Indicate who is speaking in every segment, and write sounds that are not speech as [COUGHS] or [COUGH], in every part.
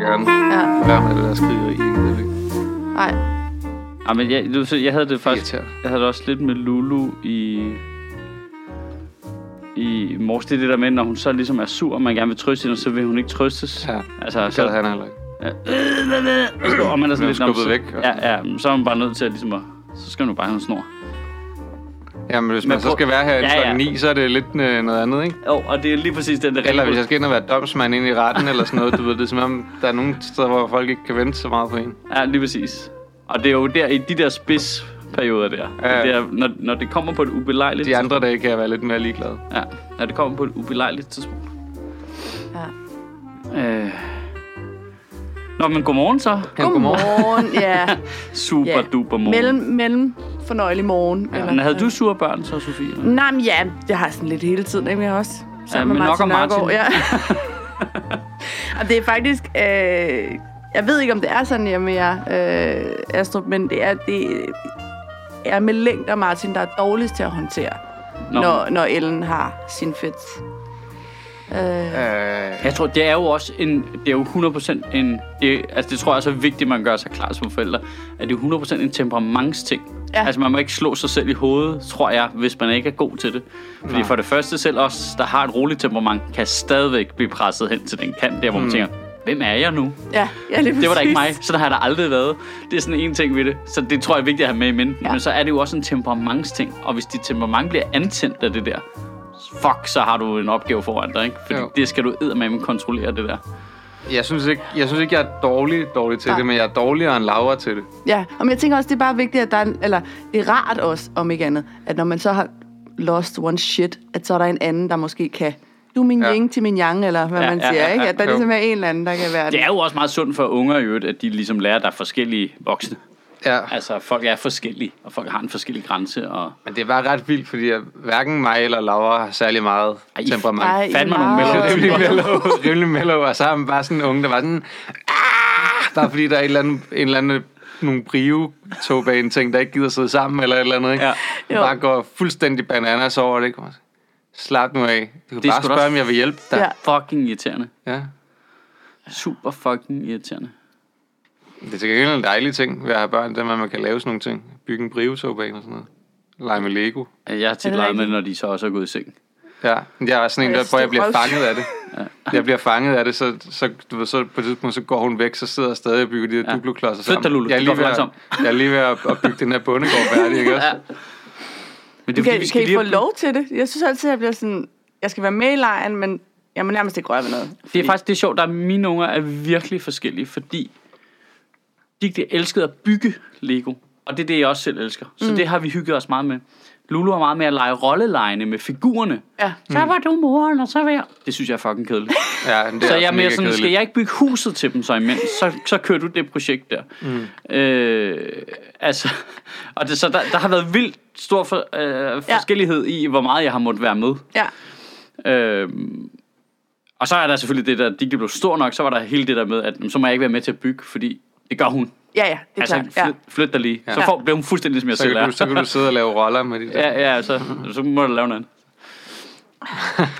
Speaker 1: gerne.
Speaker 2: Ja.
Speaker 1: Lad med det der skrigeri. Det er ikke
Speaker 2: Nej.
Speaker 3: Ja, Ah, men jeg, du, så jeg havde det faktisk...
Speaker 1: irriterende.
Speaker 3: Jeg havde det også lidt med Lulu i... I morges, det er det der med, når hun så ligesom er sur, og man gerne vil trøste hende, så vil hun ikke trøstes.
Speaker 1: Ja,
Speaker 3: Altså,
Speaker 1: det gad
Speaker 3: så, Øh,
Speaker 1: han heller ikke.
Speaker 3: og man er
Speaker 1: Blev
Speaker 3: sådan lidt... "Nå, men
Speaker 1: skubbet
Speaker 3: så-
Speaker 1: væk, altså." og
Speaker 3: Ja, ja, men så er man bare nødt til at ligesom at... Så skal hun bare have en snor.
Speaker 1: Jamen, hvis man
Speaker 3: Men
Speaker 1: så
Speaker 3: prøv-
Speaker 1: skal være her i
Speaker 3: Ja, ja.
Speaker 1: ja, ja. 9, så er det lidt øh, noget andet, ikke?
Speaker 3: Jo, og det er lige præcis den der...
Speaker 1: Eller hvis jeg skal ind og være domsmand ind i retten eller sådan noget, du ved, det er som om, der er nogle steder, hvor folk ikke kan vente så meget på en.
Speaker 3: Ja, lige præcis. Og det er jo der, i de der spidsperioder der.
Speaker 1: Ja.
Speaker 3: Ja. Det er, når, når det kommer på et ubelejligt...
Speaker 1: De andre dage kan jeg være lidt mere ligeglad.
Speaker 3: Ja, når det kommer på et ubelejligt tidspunkt.
Speaker 2: Ja.
Speaker 3: Øh. Nå, men godmorgen så.
Speaker 1: Ja, godmorgen.
Speaker 2: Godmorgen. ja.
Speaker 3: [LAUGHS] Super
Speaker 2: ja.
Speaker 3: yeah. duper morgen.
Speaker 2: Mellem, mellem fornøjelig morgen. Ja.
Speaker 3: Men havde du sure børn så, Sofie?
Speaker 2: Nej, men ja, det har jeg sådan lidt hele tiden, ikke? Men Jeg har også sammen
Speaker 3: men
Speaker 2: med
Speaker 3: nok
Speaker 2: Martin
Speaker 3: om Martin.
Speaker 2: Nørgaard. Ja.
Speaker 3: [LAUGHS]
Speaker 2: Og det er faktisk... Øh, jeg ved ikke, om det er sådan hjemme med jer, øh, Astrup, men det er, det er med længder Martin, der er dårligst til at håndtere,
Speaker 3: Nå.
Speaker 2: når, når Ellen har sin fedt.
Speaker 1: Øh,
Speaker 3: Jeg tror, det er jo også en, det er jo 100% en, det, altså det tror jeg også er vigtigt, man gør sig klar som forældre, at det er 100% en temperamentsting.
Speaker 2: Ja.
Speaker 3: Ja. Altså man må ikke slå sig selv i hovedet, tror jeg, hvis man ikke er god til det. Fordi for det første selv os, der har et roligt temperament, kan stadigvæk blive presset hen til den kant der, hvor man tænker, hvem er jeg nu?
Speaker 2: Ja, ja lige
Speaker 3: Det var da ikke mig,
Speaker 2: præcis.
Speaker 3: sådan har jeg da aldrig været. Det er sådan en ting ved det, så det tror jeg er vigtigt at have med i minden.
Speaker 2: Ja.
Speaker 3: Ja. Men så er det jo også en temperamentsting, og hvis dit temperament bliver antændt af det der, fuck, så har du en opgave foran dig, ikke? Fordi
Speaker 1: Jo.
Speaker 3: jo. det skal du eddermame kontrollere, det der.
Speaker 1: jeg, synes ikke, jeg synes ikke, jeg er dårlig, dårlig til
Speaker 2: Nej.
Speaker 1: Nej. det, men jeg er dårligere end Laura til det.
Speaker 2: Ja, og men jeg tænker også, det er bare vigtigt, at der er, en- eller det er rart også, om ikke andet, at når man så har lost one shit, at så er der en anden, der måske kan, du er min ja.
Speaker 1: Ja.
Speaker 2: yin til min yang, eller hvad ja,
Speaker 3: Ja,
Speaker 2: man
Speaker 3: ja,
Speaker 2: siger, ja,
Speaker 3: ja,
Speaker 2: ja, ikke?
Speaker 1: ja,
Speaker 2: At der
Speaker 1: jo.
Speaker 2: ligesom er en eller anden, der kan være
Speaker 3: Det
Speaker 2: den.
Speaker 3: er jo også meget sundt for unger i øvrigt, at de ligesom lærer, at der er forskellige voksne.
Speaker 1: Ja.
Speaker 3: Altså, folk er forskellige, og folk har en forskellig grænse, og
Speaker 1: Men det er bare ret vildt, fordi jeg, hverken mig eller Laura har særlig meget
Speaker 3: Ej,
Speaker 1: Ej, temperament.
Speaker 2: Ej,
Speaker 3: fandme
Speaker 2: meget-
Speaker 3: nogle
Speaker 1: rimelig
Speaker 3: mellem.
Speaker 1: mellow, [LAUGHS] rimelig mellow, og så er han bare sådan en unge, der var sådan, "Ah!" bare fordi der er et eller andet, en eller anden nogle brio togbane ting der ikke gider sidde sammen eller et eller andet, ikke?
Speaker 3: Ja.
Speaker 1: Ja. Bare går fuldstændig bananas over det, ikke? Hvor man siger, Slap nu af. Du kan
Speaker 3: Det er
Speaker 1: bare
Speaker 3: sgu da
Speaker 1: spørge, om jeg vil hjælpe dig.
Speaker 3: Fucking irriterende.
Speaker 1: Ja. ja.
Speaker 3: Super fucking irriterende.
Speaker 1: Det er til gengæld en dejlig ting ved at have børn, det er, at man kan lave sådan nogle ting. Bygge en brio togbane og sådan noget. Lege med Lego.
Speaker 3: Jeg har tit
Speaker 2: det
Speaker 3: leget med,
Speaker 2: rigtigt?
Speaker 3: når de så også er gået i seng.
Speaker 1: Ja, men jeg er sådan en,
Speaker 2: Og jeg
Speaker 1: der,
Speaker 2: synes,
Speaker 1: hvor jeg
Speaker 2: det er
Speaker 1: bliver
Speaker 2: røvsygt.
Speaker 1: fanget af det. [LAUGHS] Jeg bliver fanget af det, så, så, du ved, så på et tidspunkt, så går hun væk, så sidder jeg stadig og bygger de der
Speaker 3: Ja.
Speaker 1: ja. duplo-klodser
Speaker 3: Flyt dig,
Speaker 1: sammen.
Speaker 3: Lulu,
Speaker 1: jeg, er
Speaker 3: det
Speaker 1: lige ved
Speaker 3: går for
Speaker 1: at,
Speaker 3: langsomt.
Speaker 1: jeg er lige ved at, at bygge den her bondegård færdig, ikke også?
Speaker 3: [LAUGHS] Ja. Men det er,
Speaker 2: Kan,
Speaker 3: fordi, vi
Speaker 2: kan
Speaker 3: skal
Speaker 2: I
Speaker 3: lige
Speaker 2: få
Speaker 3: have-
Speaker 2: lov til det? Jeg synes altid, jeg bliver sådan, jeg skal være med i lejen, men jeg må nærmest ikke røre ved noget.
Speaker 3: Det er faktisk det er sjovt, at mine unger er virkelig forskellige, fordi de de elskede at bygge Lego, og det er det, jeg også selv elsker. Så mm. det har vi hygget os meget med. Lulu er meget med at lege rollelejene med figurerne.
Speaker 2: Ja.
Speaker 3: Så var du moren, og så var jeg... Mm. Det synes jeg er fucking kedeligt.
Speaker 1: Ja, men det
Speaker 3: [LAUGHS] Så
Speaker 1: også
Speaker 3: jeg er mere
Speaker 1: mega
Speaker 3: sådan, skal jeg ikke bygge huset til dem så imens, så, så kører du det projekt der. Mm. Øh, altså, og det, så der, der har været vildt stor for, øh, forskellighed i, hvor meget jeg har måttet være med.
Speaker 2: Ja.
Speaker 3: Øhm, og så er der selvfølgelig det der, de ikke blev stor nok, så var der hele det der med, at jamen, så må jeg ikke være med til at bygge, fordi det gør hun.
Speaker 2: Ja, ja, det er
Speaker 3: altså,
Speaker 2: klart. Ja.
Speaker 3: flyt, flyt dig lige. Ja. Så
Speaker 2: Ja.
Speaker 3: får, bliver hun fuldstændig ligesom jeg
Speaker 1: Så
Speaker 3: selv
Speaker 1: kan,
Speaker 3: er.
Speaker 1: du, så kan du sidde og lave roller med de der. Ja.
Speaker 3: ja, ja, så, så må du
Speaker 1: [LAUGHS]
Speaker 3: lave noget andet.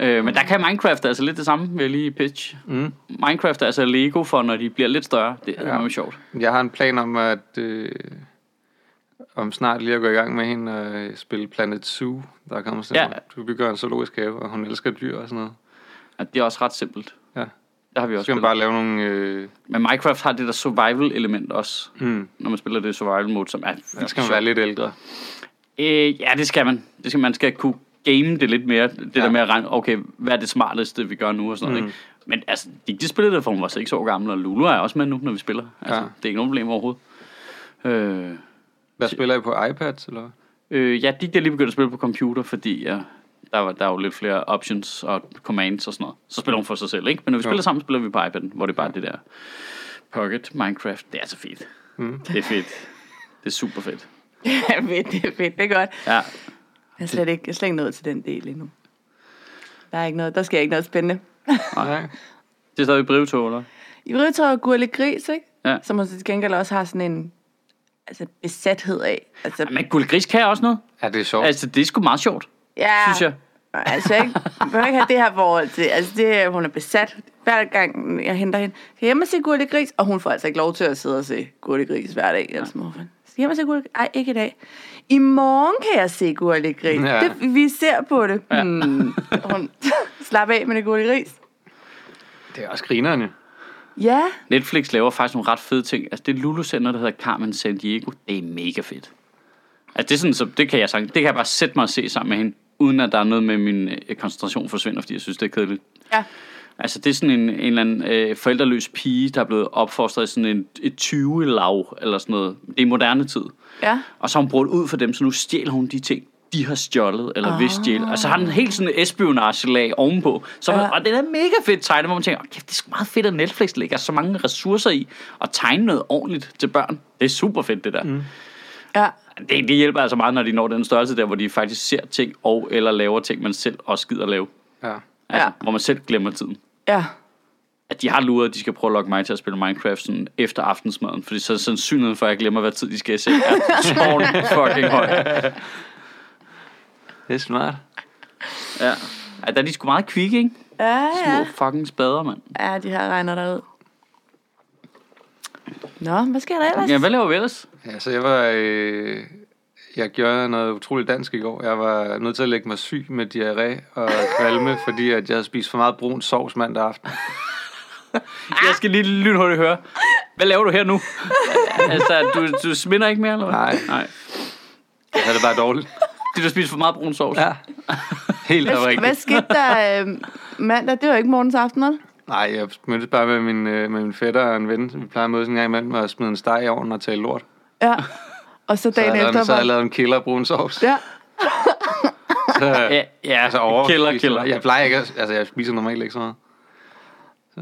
Speaker 3: øh, men der kan Minecraft altså lidt det samme, vil jeg lige pitch. Mm. Minecraft er altså Lego for, når de bliver lidt større. Det er jo sjovt.
Speaker 1: Jeg har en plan om, at øh, om snart lige at gå i gang med hende og øh, spille Planet Zoo, der kommer sådan
Speaker 3: Ja.
Speaker 1: ja. Du bygger en zoologisk have, og hun elsker dyr og sådan noget.
Speaker 3: At det er også ret simpelt.
Speaker 1: Ja.
Speaker 3: Det har vi
Speaker 1: Så
Speaker 3: også
Speaker 1: skal man
Speaker 3: spillet.
Speaker 1: bare lave nogle... Øh,
Speaker 3: Men Minecraft har det der survival-element også.
Speaker 1: mm,
Speaker 3: Når man spiller det i survival mode, som er
Speaker 1: der skal man være lidt ældre.
Speaker 3: Øh, ja, det skal man. Det skal, man skal kunne game det lidt mere. Det ja.
Speaker 1: Ja.
Speaker 3: der med at regne, okay, hvad er det smarteste, vi gør nu og sådan noget. Mm. Ikke? Men altså, de, de spillede det, for hun var 6 år gammel, og Lulu er også med nu, når vi spiller. Altså, ja.
Speaker 1: Ja.
Speaker 3: Det er ikke nogen problem overhovedet. Øh,
Speaker 1: Hvad spiller I på iPads, eller hvad?
Speaker 3: øh, ja, de er lige begyndt at spille på computer, fordi ja, der, var, der er jo lidt flere options og commands og sådan noget. Så spiller hun for sig selv, ikke? Men når vi
Speaker 1: Jo.
Speaker 3: spiller sammen, spiller vi på iPad'en, hvor det bare er det der Pocket, Minecraft. Det er så fedt. Mm. Det er fedt. Det er super fedt.
Speaker 2: ja, [LAUGHS] fedt, det er fedt, det er godt.
Speaker 3: Ja,
Speaker 2: Jeg er slet ikke, jeg er slet ikke nået til den del endnu. Der er ikke noget, der sker ikke noget spændende. [LAUGHS]
Speaker 1: Nej.
Speaker 3: det er stadig brevtog, eller?
Speaker 2: I øvrigt tror jeg, Gurli Gris, ikke?
Speaker 3: Ja.
Speaker 2: Som hun til gengæld også har sådan en altså, besathed af. Altså,
Speaker 3: Men Gulgris kan også noget.
Speaker 1: Ja, det er sjovt.
Speaker 3: Altså, det er sgu meget sjovt,
Speaker 2: ja,
Speaker 3: synes jeg.
Speaker 2: Altså, ikke, man behøver ikke have det her forhold til. Altså, det, er- hun er besat. Hver gang jeg henter hende, kan jeg hjem og se Gurli Gris? Og hun får altså ikke lov til at sidde og se Gurli Gris hver dag. Ja. Altså, morfan. Hjem og se Gurli Gris? Ej, ikke i dag. I morgen kan jeg se Gurli Gris.
Speaker 1: Ja.
Speaker 2: Ja. Det, vi ser på det. Ja. Hmm. Hun, [LAUGHS] slap af med det Gurli Gris.
Speaker 1: Det er også grineren, jo.
Speaker 2: Ja,
Speaker 3: Netflix laver faktisk nogle ret fede ting. Altså, det Lulu sender, der hedder Carmen San Diego, det er mega fedt. Altså, det er sådan, så det kan jeg sagtens, det kan jeg bare sætte mig og se sammen med hende, uden at der er noget med min øh, koncentration forsvinder, fordi jeg synes, det er kedeligt.
Speaker 2: ja.
Speaker 3: Altså, det er sådan en, en eller anden øh, forældreløs pige, der er blevet opfostret i sådan en, et 20-lav, eller sådan noget. Det er i moderne tid.
Speaker 2: Ja.
Speaker 3: Og så har hun brugt ud for dem, så nu stjæler hun de ting, de har stjålet, eller
Speaker 2: Ah.
Speaker 3: oh. vil stjæle. Og så har den helt sådan et espionagelag ovenpå. Så, ja.
Speaker 2: Ja.
Speaker 3: Og den er mega fedt tegnet, hvor man tænker, "Åh, kæft, det er sgu meget fedt, at Netflix lægger så mange ressourcer i at tegne noget ordentligt til børn. Det er super fedt, det der. Mm.
Speaker 2: ja.
Speaker 3: Det, det hjælper altså meget, når de når den størrelse der, hvor de faktisk ser ting og eller laver ting, man selv også gider lave.
Speaker 1: Ja.
Speaker 3: Altså,
Speaker 2: Ja.
Speaker 3: Hvor man selv glemmer tiden
Speaker 2: Ja.
Speaker 3: at de har luret, at de skal prøve at lokke mig til at spille Minecraft sådan efter aftensmaden, fordi så er sandsynligheden for, at jeg glemmer, hvad tid de skal i seng,
Speaker 2: [LAUGHS]
Speaker 3: er tårn fucking høj.
Speaker 1: Det er smart.
Speaker 3: Ja. ja. der er de sgu meget kvikke, ikke?
Speaker 2: Ja,
Speaker 3: Små
Speaker 2: ja.
Speaker 3: fucking spader, mand.
Speaker 2: Ja, de her regner derud. Nå, hvad sker der ellers?
Speaker 3: Ja, hvad laver vi ellers?
Speaker 1: Ja, så jeg var... Øh, jeg gjorde noget utroligt dansk i går. Jeg var nødt til at lægge mig syg med diarré og kvalme, [LAUGHS] fordi at jeg havde spist for meget brun sovs mandag aften.
Speaker 3: Jeg skal lige lynhurtigt høre. Hvad laver du her
Speaker 2: [LAUGHS]
Speaker 3: nu? altså, du, du sminder ikke mere, eller hvad?
Speaker 1: Nej.
Speaker 3: Nej.
Speaker 1: Jeg havde det bare dårligt.
Speaker 3: Det, du spiser for meget brun sovs.
Speaker 1: Ja.
Speaker 3: [LAUGHS]
Speaker 1: Helt
Speaker 2: Hvad, hvad
Speaker 1: oprigtigt.
Speaker 2: skete
Speaker 1: [LAUGHS]
Speaker 2: der øh, mandag? Det var ikke morgens aften, vel?
Speaker 1: Nej, jeg mødtes bare med min, øh, med min fætter og en ven. Vi plejer at mødes en gang imellem og smide en steg i ovnen og tale lort.
Speaker 2: Ja. Og så
Speaker 1: Så jeg
Speaker 2: dagen
Speaker 1: lavede, en-
Speaker 2: efter
Speaker 1: så
Speaker 2: var...
Speaker 1: jeg lavet en killer brun sovs.
Speaker 2: Ja.
Speaker 1: Så,
Speaker 3: Ja, ja
Speaker 1: altså over.
Speaker 3: kælder, kælder.
Speaker 1: Jeg plejer ikke at, Altså, jeg spiser normalt ikke så meget. Så,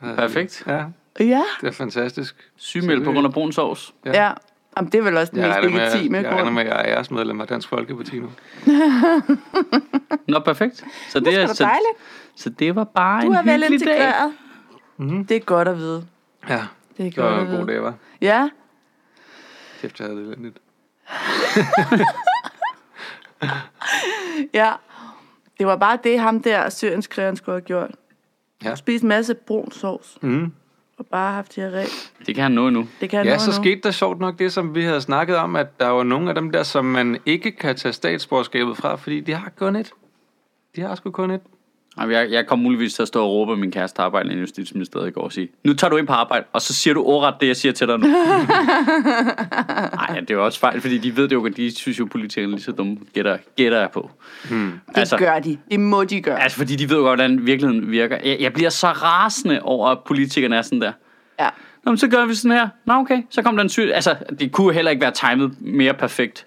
Speaker 1: så-
Speaker 3: Perfekt.
Speaker 1: Ja,
Speaker 2: Ja.
Speaker 1: det er fantastisk.
Speaker 3: Sygemeldt på grund af brun sovs.
Speaker 1: Ja.
Speaker 2: ja. Jamen, det er vel også den
Speaker 1: Jeg
Speaker 2: mest
Speaker 1: regner med,
Speaker 2: legitime
Speaker 1: jeg, jeg regner
Speaker 2: grund.
Speaker 1: med, at jeg er æresmedlem af Dansk Folkeparti nu.
Speaker 3: Nå, perfekt. Så det,
Speaker 2: Det
Speaker 3: er,
Speaker 2: er
Speaker 3: så,
Speaker 2: dejligt.
Speaker 3: så det var bare
Speaker 2: Du
Speaker 3: en
Speaker 2: er vel
Speaker 3: hyggelig dag. Mhm.
Speaker 2: integreret. Mm-hmm. Det er godt at vide.
Speaker 1: Ja,
Speaker 2: Det er
Speaker 1: det var
Speaker 2: godt
Speaker 1: en
Speaker 2: at
Speaker 1: god
Speaker 2: vide.
Speaker 1: dag, var.
Speaker 2: Ja.
Speaker 1: Kæft, jeg havde det elendigt.
Speaker 2: Ja. Det var bare det, ham der syrienskrigeren skulle have gjort.
Speaker 1: Ja.
Speaker 2: Spist en masse brun sovs.
Speaker 1: Mhm.
Speaker 2: Og bare haft diarré.
Speaker 3: Det kan han nå endnu.
Speaker 2: Det kan jeg
Speaker 1: Ja,
Speaker 2: nå
Speaker 1: så
Speaker 2: endnu.
Speaker 1: skete der sjovt nok det, som vi havde snakket om, at der var nogle af dem der, som man ikke kan tage statsborgerskabet fra, fordi de har kun et. De har sgu kun et.
Speaker 3: Jamen, Jeg, jeg kom muligvis til at stå og råbe, at min kæreste arbejder i Justitsministeriet i går og sige, nu tager du ind på arbejde, og så siger du ordret det, jeg siger til dig nu. Nej, det er jo også fejl, fordi de ved det jo, godt. de synes jo, politikerne er lige så dumme, gætter, gætter jeg på. Hmm.
Speaker 2: Det gør de. Det må de gøre.
Speaker 3: altså, fordi de ved jo godt, hvordan virkeligheden virker. Jeg, jeg bliver så rasende over, at politikerne er sådan der.
Speaker 2: Ja.
Speaker 3: Nå, men så gør vi sådan her. Nå, okay. Så kom der en syr... Altså, det kunne heller ikke være timet mere perfekt,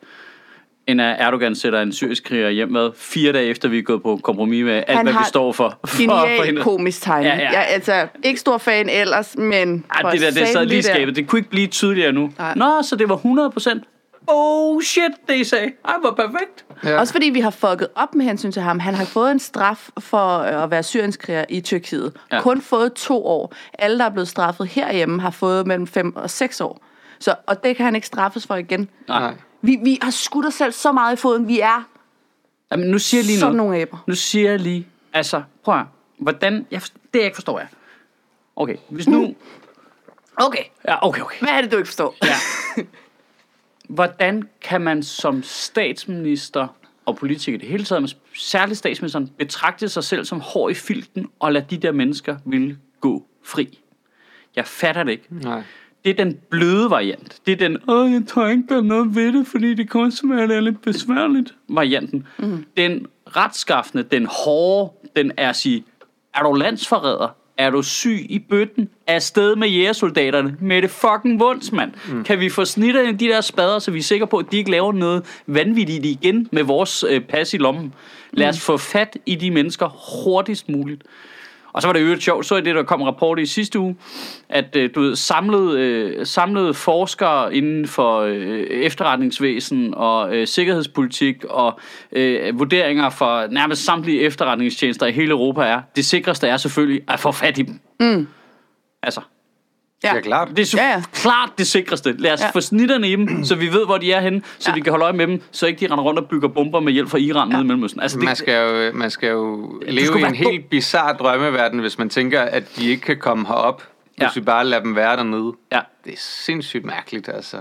Speaker 3: end at Erdogan sætter en syrisk kriger hjem med fire dage efter, vi er gået på kompromis med alt,
Speaker 2: Han
Speaker 3: hvad vi
Speaker 2: har
Speaker 3: står for. [LAUGHS] for- for
Speaker 2: Genial
Speaker 3: hende.
Speaker 2: komisk tegning. Ja,
Speaker 3: Ja, ja.
Speaker 2: ja. Jeg, altså, ikke stor fan ellers, men...
Speaker 3: Ej, det der, det sad lige i skabet. Det kunne ikke blive tydeligere nu.
Speaker 2: Nej.
Speaker 3: Nå, så det var 100 procent. Oh shit, det I sagde. Ej, hvor perfekt.
Speaker 1: Ja.
Speaker 2: Også fordi vi har fucket op med hensyn til ham. Han har fået en straf for øh, at være syrienskriger i Tyrkiet.
Speaker 3: Ja.
Speaker 2: Ja. Kun fået to år. Alle, der er blevet straffet herhjemme, har fået mellem fem og seks år. Så, og det kan han ikke straffes for igen.
Speaker 1: Nej.
Speaker 2: Vi, vi har skudt os selv så meget i foden. Vi er
Speaker 3: Jamen, nu siger jeg lige
Speaker 2: sådan
Speaker 3: noget.
Speaker 2: nogle æber.
Speaker 3: Nu siger jeg lige, altså, prøv at høre. hvordan, jeg, forst- det jeg ikke forstår er, okay, hvis
Speaker 2: Mm.
Speaker 3: nu,
Speaker 2: Okay,
Speaker 3: ja, okay, okay,
Speaker 2: hvad er det, du ikke forstår?
Speaker 3: ja. Hvordan kan man som statsminister og politiker i det hele taget, men særligt statsministeren, betragte sig selv som hård i filten og lade de der mennesker ville gå fri? Jeg fatter det ikke.
Speaker 1: Nej.
Speaker 3: Det er den bløde variant. Det er den, åh, jeg tror ikke, der er noget ved det, fordi det koster mig, at det er lidt besværligt, varianten. Mm. Den retskaffende, den hårde, den er at sige, er du landsforræder? Er du syg i bøtten? Er afsted med jægersoldaterne? Med det fucking vunds, mand. Mm. Kan vi få snitterne af de der spader, så vi er sikre på, at de ikke laver noget vanvittigt igen med vores øh, pas i lommen? Lad os få fat i de mennesker hurtigst muligt. Og så var det jo sjovt, så i det, der kom en rapport i sidste uge, at øh, du ved, samlede, øh, samlede forskere inden for øh, efterretningsvæsen og øh, sikkerhedspolitik og øh, vurderinger fra nærmest samtlige efterretningstjenester i hele Europa er, det sikreste er selvfølgelig at få fat i dem. Mm. Altså,
Speaker 1: Ja, klart.
Speaker 3: Det er så
Speaker 2: Ja, ja.
Speaker 3: klart det sikreste. Lad os
Speaker 2: Ja.
Speaker 3: ja. få snitterne i dem, så vi ved, hvor de er henne, så
Speaker 2: Ja.
Speaker 3: ja. vi kan holde øje med dem, så ikke de render rundt og bygger bomber med hjælp fra Iran ja. nede i Mellemøsten. Altså, det,
Speaker 1: Man skal jo, man skal jo leve
Speaker 3: skulle
Speaker 1: i
Speaker 3: være
Speaker 1: en helt bizarre drømmeverden, hvis man tænker, at de ikke kan komme herop, ja. hvis
Speaker 3: Ja.
Speaker 1: vi bare lader dem være dernede.
Speaker 3: Ja.
Speaker 1: Det er sindssygt mærkeligt, altså.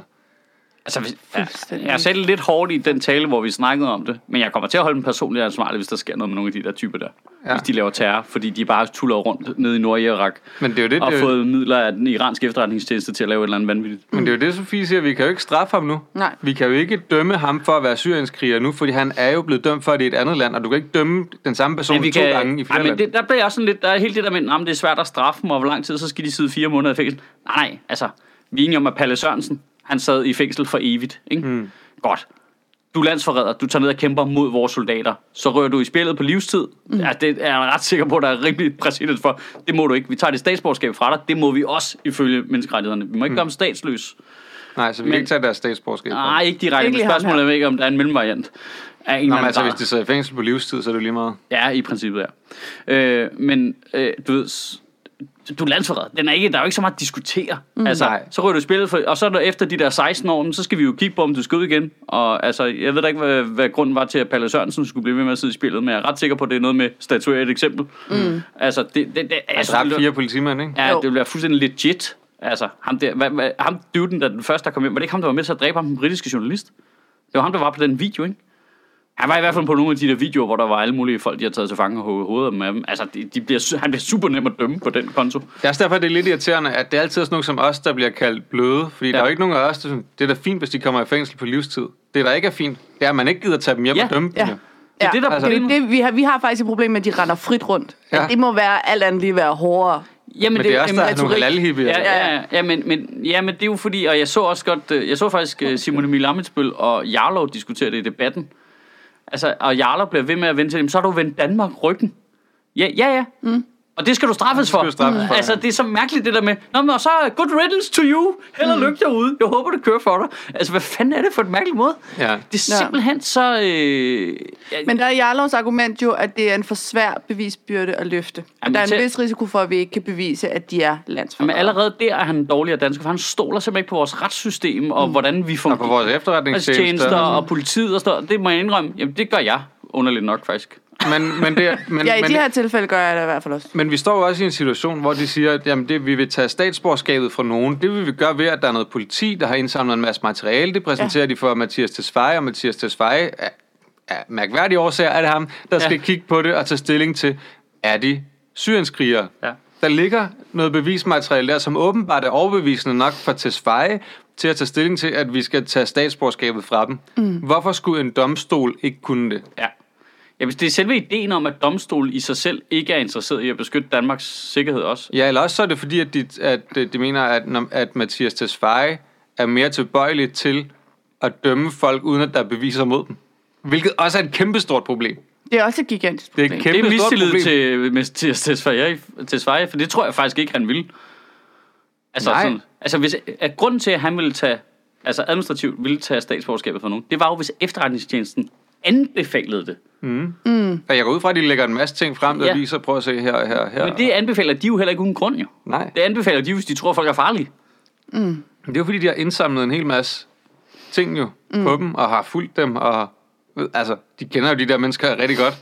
Speaker 3: Altså, hvis,
Speaker 2: Fuldstændig.
Speaker 3: jeg sagde det lidt hårdt i den tale, hvor vi snakkede om det, men jeg kommer til at holde dem personligt ansvarlig, hvis der sker noget med nogle af de der typer der.
Speaker 1: Ja.
Speaker 3: Ja. Hvis de laver terror, fordi de bare tuller rundt nede i Nordirak
Speaker 1: Men det er jo det,
Speaker 3: og
Speaker 1: det, er jo-
Speaker 3: fået midler af den iranske efterretningstjeneste til at lave et eller andet vanvittigt.
Speaker 1: men det er jo det, Sofie siger. Vi kan jo ikke straffe ham nu.
Speaker 2: Nej.
Speaker 1: Vi kan jo ikke dømme ham for at være syrienskriger nu, fordi han er jo blevet dømt for det i et andet land, og du kan ikke dømme den samme person to gange i flere
Speaker 3: Ej, men
Speaker 1: lande.
Speaker 3: det, der bliver jeg også sådan lidt, der er helt det der med, at det er svært at straffe dem, og hvor lang tid, så skal de sidde fire måneder i fængsel. Nej, nej, altså, vi er enige om, at Palle Sørensen, han sad i fængsel for evigt, ikke?
Speaker 1: Hmm.
Speaker 3: Mm. Godt. Du er landsforræder, du tager ned og kæmper mod vores soldater, så rører du i spillet på livstid.
Speaker 2: Hmm.
Speaker 3: Mm. Ja, det er jeg ret sikker på, at der er rimelig præcedens for. Det må du ikke. Vi tager dit statsborgerskab fra dig, det må vi også ifølge menneskerettighederne. Vi må
Speaker 1: Hmm.
Speaker 3: ikke mm. gøre dem statsløs.
Speaker 1: Nej, så vi kan
Speaker 3: men-
Speaker 1: ikke tage deres statsborgerskab. fra
Speaker 3: Nej,
Speaker 1: dem.
Speaker 3: ikke direkte,
Speaker 2: Ikke lige
Speaker 3: men
Speaker 2: ham
Speaker 3: spørgsmålet er ikke, om der er en mellemvariant. Af en
Speaker 1: Nå,
Speaker 3: eller
Speaker 1: men
Speaker 3: anden
Speaker 1: altså,
Speaker 3: grad.
Speaker 1: hvis de sidder i fængsel på livstid, så er det jo lige meget.
Speaker 3: Ja, i princippet, ja. Øh, men øh, du ved, s- du er landsforræder. Den er ikke, der er jo ikke så meget at diskutere. Mm. Altså,
Speaker 1: Nej.
Speaker 3: så rører du i spillet, for, og så er der efter de der 16 år, men så skal vi jo kigge på, om du skal ud igen. Og altså, jeg ved da ikke, hvad, hvad grunden var til, at Palle Sørensen skulle blive ved med at sidde i spillet, men jeg er ret sikker på, at det er noget med at statuere et eksempel. Mm. Altså, det, det, det,
Speaker 1: Han
Speaker 3: altså,
Speaker 1: dræbte
Speaker 3: det-
Speaker 1: fire politimænd, ikke?
Speaker 3: Ja,
Speaker 2: Jo.
Speaker 3: det ville være fuldstændig legit. Altså, ham der, hvad, hvad, ham duden, der den første, der kom hjem, var det ikke ham, der var med til at dræbe ham, den britiske journalist? Det var ham, der var på den video, ikke? Han var i hvert fald på nogle af de der videoer, hvor der var alle mulige folk, de har taget til fange og hugget hovedet med dem. Altså, de, de bliver, su- han bliver super nem at dømme på den konto.
Speaker 1: Det er også derfor, det er lidt irriterende, at det er altid sådan nogle som os, der bliver kaldt bløde. Fordi ja. der er jo ikke nogen af os, der synes, det er da fint, hvis de kommer i fængsel på livstid. Det, der ikke er fint, det er, at man ikke gider tage dem hjem
Speaker 3: Ja.
Speaker 1: og dømme
Speaker 2: Ja.
Speaker 1: dem. jo.
Speaker 3: er det, der er
Speaker 2: altså, det, er
Speaker 3: problemet.
Speaker 2: det, vi, har, vi har faktisk et problem med, at de render frit rundt.
Speaker 1: Ja.
Speaker 2: Ja. Det må være alt andet lige være hårdere.
Speaker 3: Jamen,
Speaker 1: Men det er også, der er nogle
Speaker 3: retorik.
Speaker 1: halalhippier.
Speaker 3: Ja, ja, ja, ja, men, men, ja, men det er jo fordi, og jeg så også godt, øh, jeg så faktisk øh, Simon Emil Amitsbøl og Jarlov diskutere det i debatten. Altså, og Jarlov bliver ved med at vende til dem, så har du vendt Danmark ryggen. Ja, ja, ja. Mm. Og det skal du straffes for.
Speaker 1: du straffes for,
Speaker 3: Altså,
Speaker 1: ja.
Speaker 3: det er så mærkeligt det der med, Nå, men og så good riddance to you. Held og
Speaker 1: Mm.
Speaker 3: lykke derude. Jeg håber, det kører for dig. Altså, hvad fanden er det for en mærkelig måde?
Speaker 1: Ja.
Speaker 3: Det er simpelthen så... Øh, ja,
Speaker 2: Men der er Jarlovs argument jo, at det er en for svær bevisbyrde at løfte. Og
Speaker 3: Jamen,
Speaker 2: der er en
Speaker 3: til-
Speaker 2: vis risiko for, at vi ikke kan bevise, at de er
Speaker 3: men
Speaker 2: landsforrædere.
Speaker 3: allerede der er han dårligere dansker, for han stoler simpelthen ikke på vores retssystem, og hvordan vi fungerer.
Speaker 1: Mm. Og på vores
Speaker 3: efterretningstjenester
Speaker 1: efterretningstjenester.
Speaker 3: og politiet og sådan noget. Det må jeg indrømme. Jamen, det gør jeg underligt nok, faktisk.
Speaker 1: Men, men, det, er- men,
Speaker 2: Ja, i
Speaker 1: men,
Speaker 2: de her tilfælde gør jeg det i hvert fald også.
Speaker 1: men vi står jo også i en situation, hvor de siger, at jamen, det, vi vil tage statsborgerskabet fra nogen. Det vil vi gøre ved, at der er noget politi, der har indsamlet en masse materiale. Det præsenterer ja. de for Mathias Tesfaye, og Mathias Tesfaye er, er mærkværdige årsager. Er det ham, der ja. skal kigge på det og tage stilling til, er de syrienskrigere?
Speaker 3: Ja.
Speaker 1: Der ligger noget bevismateriale der, som åbenbart er overbevisende nok for Tesfaye til at tage stilling til, at vi skal tage statsborgerskabet fra dem. Mm. Hvorfor skulle en domstol ikke kunne det?
Speaker 3: Ja. Ja, hvis det er selve ideen om, at domstolen i sig selv ikke er interesseret i at beskytte Danmarks sikkerhed også.
Speaker 1: Ja, eller også så er det fordi, at de, at øh, de mener, at, når- at Mathias Tesfaye er mere tilbøjelig til at dømme folk, uden at der er beviser mod dem. Hvilket også er et kæmpestort problem.
Speaker 2: Det er også et gigantisk
Speaker 1: Det
Speaker 2: problem.
Speaker 1: er et
Speaker 3: Kæmpe det er
Speaker 1: kæmpestort
Speaker 3: mistillid
Speaker 1: problem.
Speaker 3: til, øh, med- til, til, til Sverige, for det tror jeg faktisk ikke, han ville. Altså,
Speaker 1: Nej.
Speaker 3: Sådan, altså hvis, at grunden til, at han ville tage, altså administrativt ville tage statsborgerskabet fra nogen, det var jo, hvis efterretningstjenesten anbefalede det.
Speaker 1: Og jeg går ud fra, at de lægger en masse ting frem, der ja.
Speaker 3: Ja.
Speaker 1: viser, prøv at se her og her og her.
Speaker 3: Men det anbefaler de jo heller ikke uden grund, jo.
Speaker 1: Nej,
Speaker 3: Det anbefaler de, hvis de tror, at folk er farlige.
Speaker 1: det er jo fordi, de har indsamlet en hel masse ting jo mm. på dem, og har fulgt dem, og ved, altså, de kender jo de der mennesker rigtig godt.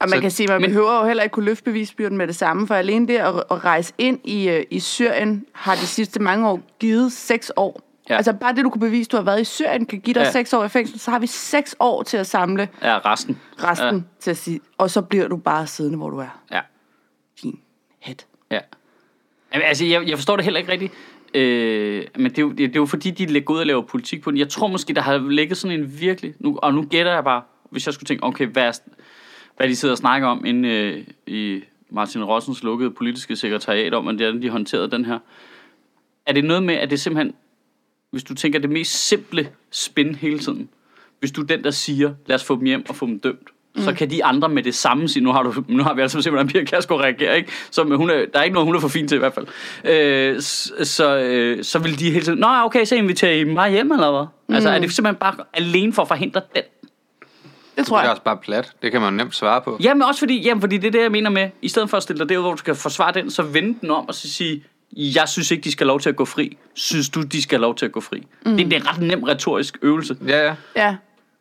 Speaker 2: Og man
Speaker 1: Så-
Speaker 2: kan sige, man
Speaker 3: men-
Speaker 2: behøver jo heller ikke kunne løfte bevisbyrden med det samme, for alene det at, at rejse ind i, øh, i Syrien har de sidste mange år givet seks år. Ja.
Speaker 3: Ja.
Speaker 2: Altså bare det, du kunne bevise, du har været i Syrien, kan give dig
Speaker 3: Ja.
Speaker 2: seks år i fængsel, så har vi seks år til at samle
Speaker 3: Ja, resten.
Speaker 2: resten ja. til at sige, og så bliver du bare siddende, hvor du er.
Speaker 3: Ja.
Speaker 2: Din hat.
Speaker 3: Ja. Jamen, altså, jeg, jeg forstår det heller ikke rigtigt. Øh, men det er, jo, det, det er jo fordi, de lægger ud og laver politik på den. Jeg tror måske, der har ligget sådan en virkelig... Nu, og nu gætter jeg bare, hvis jeg skulle tænke, okay, hvad, er, hvad de sidder og snakker om inde øh, i Martin Rossens lukkede politiske sekretariat om, hvordan de håndterede den her. Er det noget med, at det simpelthen... Hvis du tænker det mest simple spin hele tiden. Hvis du er den, der siger, lad os få dem hjem og få dem dømt. Mm. Så kan de andre med det samme sige, nu har, du, nu har vi altså set, hvordan Pia Kærsgaard reagerer. Ikke? Så hun er, der er ikke noget, hun er for fin til i hvert fald. Øh, s- så, øh, så vil de hele tiden, nå okay, så inviterer I mig hjem eller hvad? Mm. Altså er det simpelthen bare alene for at forhindre den?
Speaker 2: Det tror
Speaker 1: Det er
Speaker 2: jeg.
Speaker 1: også bare plat. Det kan man jo nemt svare på.
Speaker 3: Jamen også fordi, jamen fordi det er det, jeg mener med, i stedet for at stille dig derud, hvor du skal forsvare den, så vende den om og så sige, jeg synes ikke, de skal have lov til at gå fri. Synes du, de skal have lov til at gå fri? Mm. Det, det er en ret nem retorisk øvelse.
Speaker 1: Ja, ja.
Speaker 2: Ja,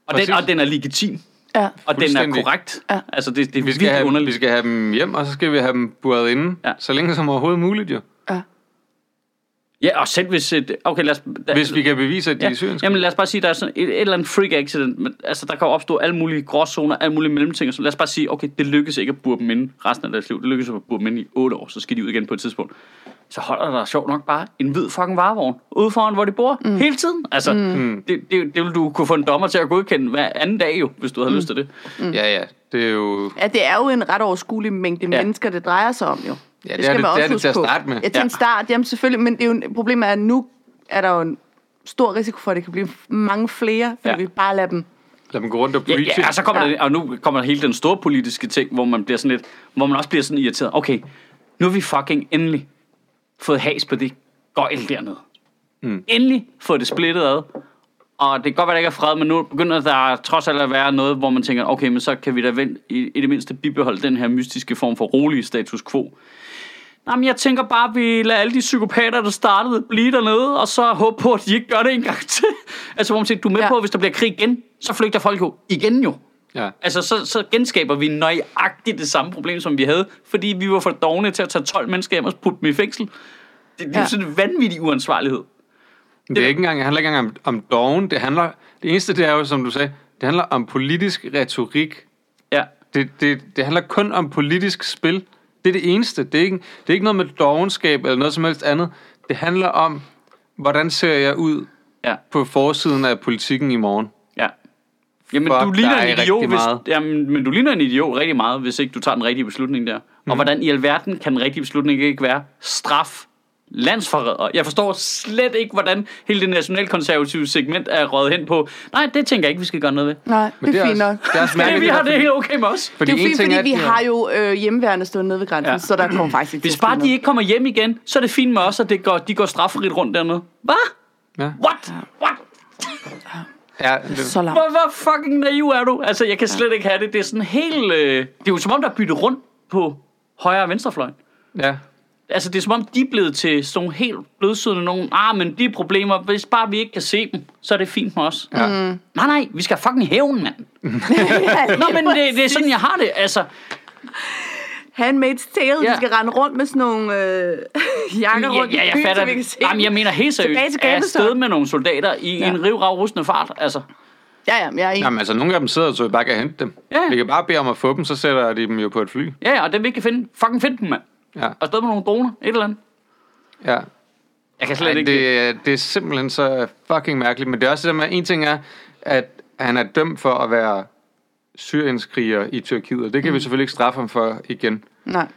Speaker 3: Og den,
Speaker 1: Præcis.
Speaker 3: og den er legitim.
Speaker 2: ja.
Speaker 3: Og den er
Speaker 1: Fuldstændig.
Speaker 3: korrekt.
Speaker 2: Ja.
Speaker 3: Altså, det, det er
Speaker 1: Vi skal,
Speaker 3: virkelig
Speaker 1: have, dem- vi
Speaker 3: underligt.
Speaker 1: skal have dem hjem, og så skal vi have dem buret inde,
Speaker 3: Ja.
Speaker 1: ja. så længe som overhovedet muligt jo.
Speaker 2: ja.
Speaker 3: Ja, og selv hvis... Et, okay, lad os... Da,
Speaker 1: Hvis vi kan bevise, at de ja. er syriske.
Speaker 3: Jamen lad os bare sige, der er sådan et, et eller andet freak accident. Men, altså der kan jo opstå alle mulige gråzoner, alle mulige mellemting. og Så lad os bare sige, okay, det lykkes ikke at burde dem inde resten af deres liv. Det lykkes at burde dem inde i 8 år, så skal de ud igen på et tidspunkt. Så holder der sjovt nok bare en hvid fucking varevogn ude foran, hvor de bor mm. hele tiden. Altså, mm. det, det, det vil du kunne få en dommer til at godkende hver anden dag jo, hvis du havde mm. lyst til det.
Speaker 1: Ja, ja. Det er jo...
Speaker 2: Ja, det er jo en ret overskuelig mængde ja. mennesker, det drejer sig om jo.
Speaker 1: Ja, det er det- det er det til at starte med.
Speaker 2: Ja, til
Speaker 3: Ja.
Speaker 2: en start, jamen selvfølgelig. Men det er jo, en- problemet er, at nu er der jo en stor risiko for, at det kan blive mange flere, fordi ja.
Speaker 3: Ja.
Speaker 2: vi bare lader dem.
Speaker 1: Lad dem gå rundt og
Speaker 3: Ja,
Speaker 1: preache.
Speaker 3: ja, og, så kommer
Speaker 2: Ja. altså,
Speaker 3: der, og nu kommer der hele den store politiske ting, hvor man bliver sådan lidt, hvor man også bliver sådan irriteret. Okay, nu har vi fucking endelig fået has på det gøjl dernede. Mm. Endelig fået det splittet ad. Og det kan godt være, der ikke er fred, men nu begynder der trods alt at være noget, hvor man tænker, okay, men så kan vi da vel i, i det mindste bibeholde den her mystiske form for rolig status quo. Jamen, jeg tænker bare, at vi lader alle de psykopater, der startede, blive dernede, og så håbe på, at de ikke gør det en gang til. [LAUGHS] altså, hvor man tænker, du er med ja.
Speaker 2: Ja.
Speaker 3: på, at hvis der bliver krig igen, så flygter folk jo igen jo.
Speaker 1: Ja.
Speaker 3: Altså, så, så genskaber vi nøjagtigt det samme problem, som vi havde, fordi vi var for dogne til at tage 12 mennesker hjem og putte dem i fængsel. Det, det er jo
Speaker 2: Ja.
Speaker 3: sådan en vanvittig uansvarlighed.
Speaker 1: Men Det, er ikke engang, det handler ikke engang om, om doven. Det, handler, det eneste, det er jo, som du sagde, det handler om politisk retorik.
Speaker 3: Ja.
Speaker 1: Det, det, det handler kun om politisk spil. Det er det eneste. Det er ikke, det er ikke noget med dogenskab eller noget som helst andet. Det handler om, hvordan ser jeg ud
Speaker 3: Ja.
Speaker 1: på forsiden af politikken i morgen.
Speaker 3: Ja. Jamen,
Speaker 1: Fuck
Speaker 3: du ligner
Speaker 1: dig
Speaker 3: en idiot,
Speaker 1: rigtig
Speaker 3: hvis,
Speaker 1: meget.
Speaker 3: jamen, men du ligner en idiot rigtig meget, hvis ikke du tager den rigtige beslutning der. Mm. Og hvordan i alverden kan den rigtige beslutning ikke være straf landsforræder? Jeg forstår slet ikke, hvordan hele det nationalkonservative segment er røget hen på. Nej, det tænker jeg ikke, vi skal gøre noget ved.
Speaker 2: Nej,
Speaker 1: Men
Speaker 2: det er fint
Speaker 1: også-
Speaker 2: nok.
Speaker 1: Det er også
Speaker 3: Det,
Speaker 1: mærkeligt,
Speaker 3: vi har det
Speaker 1: fordi-
Speaker 3: helt okay med os.
Speaker 2: Det er jo
Speaker 1: en
Speaker 2: fint,
Speaker 1: ting
Speaker 2: fordi
Speaker 1: at-
Speaker 2: vi har jo øh, hjemmeværende stående nede ved grænsen,
Speaker 3: Ja.
Speaker 2: ja. så der kommer faktisk ikke til
Speaker 3: Hvis
Speaker 2: at ske
Speaker 3: bare de
Speaker 2: noget.
Speaker 3: ikke kommer hjem igen, så er det fint med os, at det går, de går straffrit rundt dernede. Hvad?
Speaker 1: Ja.
Speaker 3: What? What?
Speaker 1: Ja, det,
Speaker 2: Så langt.
Speaker 3: Hvor, hvor fucking naiv er du? Altså, jeg kan slet ikke have det. Det er sådan helt... Øh, det er jo som om, der er byttet rundt på højre og venstrefløjen.
Speaker 1: ja.
Speaker 3: Altså, det er som om, de er blevet til sådan nogle helt blødsødende nogen. Ah, men de problemer, hvis bare vi ikke kan se dem, så er det fint med os.
Speaker 1: Ja.
Speaker 3: Nej, nej, vi skal have fucking hævn, mand.
Speaker 2: Mm. [LAUGHS] ja,
Speaker 3: Nå, men det, det er sådan, jeg har det. Altså,
Speaker 2: Handmaid's Tale,
Speaker 3: Ja.
Speaker 2: vi skal rende rundt med sådan nogle øh, [LAUGHS] jakker
Speaker 3: ja,
Speaker 2: rundt
Speaker 3: ja,
Speaker 2: i
Speaker 3: jeg
Speaker 2: byen,
Speaker 3: fatter
Speaker 2: så vi kan
Speaker 3: det.
Speaker 2: se
Speaker 3: Jamen,
Speaker 2: dem.
Speaker 3: jeg mener helt seriøst.
Speaker 2: Tilbage til
Speaker 3: er
Speaker 2: Gabelstone.
Speaker 3: afsted med nogle soldater i
Speaker 2: Ja.
Speaker 3: en rivrav rustende fart. Altså,
Speaker 2: Ja, ja, men jeg er enig.
Speaker 1: Jamen altså, nogle af dem sidder, så vi bare kan hente dem.
Speaker 3: Ja.
Speaker 1: Vi kan bare bede om at få dem, så sætter de dem jo på et fly.
Speaker 3: ja, ja, og dem vi ikke kan finde, fucking find dem, mand.
Speaker 1: Ja,
Speaker 3: Og stod med nogle droner, et eller andet.
Speaker 1: ja.
Speaker 3: Jeg kan slet
Speaker 1: Ej,
Speaker 3: ikke... Det...
Speaker 1: det, er- det er simpelthen så fucking mærkeligt. Men det er også det der med, en ting er, at han er dømt for at være syrienskriger i Tyrkiet, og det kan mm. vi selvfølgelig ikke straffe ham for igen.
Speaker 2: Nej.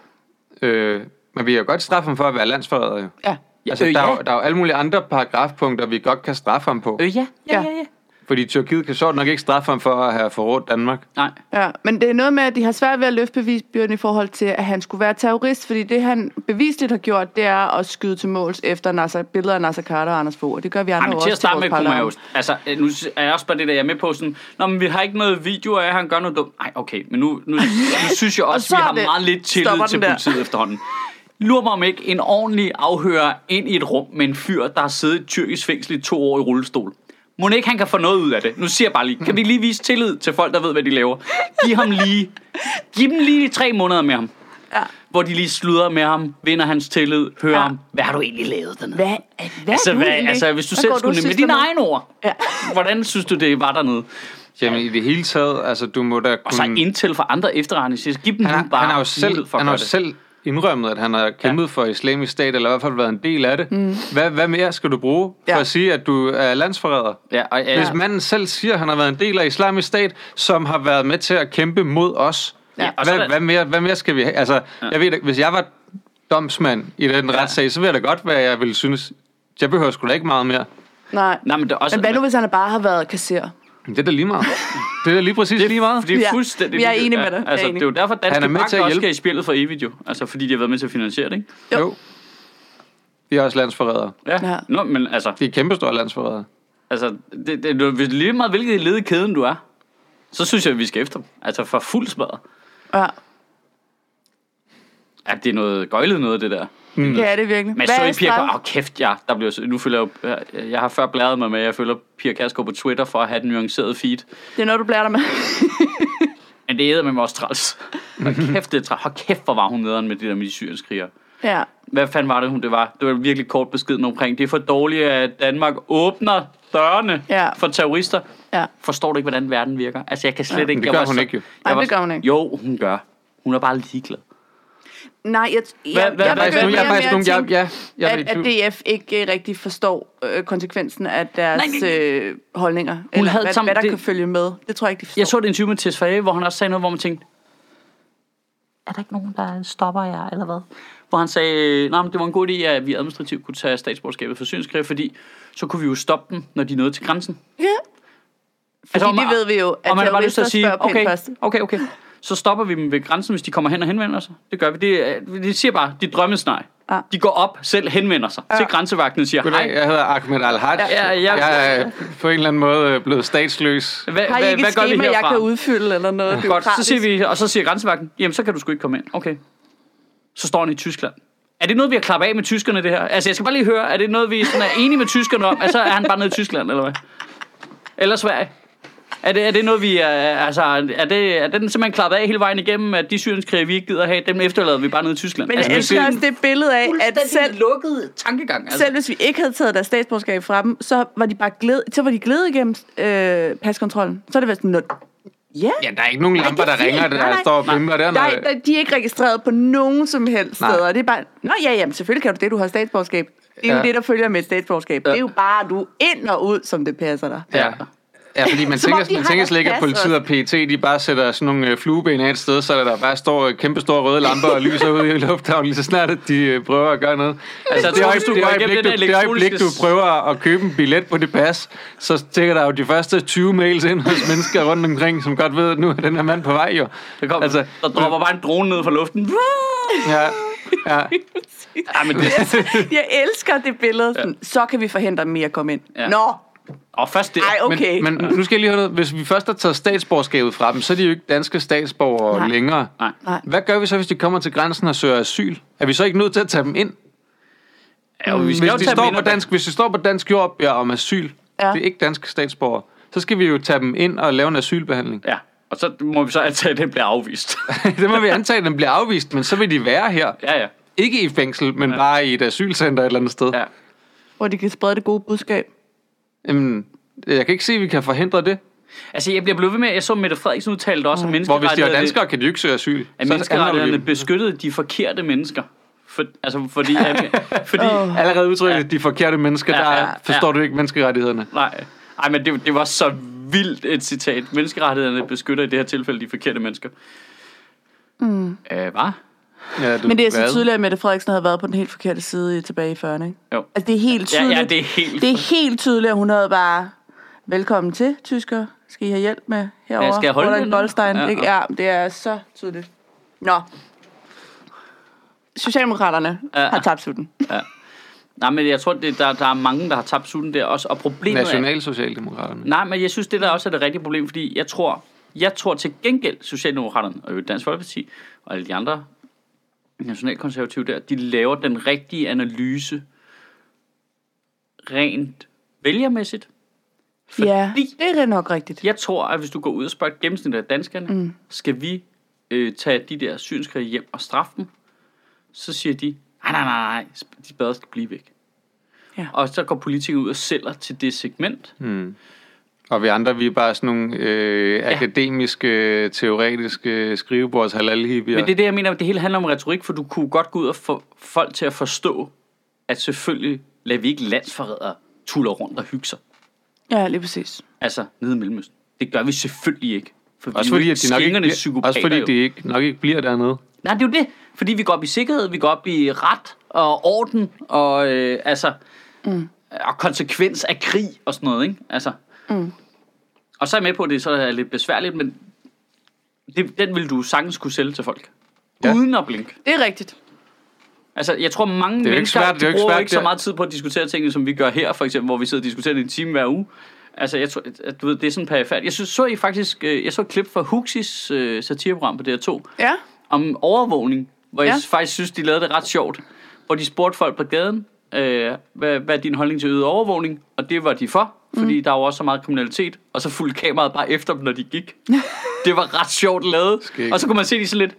Speaker 1: Øh, men vi kan jo godt straffe ham for at være landsforræder, jo.
Speaker 2: Ja.
Speaker 1: Altså,
Speaker 3: øh,
Speaker 1: der, er,
Speaker 3: ja.
Speaker 1: jo- der er jo alle mulige andre paragrafpunkter, vi godt kan straffe ham på.
Speaker 3: Øh, ja. Ja,
Speaker 2: Ja.
Speaker 3: ja, ja.
Speaker 1: Fordi Tyrkiet kan sjovt nok ikke straffe ham for at have forrådt Danmark.
Speaker 3: Nej.
Speaker 2: Ja, men det er noget med, at de har svært ved at løfte bevisbyrden i forhold til, at han skulle være terrorist, fordi det, han bevisligt har gjort, det er at skyde til måls efter Nasser, billeder af Nasser Carter og Anders Fogh, og det gør vi andre
Speaker 3: Ej, men
Speaker 2: også
Speaker 3: til at starte med
Speaker 2: vores
Speaker 3: kunne man jo...
Speaker 2: parallel.
Speaker 3: Altså, øh, nu er jeg også bare det der, jeg er med på sådan... Nå, men vi har ikke noget video af, at han gør noget dumt. Nej, okay, men nu, nu, nu synes jeg også,
Speaker 2: så
Speaker 3: vi
Speaker 2: er
Speaker 3: har
Speaker 2: det-
Speaker 3: meget lidt tillid
Speaker 2: stopper
Speaker 3: til
Speaker 2: den der.
Speaker 3: politiet efterhånden. Lurer mig om ikke en ordentlig afhører ind i et rum med en fyr, der har siddet i et tyrkisk fængsel i to år i rullestol. Må ikke han kan få noget ud af det? Nu siger jeg bare lige, kan vi lige vise tillid til folk, der ved, hvad de laver? Giv ham lige... Giv dem lige tre måneder med ham.
Speaker 2: Ja.
Speaker 3: hvor de lige sludrer med ham, vinder hans tillid, hører ja.
Speaker 2: Ja.
Speaker 3: ham. Hvad har du egentlig lavet dernede?
Speaker 2: Hvad, hvad
Speaker 3: Altså,
Speaker 2: er
Speaker 3: hvad,
Speaker 2: egentlig?
Speaker 3: altså hvis du
Speaker 2: Hvad
Speaker 3: selv
Speaker 2: går og
Speaker 3: skulle ned med
Speaker 2: sysler
Speaker 3: dine egne ord,
Speaker 2: Ja.
Speaker 3: hvordan synes du, det var dernede?
Speaker 1: Jamen, i det hele taget, altså, du må da kunne...
Speaker 3: Og så indtil for andre efterretninger, giv dem
Speaker 1: han,
Speaker 3: nu
Speaker 1: har,
Speaker 3: bare
Speaker 1: han har jo
Speaker 3: mulighed
Speaker 1: selv,
Speaker 3: for at
Speaker 1: han har jo
Speaker 3: gøre det.
Speaker 1: selv indrømmet, at han har kæmpet ja. for islamisk stat, eller i hvert fald været en del af det. Mm. Hvad, hvad mere skal du bruge ja. for
Speaker 2: Ja.
Speaker 1: at sige, at du er landsforræder?
Speaker 3: Ja, og, ja,
Speaker 1: Hvis manden selv siger, at han har været en del af islamisk stat, som har været med til at kæmpe mod os,
Speaker 3: Ja,
Speaker 1: ja.
Speaker 3: og så er der-
Speaker 1: hvad, hvad, mere, hvad mere skal vi have? Altså, ja. jeg ved, ikke, hvis jeg var domsmand i den
Speaker 3: Ja.
Speaker 1: retssag, så ville jeg da godt, hvad jeg ville synes. Jeg behøver sgu da ikke meget mere.
Speaker 2: Nej.
Speaker 3: Nej, men det er også...
Speaker 2: Men hvad nu, hvis han bare har været kasser?
Speaker 1: Men Det er da lige
Speaker 3: [LAUGHS]
Speaker 1: meget. det er da lige præcis lige meget.
Speaker 3: Det er
Speaker 2: Ja,
Speaker 3: fuldstændig...
Speaker 2: jeg er
Speaker 3: ligegyldigt.
Speaker 2: enig med dig.
Speaker 3: Ja,
Speaker 2: Jeg er
Speaker 3: Altså,
Speaker 2: enig.
Speaker 3: det er jo derfor, Danske
Speaker 1: Han er med
Speaker 3: Bank
Speaker 1: til at
Speaker 3: også
Speaker 1: hjælpe.
Speaker 3: skal i spillet for evigt jo. Altså, fordi de har været med til at finansiere det, ikke?
Speaker 1: Jo. jo. De er også landsforrædere.
Speaker 3: Ja.
Speaker 2: Ja.
Speaker 3: Nå, men altså,
Speaker 1: De er kæmpestore landsforrædere.
Speaker 3: altså det, det, det, hvis lige meget hvilket led i kæden du er, så synes jeg, at vi skal efter dem. Altså, for fuld smadret.
Speaker 2: Ja.
Speaker 3: Ja, det er noget gøjlet noget, det der.
Speaker 2: Mm. Det er det virkelig.
Speaker 3: Men
Speaker 2: Hvad
Speaker 3: så
Speaker 2: er
Speaker 3: i Pia
Speaker 2: straf?
Speaker 3: Åh, oh, kæft, ja. Der bliver, så- nu følger jeg, jo- jeg har før blæret mig med, at jeg følger Pia Kærsgaard på Twitter for at have den nuancerede feed.
Speaker 2: Det er noget, du blærer dig med. [LAUGHS]
Speaker 3: Men det æder med mig også træls.
Speaker 2: [LAUGHS]
Speaker 3: Hold kæft, det er træls. Hold kæft, hvor var hun nederen med det der med de syrienskrigere.
Speaker 2: ja.
Speaker 3: Hvad fanden var det, hun det var? Det var virkelig kort beskeden omkring. Det er for dårligt, at Danmark åbner dørene
Speaker 2: Ja.
Speaker 3: for terrorister.
Speaker 2: Ja.
Speaker 3: Forstår du ikke, hvordan verden virker? Altså, jeg kan slet ikke...
Speaker 1: det
Speaker 3: jeg
Speaker 1: gør
Speaker 3: var
Speaker 1: hun
Speaker 3: så-
Speaker 1: ikke, jo.
Speaker 3: jeg
Speaker 2: Nej,
Speaker 3: var
Speaker 2: det
Speaker 3: så-
Speaker 2: gør hun ikke.
Speaker 3: Jo, hun gør. Hun er bare ligeglad.
Speaker 2: Nej, jeg, jeg,
Speaker 3: Hvad-
Speaker 2: jeg,
Speaker 3: hvad-
Speaker 2: jeg,
Speaker 3: hvad-
Speaker 2: begynder
Speaker 1: jeg
Speaker 3: nu-
Speaker 2: mere
Speaker 1: er
Speaker 2: og
Speaker 1: faktisk
Speaker 2: mere
Speaker 1: nogen,
Speaker 2: at
Speaker 1: jeg,
Speaker 2: tænke,
Speaker 1: ja, jeg er
Speaker 2: at,
Speaker 1: lidt
Speaker 2: at
Speaker 1: i tvivl.
Speaker 2: DF ikke øh, rigtig forstår øh, konsekvensen af deres
Speaker 3: Nej, nej, nej.
Speaker 2: Øh, holdninger. Hun eller
Speaker 3: havde
Speaker 2: hvad,
Speaker 3: sammen-
Speaker 2: hvad der
Speaker 3: det-
Speaker 2: kan følge med. Det tror jeg ikke, de forstår.
Speaker 3: Jeg så et interview med Tesfaye, hvor han også sagde noget, hvor man tænkte,
Speaker 4: er der ikke nogen, der stopper jer, eller hvad?
Speaker 3: hvor han sagde, nej, men det var en god idé, at vi administrativt kunne tage statsborgerskabet for syrienskrigere, fordi så kunne vi jo stoppe dem, når de nåede til grænsen.
Speaker 2: Ja. Fordi
Speaker 3: Altså, om-
Speaker 2: det ved vi jo, at
Speaker 3: og man har bare lyst til
Speaker 2: terrorister
Speaker 3: at sige,
Speaker 2: spørger pænt
Speaker 3: okay,
Speaker 2: først.
Speaker 3: okay, okay. Så stopper vi dem ved grænsen, hvis de kommer hen og henvender sig. Det gør vi. Det, er- det siger bare, de drømmesnej.
Speaker 2: Ja.
Speaker 3: De går op, selv henvender sig ja. til grænsevagten og siger, hej.
Speaker 1: Goddag, jeg hedder Ahmed Al-Haj.
Speaker 3: Ja, ja.
Speaker 1: Jeg er øh, på en eller anden måde øh, blevet statsløs.
Speaker 3: Hvad,
Speaker 2: Har I
Speaker 3: hvad,
Speaker 2: ikke
Speaker 3: hvad
Speaker 2: et
Speaker 3: gør vi
Speaker 2: schema, jeg
Speaker 3: herfra?
Speaker 2: kan udfylde eller noget ja.
Speaker 3: Godt, så siger vi, og så siger grænsevagten, jamen så kan du sgu ikke komme ind. Okay. Så står han i Tyskland. Er det noget, vi har klappet af med tyskerne, det her? Altså, jeg skal bare lige høre, er det noget, vi sådan er enige med tyskerne om, at så er han bare nede i Tyskland, eller hvad? Eller Sverige? Er det, er det noget, vi er, altså, er, det, er den simpelthen klappet af hele vejen igennem, at de syrienskrige, vi ikke gider have, dem efterlader vi bare nede i Tyskland?
Speaker 2: Men
Speaker 3: altså,
Speaker 2: jeg
Speaker 1: det
Speaker 2: elsker
Speaker 1: er
Speaker 2: også det billede af, at selv,
Speaker 3: lukket tankegang, altså.
Speaker 2: selv hvis vi ikke havde taget deres statsborgerskab fra dem, så var de bare gled, så var de gled igennem øh, paskontrollen. Så er det været sådan noget. Ja,
Speaker 1: Ja, der er ikke nogen lamper,
Speaker 2: det er
Speaker 1: der ringer,
Speaker 2: fint.
Speaker 1: der
Speaker 2: Nej, nej.
Speaker 1: står og bimler der.
Speaker 2: Nej, der, de er ikke registreret på nogen som helst
Speaker 1: Nej.
Speaker 2: Nej. steder. Det er bare, nå ja, jamen, selvfølgelig kan du det, du har statsborgerskab. Det er ja.
Speaker 1: Ja.
Speaker 2: jo det, der følger med et statsborgerskab. Ja. Det er jo bare, du er ind og ud, som det passer dig. Ah!
Speaker 1: Ja. Ja, fordi man
Speaker 2: Som om
Speaker 1: tænker,
Speaker 2: de
Speaker 1: man
Speaker 2: har
Speaker 1: tænker
Speaker 2: deres
Speaker 1: slet ikke, at
Speaker 2: pas
Speaker 1: politiet og PET, de bare sætter sådan nogle øh, flueben af et sted, så der bare står øh, kæmpe store røde lamper og lyser ud i [LAUGHS] lufthavnen, lige så snart at de øh, prøver at gøre noget. Altså,
Speaker 3: jeg
Speaker 1: det,
Speaker 3: tror,
Speaker 1: øje,
Speaker 3: hvis du
Speaker 1: det,
Speaker 3: går
Speaker 1: øjeblik,
Speaker 3: igennem
Speaker 1: du,
Speaker 3: den
Speaker 1: det øjeblik, du
Speaker 3: elektroniske-
Speaker 1: prøver at købe en billet på det pas, så tænker der jo de første 20 mails ind hos mennesker rundt omkring, som godt ved, at nu er den her mand på vej jo.
Speaker 3: Der, kommer, altså, der dropper bare en drone ned fra luften.
Speaker 1: Ja, ja.
Speaker 3: Ja, men det,
Speaker 2: [LAUGHS] Jeg elsker det billede. Sådan, Så kan vi forhindre dem i at komme ind.
Speaker 3: Ja.
Speaker 2: Ja. Nå,
Speaker 3: og først det.
Speaker 2: ej, okay.
Speaker 1: Men, men nu skal jeg lige høre noget. Hvis vi først har taget statsborgerskabet fra dem, så er de jo ikke danske statsborgere
Speaker 2: Nej.
Speaker 1: længere.
Speaker 3: Nej.
Speaker 2: Nej.
Speaker 1: Hvad gør vi så, hvis de kommer til grænsen og søger asyl? Er vi så ikke nødt til at tage dem ind?
Speaker 3: Ja, og Mm. vi skal
Speaker 1: Hvis
Speaker 3: jo
Speaker 1: de,
Speaker 3: tage dem
Speaker 1: står
Speaker 3: ind
Speaker 1: på
Speaker 3: og-
Speaker 1: dansk, hvis de står på dansk jord og beder om asyl, ja.
Speaker 2: Ja.
Speaker 1: det er ikke danske statsborgere, så skal vi jo tage dem ind og lave en asylbehandling. [LAUGHS]
Speaker 3: Ja, og så må vi så antage, at det bliver afvist.
Speaker 1: det må vi antage, at den bliver afvist, men så vil de være her.
Speaker 3: ja, ja.
Speaker 1: Ikke i fængsel, men ja. bare i et asylcenter et eller andet sted.
Speaker 3: ja.
Speaker 1: Ja.
Speaker 2: Hvor de kan sprede det gode budskab.
Speaker 1: Jamen, jeg kan ikke se, at vi kan forhindre det.
Speaker 3: Altså, jeg bliver blevet ved med, at jeg så Mette Frederiksen udtalte også, at
Speaker 1: Hvor hvis de er
Speaker 3: menneskerettighederne,
Speaker 1: danskere, kan de jo ikke søge asyl.
Speaker 3: at
Speaker 1: Så anholder vi
Speaker 3: menneskerettighederne
Speaker 1: dem.
Speaker 3: beskyttede de forkerte mennesker. For, altså, fordi...
Speaker 1: [LAUGHS]
Speaker 3: At, fordi
Speaker 1: Allerede udtrykket, ja. de forkerte mennesker,
Speaker 3: Ja,
Speaker 1: der
Speaker 3: ja,
Speaker 1: ja,
Speaker 3: ja.
Speaker 1: forstår du ikke menneskerettighederne.
Speaker 3: nej, ej, men det, det var så vildt et citat. Menneskerettighederne beskytter i det her tilfælde de forkerte mennesker. Mm. Øh, hvad?
Speaker 1: Ja, du,
Speaker 2: Men det er så
Speaker 1: hvad?
Speaker 2: tydeligt, at Mette Frederiksen havde været på den helt forkerte side i- tilbage i 40'erne, ikke?
Speaker 3: Jo.
Speaker 2: Altså, det er helt
Speaker 3: Ja,
Speaker 2: tydeligt.
Speaker 3: ja, det er helt...
Speaker 2: det er helt tydeligt, at hun havde bare... Velkommen til, tysker. Skal I have hjælp med herovre?
Speaker 3: Ja, skal jeg holde
Speaker 2: Hvor er
Speaker 3: den,
Speaker 2: en
Speaker 3: eller?
Speaker 2: Goldstein,
Speaker 3: Ja,
Speaker 2: ja, ikke? ja, det er så tydeligt. Nå. Socialdemokraterne
Speaker 3: Ja.
Speaker 2: ja. har tabt sutten.
Speaker 3: Nej, men jeg tror, det, der, der er mange, der har tabt sutten der også. Og problemet er,
Speaker 1: Nationalsocialdemokraterne.
Speaker 3: Nej, men jeg synes, det der også er det rigtige problem, fordi jeg tror, jeg tror til gengæld, Socialdemokraterne og jo Dansk Folkeparti og alle de andre nationalkonservative der, de laver den rigtige analyse rent vælgermæssigt.
Speaker 2: Ja, det er nok rigtigt.
Speaker 3: Jeg tror, at hvis du går ud og spørger et gennemsnit af danskerne, mm. skal vi øh, tage de der synskrige hjem og straffe dem? Så siger de, "Ah, nej, nej, nej, nej, de bedre skal blive væk.
Speaker 2: Ja.
Speaker 3: Og så går politikere ud og sælger til det segment. Mm.
Speaker 1: Og vi andre, vi er bare sådan nogle øh, ja. akademiske, teoretiske skrivebords halalhibier.
Speaker 3: Men det er det, jeg mener, det hele handler om retorik, for du kunne godt gå ud og få folk til at forstå, at selvfølgelig lader vi ikke landsforrædere tuller rundt og hygge sig.
Speaker 2: Ja, lige præcis.
Speaker 3: Altså, nede i Mellemøsten. Det gør vi selvfølgelig ikke. For vi
Speaker 1: også
Speaker 3: er jo
Speaker 1: fordi, at de nok ikke,
Speaker 3: skingerne
Speaker 1: bliver,
Speaker 3: psykopater
Speaker 1: også fordi
Speaker 3: jo.
Speaker 1: de ikke, nok ikke bliver dernede.
Speaker 3: Nej, det er jo det. Fordi vi går op i sikkerhed, vi går op i ret og orden og, øh, altså, mm. og konsekvens af krig og sådan noget. Ikke? Altså. Mm. Og så er jeg med på, at det så er lidt besværligt, men det, den vil du sagtens kunne sælge til folk. Ja.
Speaker 1: Ja.
Speaker 3: Uden at blinke.
Speaker 2: Det er rigtigt.
Speaker 3: Altså, jeg tror, mange
Speaker 1: jo ikke
Speaker 3: mennesker
Speaker 1: svært, det er
Speaker 3: de
Speaker 1: jo ikke
Speaker 3: bruger
Speaker 1: svært,
Speaker 3: ikke så
Speaker 1: det er-
Speaker 3: meget tid på at diskutere tingene, som vi gør her, for eksempel, hvor vi sidder og diskuterer det en time hver uge. Altså, jeg tror, at, du ved, det er sådan perifært. Jeg synes, så I faktisk, øh, jeg så et klip fra Huxis øh, satireprogram på DR2,
Speaker 2: Ja.
Speaker 3: om overvågning, hvor ja.
Speaker 2: Ja.
Speaker 3: jeg faktisk synes, de lavede det ret sjovt. hvor de spurgte folk på gaden, øh, hvad, hvad er din holdning til øget overvågning? Og det var de for, fordi mm. der var også så meget kriminalitet. Og så fulgte kameraet bare efter dem, når de gik. det var ret sjovt lavet.
Speaker 1: Skægt.
Speaker 3: Og så kunne man se de så lidt.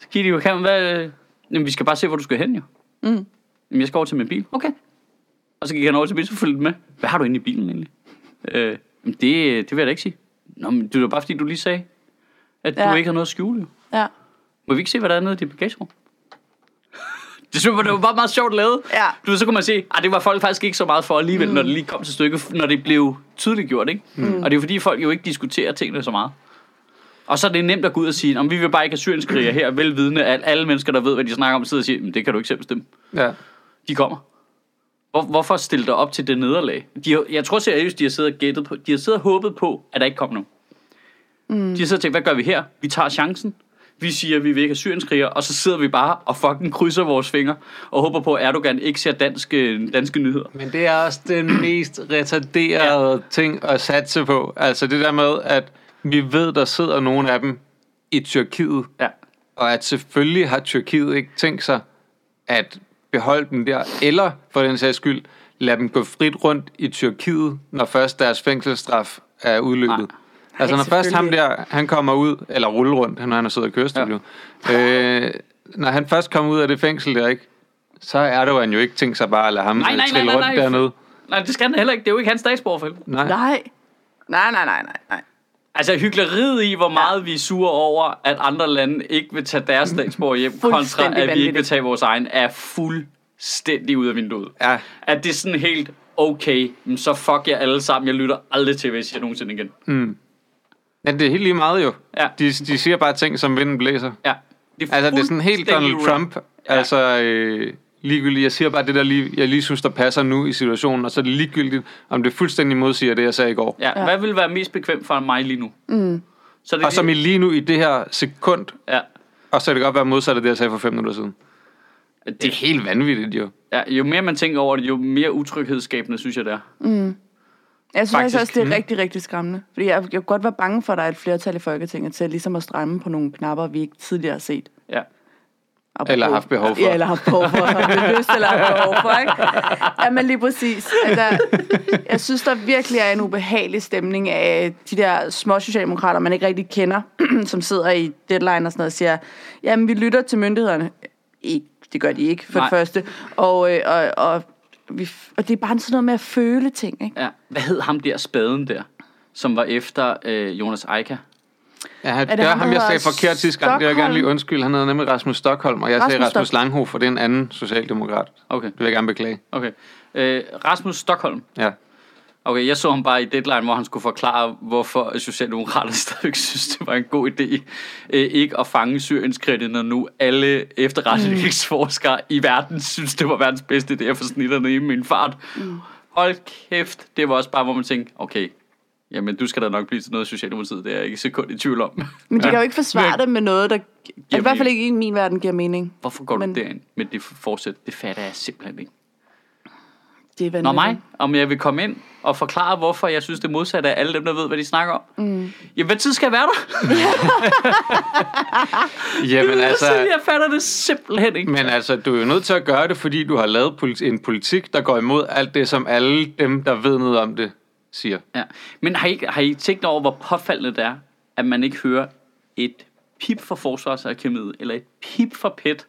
Speaker 3: Så kiggede de på kameraet, hvad... øh, Jamen, vi skal bare se, hvor du skal hen, jo.
Speaker 2: Mm.
Speaker 3: Jamen, jeg skal over til min bil. Okay. Og så gik han over til bilen, så fulgte den med. Hvad har du inde i bilen egentlig? Øh, "Jamen, det, det vil jeg da ikke sige. Nå, men det var bare fordi, du lige sagde, at ja.
Speaker 2: Ja.
Speaker 3: du ikke har noget at skjule. jo."
Speaker 2: Ja.
Speaker 3: Må vi ikke se, hvad der er nede i dit bagagerum? [LAUGHS] det synes jeg, det var bare meget sjovt lavet.
Speaker 2: Ja.
Speaker 3: Du ved, så kunne man se, at det var folk faktisk ikke så meget for alligevel, mm. når det lige kom til stykket, når det blev tydeligt gjort, ikke? Mm. Og det er jo fordi, folk jo ikke diskuterer tingene så meget. Og så er det nemt at gå ud og sige, om vi vil bare ikke have syrienskriger her, velvidende, at alle mennesker, der ved, hvad de snakker om, sidder og siger, "Men det kan du ikke selv bestemme.
Speaker 1: Ja.
Speaker 3: De kommer. Hvor, hvorfor stille dig op til det nederlag? De har, jeg tror seriøst, de har siddet og gættet på, de har siddet og håbet på, at der ikke kom nogen. Mm. De har siddet og tænkt, hvad gør vi her? Vi tager chancen. Vi siger, vi vil ikke have syrienskriger, og så sidder vi bare og fucking krydser vores fingre og håber på, at Erdogan ikke ser danske, danske nyheder.
Speaker 1: Men det er også den mest retarderede ja. ting at satse på. Altså det der med, at vi ved, der sidder nogle af dem i Tyrkiet,
Speaker 3: Ja.
Speaker 1: og at selvfølgelig har Tyrkiet ikke tænkt sig at beholde dem der, eller for den sags skyld, lade dem gå frit rundt i Tyrkiet, når først deres fængselsstraf er udløbet.
Speaker 3: Nej.
Speaker 1: Altså når
Speaker 2: Nej,
Speaker 1: først ham
Speaker 2: selvfølgelig.
Speaker 1: der, han kommer ud, eller rulle rundt, når han har siddet i kørestudio, ja. øh, når han først kommer ud af det fængsel der, ikke, så er Erdogan jo ikke tænkt sig bare at lade ham
Speaker 3: Nej, nej, nej,
Speaker 1: trille
Speaker 3: nej,
Speaker 1: rundt
Speaker 3: nej.
Speaker 1: dernede.
Speaker 3: Nej, det skal han da heller ikke. Det er jo ikke hans statsborger for helvede.
Speaker 1: Nej.
Speaker 2: Nej. Nej, nej, nej, nej, nej.
Speaker 3: Altså hyggeleriet i, hvor meget vi er sure over, at andre lande ikke vil tage deres statsborger hjem, kontra
Speaker 2: Fuldstændig
Speaker 3: at vi ikke vil
Speaker 2: vanvittigt.
Speaker 3: tage vores egen, er fuldstændig ud af vinduet.
Speaker 1: Ja,
Speaker 3: at det er sådan helt, okay, men så fuck jer alle sammen, jeg lytter aldrig til, hvis jeg nogensinde igen.
Speaker 1: men det er helt lige meget jo.
Speaker 3: Ja.
Speaker 1: De, de siger bare ting, som vinden blæser.
Speaker 3: Ja.
Speaker 1: Altså, det er sådan helt
Speaker 3: fuldstændig
Speaker 1: Donald
Speaker 3: ude.
Speaker 1: Trump. Altså, øh, ligegyldigt. Jeg siger bare det, der lige, jeg lige synes, der passer nu i situationen, og så er det ligegyldigt, om det fuldstændig modsiger det, jeg sagde i går.
Speaker 3: Ja. ja. Hvad vil være mest bekvemt for mig lige nu? Mm. Så det er
Speaker 1: Og som i
Speaker 3: lige-
Speaker 1: lige nu i det her sekund,
Speaker 3: ja.
Speaker 1: og så kan det godt være modsat af det, jeg sagde for fem minutter siden. Det er
Speaker 3: Det,
Speaker 1: helt vanvittigt, jo.
Speaker 3: ja, jo mere man tænker over det, jo mere utryghedsskabende synes jeg det er.
Speaker 2: Jeg synes faktisk
Speaker 3: Faktisk,
Speaker 2: også, det er rigtig, rigtig skræmmende. Fordi jeg, jeg kunne godt være bange for, at der er et flertal i Folketinget til ligesom at stramme på nogle knapper, vi ikke tidligere har set.
Speaker 3: Ja.
Speaker 2: Apropos-
Speaker 1: Eller haft behov for.
Speaker 2: Ja, eller haft behov for. Haft lyst eller haft behov for, ikke? Ja, men lige præcis. Altså, jeg synes, der virkelig er en ubehagelig stemning af de der små socialdemokrater, man ikke rigtig kender, [CLEARS THROAT] som sidder i deadline og sådan noget og siger, jamen, vi lytter til myndighederne. Ikke, det gør de ikke, for Nej.
Speaker 3: Nej.
Speaker 2: det første. Og, øh, og, og, vi, og det er bare sådan noget med at føle ting, ikke?
Speaker 3: ja. Hvad hed ham der spaden der, som var efter øh, Jonas Eika?
Speaker 1: Ja, han,
Speaker 2: Er det
Speaker 1: det var
Speaker 2: ham,
Speaker 1: ham,
Speaker 2: der
Speaker 1: jeg sagde
Speaker 2: hedder
Speaker 1: forkert sidste gang. Det vil jeg gerne lige
Speaker 2: Stockholm?
Speaker 1: undskylde. Han hedder nemlig Rasmus Stockholm, og jeg Rasmus sagde
Speaker 2: Rasmus
Speaker 1: Rasmus
Speaker 2: Stock-
Speaker 1: Langhoff, for det er en anden socialdemokrat.
Speaker 3: Okay,
Speaker 1: Det vil jeg gerne beklage.
Speaker 3: okay. Øh, Rasmus Stockholm.
Speaker 1: [LAUGHS] Ja.
Speaker 3: Okay, jeg så ham bare i Deadline, hvor han skulle forklare, hvorfor Socialdemokraterne [LAUGHS] stadig synes, det var en god idé øh, ikke at fange syrienskritter, når nu alle efterretningsforskere i verden synes, det var verdens bedste idé at få snitterne i min fart. Mm. Hold kæft, det var også bare, hvor man tænkte, okay, jamen du skal da nok blive til noget i Socialdemokratiet, det er jeg ikke et sekund i tvivl om.
Speaker 2: Men de kan jo ikke forsvare
Speaker 3: Men-
Speaker 2: det med noget, der i hvert fald
Speaker 3: mening.
Speaker 2: ikke i min verden giver mening.
Speaker 3: Hvorfor går
Speaker 2: Men-
Speaker 3: du derind med det forsæt? Det fatter jeg simpelthen ikke.
Speaker 2: Det er vanvittigt.
Speaker 3: Nå mig, om jeg vil komme ind og forklare, hvorfor jeg synes det modsatte af alle dem, der ved, hvad de snakker om. Mm. Jamen, hvad tid skal jeg være der?
Speaker 1: Jamen,
Speaker 3: [LAUGHS] Altså,
Speaker 1: altså...
Speaker 3: jeg fatter det simpelthen ikke.
Speaker 1: Men altså, du er jo nødt til at gøre det, fordi du har lavet politi- en politik, der går imod alt det, som alle dem, der ved noget om det, siger.
Speaker 3: Ja. Men har I, ikke- har I tænkt over, hvor påfaldende det er, at man ikke hører et pip fra Forsvarsakademiet, eller et pip fra PET?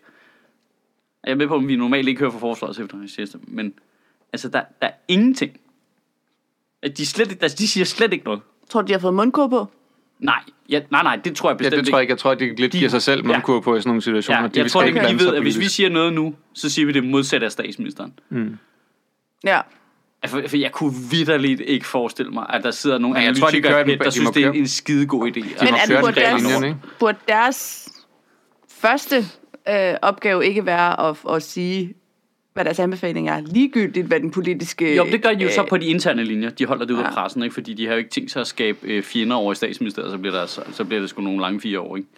Speaker 3: Jeg er med på, at vi normalt ikke hører fra Forsvarets efterretningstjeneste, men altså, der, der er ingenting. At de, slet, ikke- altså, de siger slet ikke noget.
Speaker 2: Tror du, de har fået mundkur på?
Speaker 3: Nej, ja, nej, nej, det tror jeg
Speaker 1: Ja,
Speaker 3: bestemt
Speaker 1: det tror jeg ikke. Jeg tror, de lidt giver sig selv mundkur på i sådan nogle situationer.
Speaker 3: Ja,
Speaker 1: De
Speaker 3: jeg
Speaker 1: vil
Speaker 3: tror,
Speaker 1: ikke
Speaker 3: ikke,
Speaker 1: blande
Speaker 3: de
Speaker 1: sig
Speaker 3: ved, at hvis vi
Speaker 1: politisk.
Speaker 3: siger noget nu, så siger vi det modsatte af statsministeren.
Speaker 2: Ja.
Speaker 3: Altså, For, for jeg kunne vidderligt ikke forestille mig, at der sidder nogle
Speaker 1: jeg tror, de
Speaker 3: analytikere,
Speaker 1: kører
Speaker 3: i PET,
Speaker 1: den-
Speaker 3: der
Speaker 1: de
Speaker 3: synes,
Speaker 1: må
Speaker 3: det er
Speaker 1: køre-
Speaker 3: en skide god idé.
Speaker 1: De
Speaker 2: Men
Speaker 1: må
Speaker 2: er
Speaker 1: køre
Speaker 2: det
Speaker 1: den
Speaker 2: deres-
Speaker 1: linjen, ikke?
Speaker 2: Burde deres første øh, opgave ikke være at, at sige, hvad deres anbefaling er, ligegyldigt hvad den politiske...
Speaker 3: Jo, men det gør de jo så
Speaker 2: øh,
Speaker 3: på de interne linjer. De holder det ud af
Speaker 2: Ja.
Speaker 3: pressen, ikke? fordi de har jo ikke tænkt sig at skabe øh, fjender over i statsministeriet, så bliver, der, så, så bliver det sgu nogle lange fire år, ikke?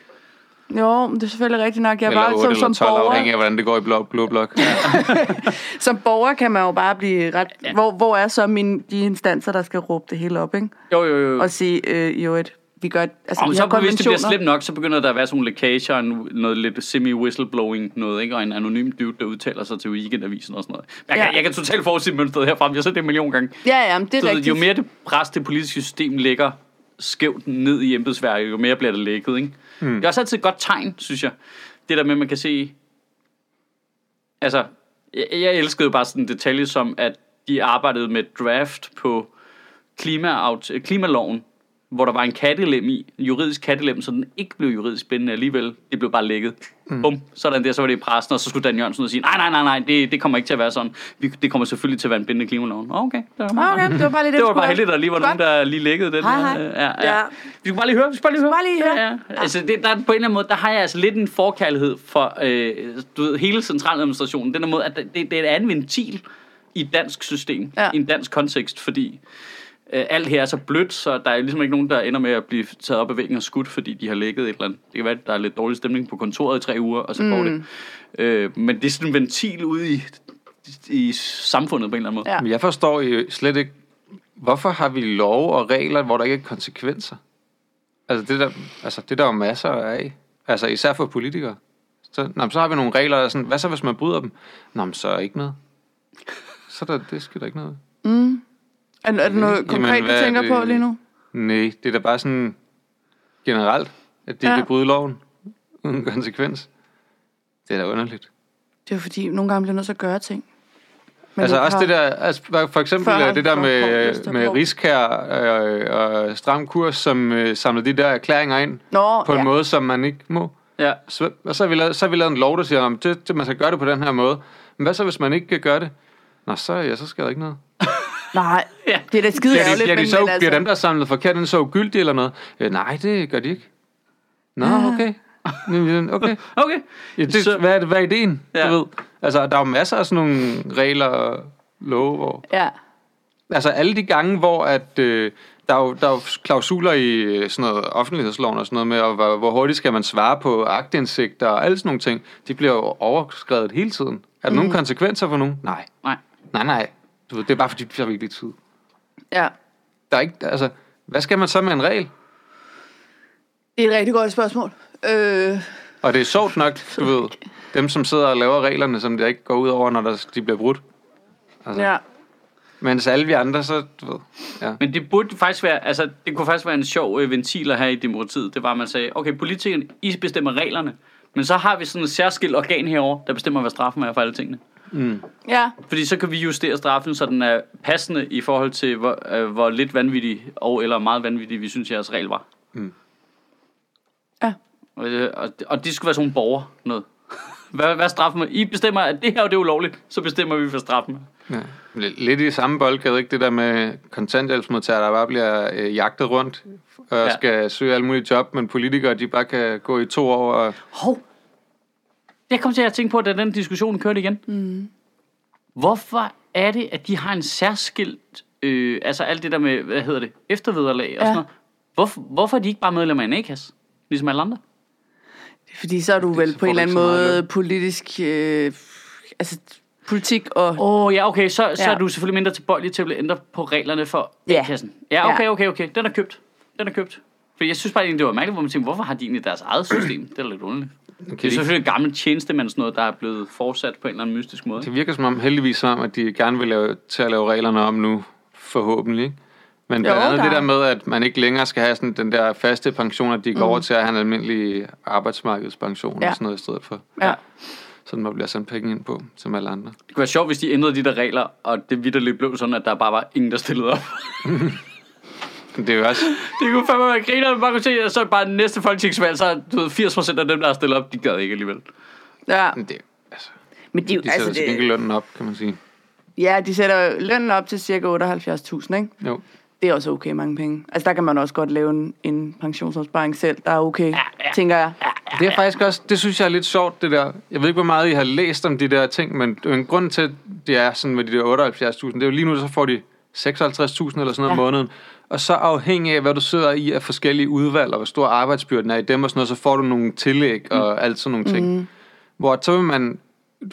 Speaker 2: Jo, det er selvfølgelig rigtigt nok. Jeg
Speaker 1: Eller
Speaker 2: bare,
Speaker 1: 8
Speaker 2: som,
Speaker 1: eller
Speaker 2: som,
Speaker 1: 12, afhængig
Speaker 2: borger,
Speaker 1: af, hvordan det går i blå, blå blok.
Speaker 2: som borger kan man jo bare blive ret... Ja. Hvor, hvor er så mine, de instanser, der skal råbe det hele op, ikke?
Speaker 3: Jo, jo, jo.
Speaker 2: Og sige, øh, jo et, vi gør, altså
Speaker 3: Og
Speaker 2: de
Speaker 3: så
Speaker 2: her
Speaker 3: på, hvis det bliver
Speaker 2: konventioner.
Speaker 3: slemt nok, så begynder der at være sådan nogle lækager og en- noget lidt semi-whistleblowing noget, ikke? Og en anonym dude, der udtaler sig til weekendavisen og sådan noget. Jeg, ja.
Speaker 2: Ja.
Speaker 3: kan, jeg kan totalt forudse mønstret herfra, men jeg har set det en million gange.
Speaker 2: Ja, ja, men det
Speaker 3: Så
Speaker 2: er
Speaker 3: ved,
Speaker 2: rigtigt.
Speaker 3: jo mere det pres, det politiske system ligger skævt ned i embedsværket, jo mere bliver det lækket, ikke? Mm. Det er også altid et godt tegn, synes jeg. Det der med, at man kan se... Altså, jeg, jeg elskede jo bare sådan en detalje som, at de arbejdede med draft på klimaaft- øh, klimaloven, hvor der var en kattelem i, en juridisk kattelem, så den ikke blev juridisk bindende alligevel. Det blev bare lækket. Mm. Bum, sådan der, så var det i pressen, og så skulle Dan Jørgensen ud og sige, nej, nej, nej, nej, det, det kommer ikke til at være sådan. Vi, det kommer selvfølgelig til at være en bindende klimalov. Nå, Okay, det var meget
Speaker 2: Ah, Okay, det var bare lige det, jeg
Speaker 3: det var
Speaker 2: skulle
Speaker 3: bare
Speaker 2: have.
Speaker 3: heldigt, at der lige var nogen,
Speaker 2: Godt.
Speaker 3: der lige lækkede den.
Speaker 4: Hej, hej.
Speaker 3: Øh, Ja, ja.
Speaker 2: Ja.
Speaker 3: Vi kan bare lige høre. Vi skal bare lige høre.
Speaker 2: bare lige høre.
Speaker 3: Ja, ja. Altså, det, der, er på en eller anden måde, der har jeg altså lidt en forkærlighed for øh, du ved, hele centraladministrationen. Den der måde, at det, det er et andet ventil i et dansk system,
Speaker 2: Ja.
Speaker 3: ja. i en dansk kontekst, fordi øh, alt her er så blødt, så der er ligesom ikke nogen, der ender med at blive taget op af væggen og skudt, fordi de har lækket et eller andet. Det kan være, at der er lidt dårlig stemning på kontoret i tre uger, og så går det.
Speaker 2: Mm.
Speaker 3: Øh, men det er sådan en ventil ude i, i samfundet på en eller anden måde.
Speaker 2: Ja.
Speaker 1: Men jeg forstår jo slet ikke, hvorfor har vi lov og regler, hvor der ikke er konsekvenser? Altså det der, altså det er der er jo masser af. Altså især for politikere. Så, nå, men så har vi nogle regler, der er sådan, hvad så hvis man bryder dem? Nå, men så er ikke noget. Så er der, det sker der ikke noget.
Speaker 2: Er, er det noget
Speaker 1: Jamen,
Speaker 2: konkret,
Speaker 1: hvad
Speaker 2: du
Speaker 1: er
Speaker 2: tænker
Speaker 1: det?
Speaker 2: på lige nu?
Speaker 1: Nej, det er da bare sådan generelt, at de
Speaker 2: Ja.
Speaker 1: ja. vil bryde loven uden konsekvens. Det er da underligt.
Speaker 2: Det er jo fordi, nogle gange bliver nødt til at gøre ting. Men
Speaker 1: altså
Speaker 2: ikke
Speaker 1: også
Speaker 2: har-
Speaker 1: det der, altså hvad- for eksempel
Speaker 2: Før-
Speaker 1: Før, det der
Speaker 2: for-
Speaker 1: med, øh,
Speaker 2: for-
Speaker 1: med Riskær øh, og Stram Kurs, som øh, samler de der erklæringer ind
Speaker 2: Nå,
Speaker 1: på en
Speaker 2: ja.
Speaker 1: måde, som man ikke må.
Speaker 3: Ja.
Speaker 1: Så, og så har, vi lavet, så har vi lavet en lov, der siger, at det, det, man skal gøre det på den her måde. Men hvad så, hvis man ikke kan gøre det? Nå, så, ja, så sker der ikke noget.
Speaker 2: Nej,
Speaker 3: Ja.
Speaker 2: det er da skide
Speaker 1: Bliver, de,
Speaker 2: ærgerligt.
Speaker 1: bliver, de
Speaker 2: men-
Speaker 1: så,
Speaker 2: men altså-
Speaker 1: bliver dem, der er samlet forkert, den så ugyldige eller noget? Øh, nej, det gør de ikke. Nå, okay. [LAUGHS] Jamen, Okay.
Speaker 3: Okay.
Speaker 1: Ja, det,
Speaker 3: Så-
Speaker 1: så... hvad, er det, hvad er ideen?
Speaker 3: Ja.
Speaker 1: Ja. Du ved? Altså, der er jo masser af sådan nogle regler og love, hvor...
Speaker 2: Ja,
Speaker 1: Altså, alle de gange, hvor at... Øh, der er, jo, der er jo klausuler i øh, sådan noget offentlighedsloven og sådan noget med, og hvor, hvor hurtigt skal man svare på aktindsigter og alle sådan nogle ting. De bliver jo overskrevet hele tiden. Er der mm. nogen konsekvenser for nogen? Nej.
Speaker 3: Nej.
Speaker 1: Nej, nej. Du ved, det er bare fordi, det bliver virkelig tid.
Speaker 2: ja.
Speaker 1: Der er ikke, altså, hvad skal man så med en regel?
Speaker 2: Det er et rigtig godt spørgsmål. Øh,
Speaker 1: Og det er sjovt nok, du ved, dem som sidder og laver reglerne, som det ikke går ud over, når der, de bliver brudt. Altså,
Speaker 2: ja.
Speaker 1: Mens alle vi andre, så, du ved, ja.
Speaker 3: Men det burde faktisk være, altså, det kunne faktisk være en sjov øh, ventil her i demokratiet. Det var, at man sagde, okay, politikerne, I bestemmer reglerne, men så har vi sådan et særskilt organ herover, der bestemmer, hvad straffen er for alle tingene.
Speaker 2: Ja,
Speaker 3: Fordi så kan vi justere straffen, så den er passende i forhold til, hvor, øh, hvor lidt vanvittig og eller meget vanvittig, vi synes, jeres regel var.
Speaker 2: ja.
Speaker 3: Og, øh, og, og det skulle være sådan nogle borger noget. [LAUGHS] Hvad, hvad er straffen er? I bestemmer, at det her og det er ulovligt, så bestemmer vi, hvad straffen er.
Speaker 1: ja. Lidt lidt i samme boldgade, ikke? Det der med kontanthjælpsmodtagere, der bare bliver øh, jagtet rundt og
Speaker 3: Ja.
Speaker 1: ja. skal søge alle mulige job, men politikere, de bare kan gå i to år og...
Speaker 3: Hov. Jeg kom til at tænke på, da den diskussion kørte igen. Mm. Hvorfor er det, at de har en særskilt... Øh, altså alt det der med, hvad hedder det? Eftervederlag og ja.
Speaker 2: Ja.
Speaker 3: sådan noget. Hvorfor, hvorfor er de ikke bare medlemmer af en A-kasse? Ligesom alle andre?
Speaker 2: Fordi så er du vel
Speaker 1: så
Speaker 2: på en
Speaker 1: får du
Speaker 2: eller anden
Speaker 1: ikke så meget
Speaker 2: måde politisk... Øh, altså, politik og...
Speaker 3: Åh, oh, ja, okay. Så, så
Speaker 2: Ja.
Speaker 3: er du selvfølgelig mindre tilbøjelig til at blive ændret på reglerne for
Speaker 2: Ja.
Speaker 3: A-kassen. Ja, okay,
Speaker 2: Ja.
Speaker 3: okay, okay. Den er købt. Den er købt. For jeg synes bare, egentlig, det var mærkeligt, hvor man tænkte, hvorfor har de egentlig deres eget system? Det er da lidt underligt. Okay. Det er
Speaker 1: de-
Speaker 3: selvfølgelig en gammel tjenestemand, sådan noget, der er blevet fortsat på en eller anden mystisk måde.
Speaker 1: Det virker som om, heldigvis som om, at de gerne vil lave, til at lave reglerne om nu, forhåbentlig, ikke? Men blandt
Speaker 2: Jo,
Speaker 1: andet
Speaker 2: der
Speaker 1: det
Speaker 2: er-
Speaker 1: der med, at man ikke længere skal have sådan den der faste pension, at de går over til at have en almindelig arbejdsmarkedspension
Speaker 2: Mm. Ja.
Speaker 1: og sådan noget i stedet for.
Speaker 2: Ja.
Speaker 1: Sådan man bliver sendt penge ind på, som alle andre.
Speaker 3: Det kunne være sjovt, hvis de ændrede de der regler, og det vidderligt blev sådan, at der bare var ingen, der stillede op.
Speaker 1: Men det er jo også...
Speaker 3: [LAUGHS] det kunne fandme være griner, man bare kunne se, og så bare næste folketingsvalg, så er, du ved, 80% af dem, der er stillet op, de gad ikke alligevel.
Speaker 2: Ja,
Speaker 1: Men det, altså,
Speaker 2: men de,
Speaker 1: de sætter
Speaker 2: altså,
Speaker 1: altså, til gengæld
Speaker 2: det,
Speaker 1: lønnen op, kan man sige.
Speaker 2: ja, de sætter lønnen op til cirka 78.000, ikke?
Speaker 1: Jo.
Speaker 2: Det er også okay mange penge. Altså, der kan man også godt lave en, en pensionsopsparing selv, der er okay, ja, ja. tænker jeg. Ja.
Speaker 1: Det er faktisk også, det synes jeg er lidt sjovt, det der. Jeg ved ikke, hvor meget I har læst om de der ting, men en grund til, at det er sådan med de der 78.000, det er jo lige nu, så får de 56.000 eller sådan noget om
Speaker 2: Ja.
Speaker 1: måneden. Og så afhængig af, hvad du sidder i af forskellige udvalg, og hvor stor arbejdsbyrden er i dem og sådan noget, så får du nogle tillæg og alt sådan nogle ting. Mm. Hvor så vil man,